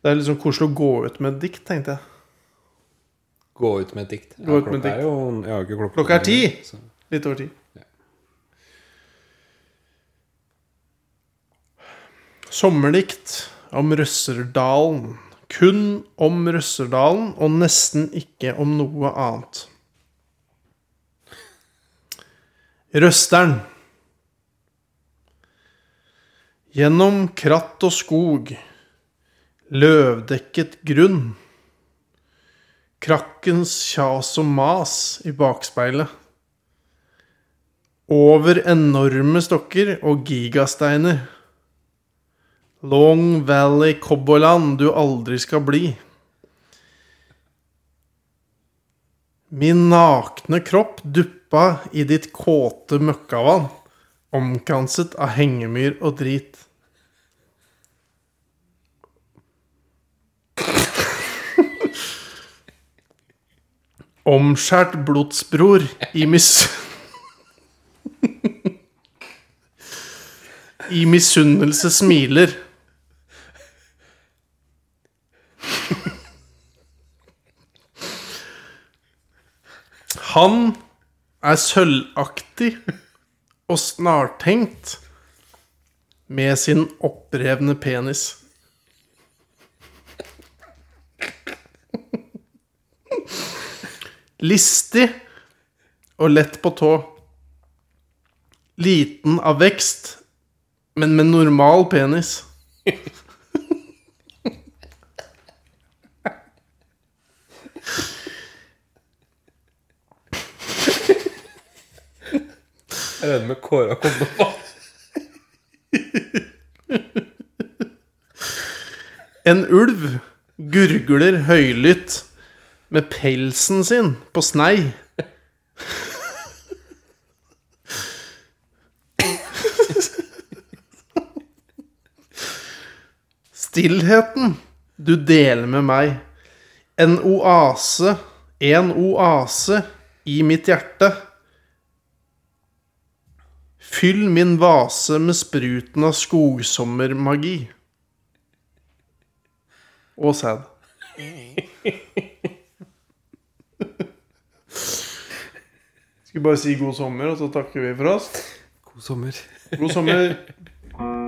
Speaker 1: Det er liksom koselig å gå ut med et dikt, tenkte jeg.
Speaker 2: Gå ut med et dikt. Ja,
Speaker 1: Gå ut med et
Speaker 2: klokka er jo, jeg har jo ikke klokka.
Speaker 1: Klokka er ti.
Speaker 2: Så.
Speaker 1: Litt over ti. Sommerdikt om Røsserdalen. Kun om Røsserdalen, og nesten ikke om noe annet. Røsteren. Gjennom kratt og skog, løvdekket grunn. Krakkens kjas og mas i bakspeilet. Over enorme stokker og gigasteiner. Long Valley Cowboyland du aldri skal bli. Min nakne kropp duppa i ditt kåte møkkavann, omkranset av hengemyr og drit. Omskjært blodsbror i mis... I misunnelse smiler. Han er sølvaktig og snartenkt med sin opprevne penis. Listig og lett på tå. Liten av vekst, men med normal penis.
Speaker 2: Jeg regner med Kåre har kommet på
Speaker 1: En ulv gurgler høylytt med pelsen sin på snei. Stillheten du deler med meg. En oase, en oase i mitt hjerte. Fyll min vase med spruten av skogsommermagi. Og sæd. Skal vi bare si god sommer, og så takker vi for oss?
Speaker 2: God sommer.
Speaker 1: God sommer.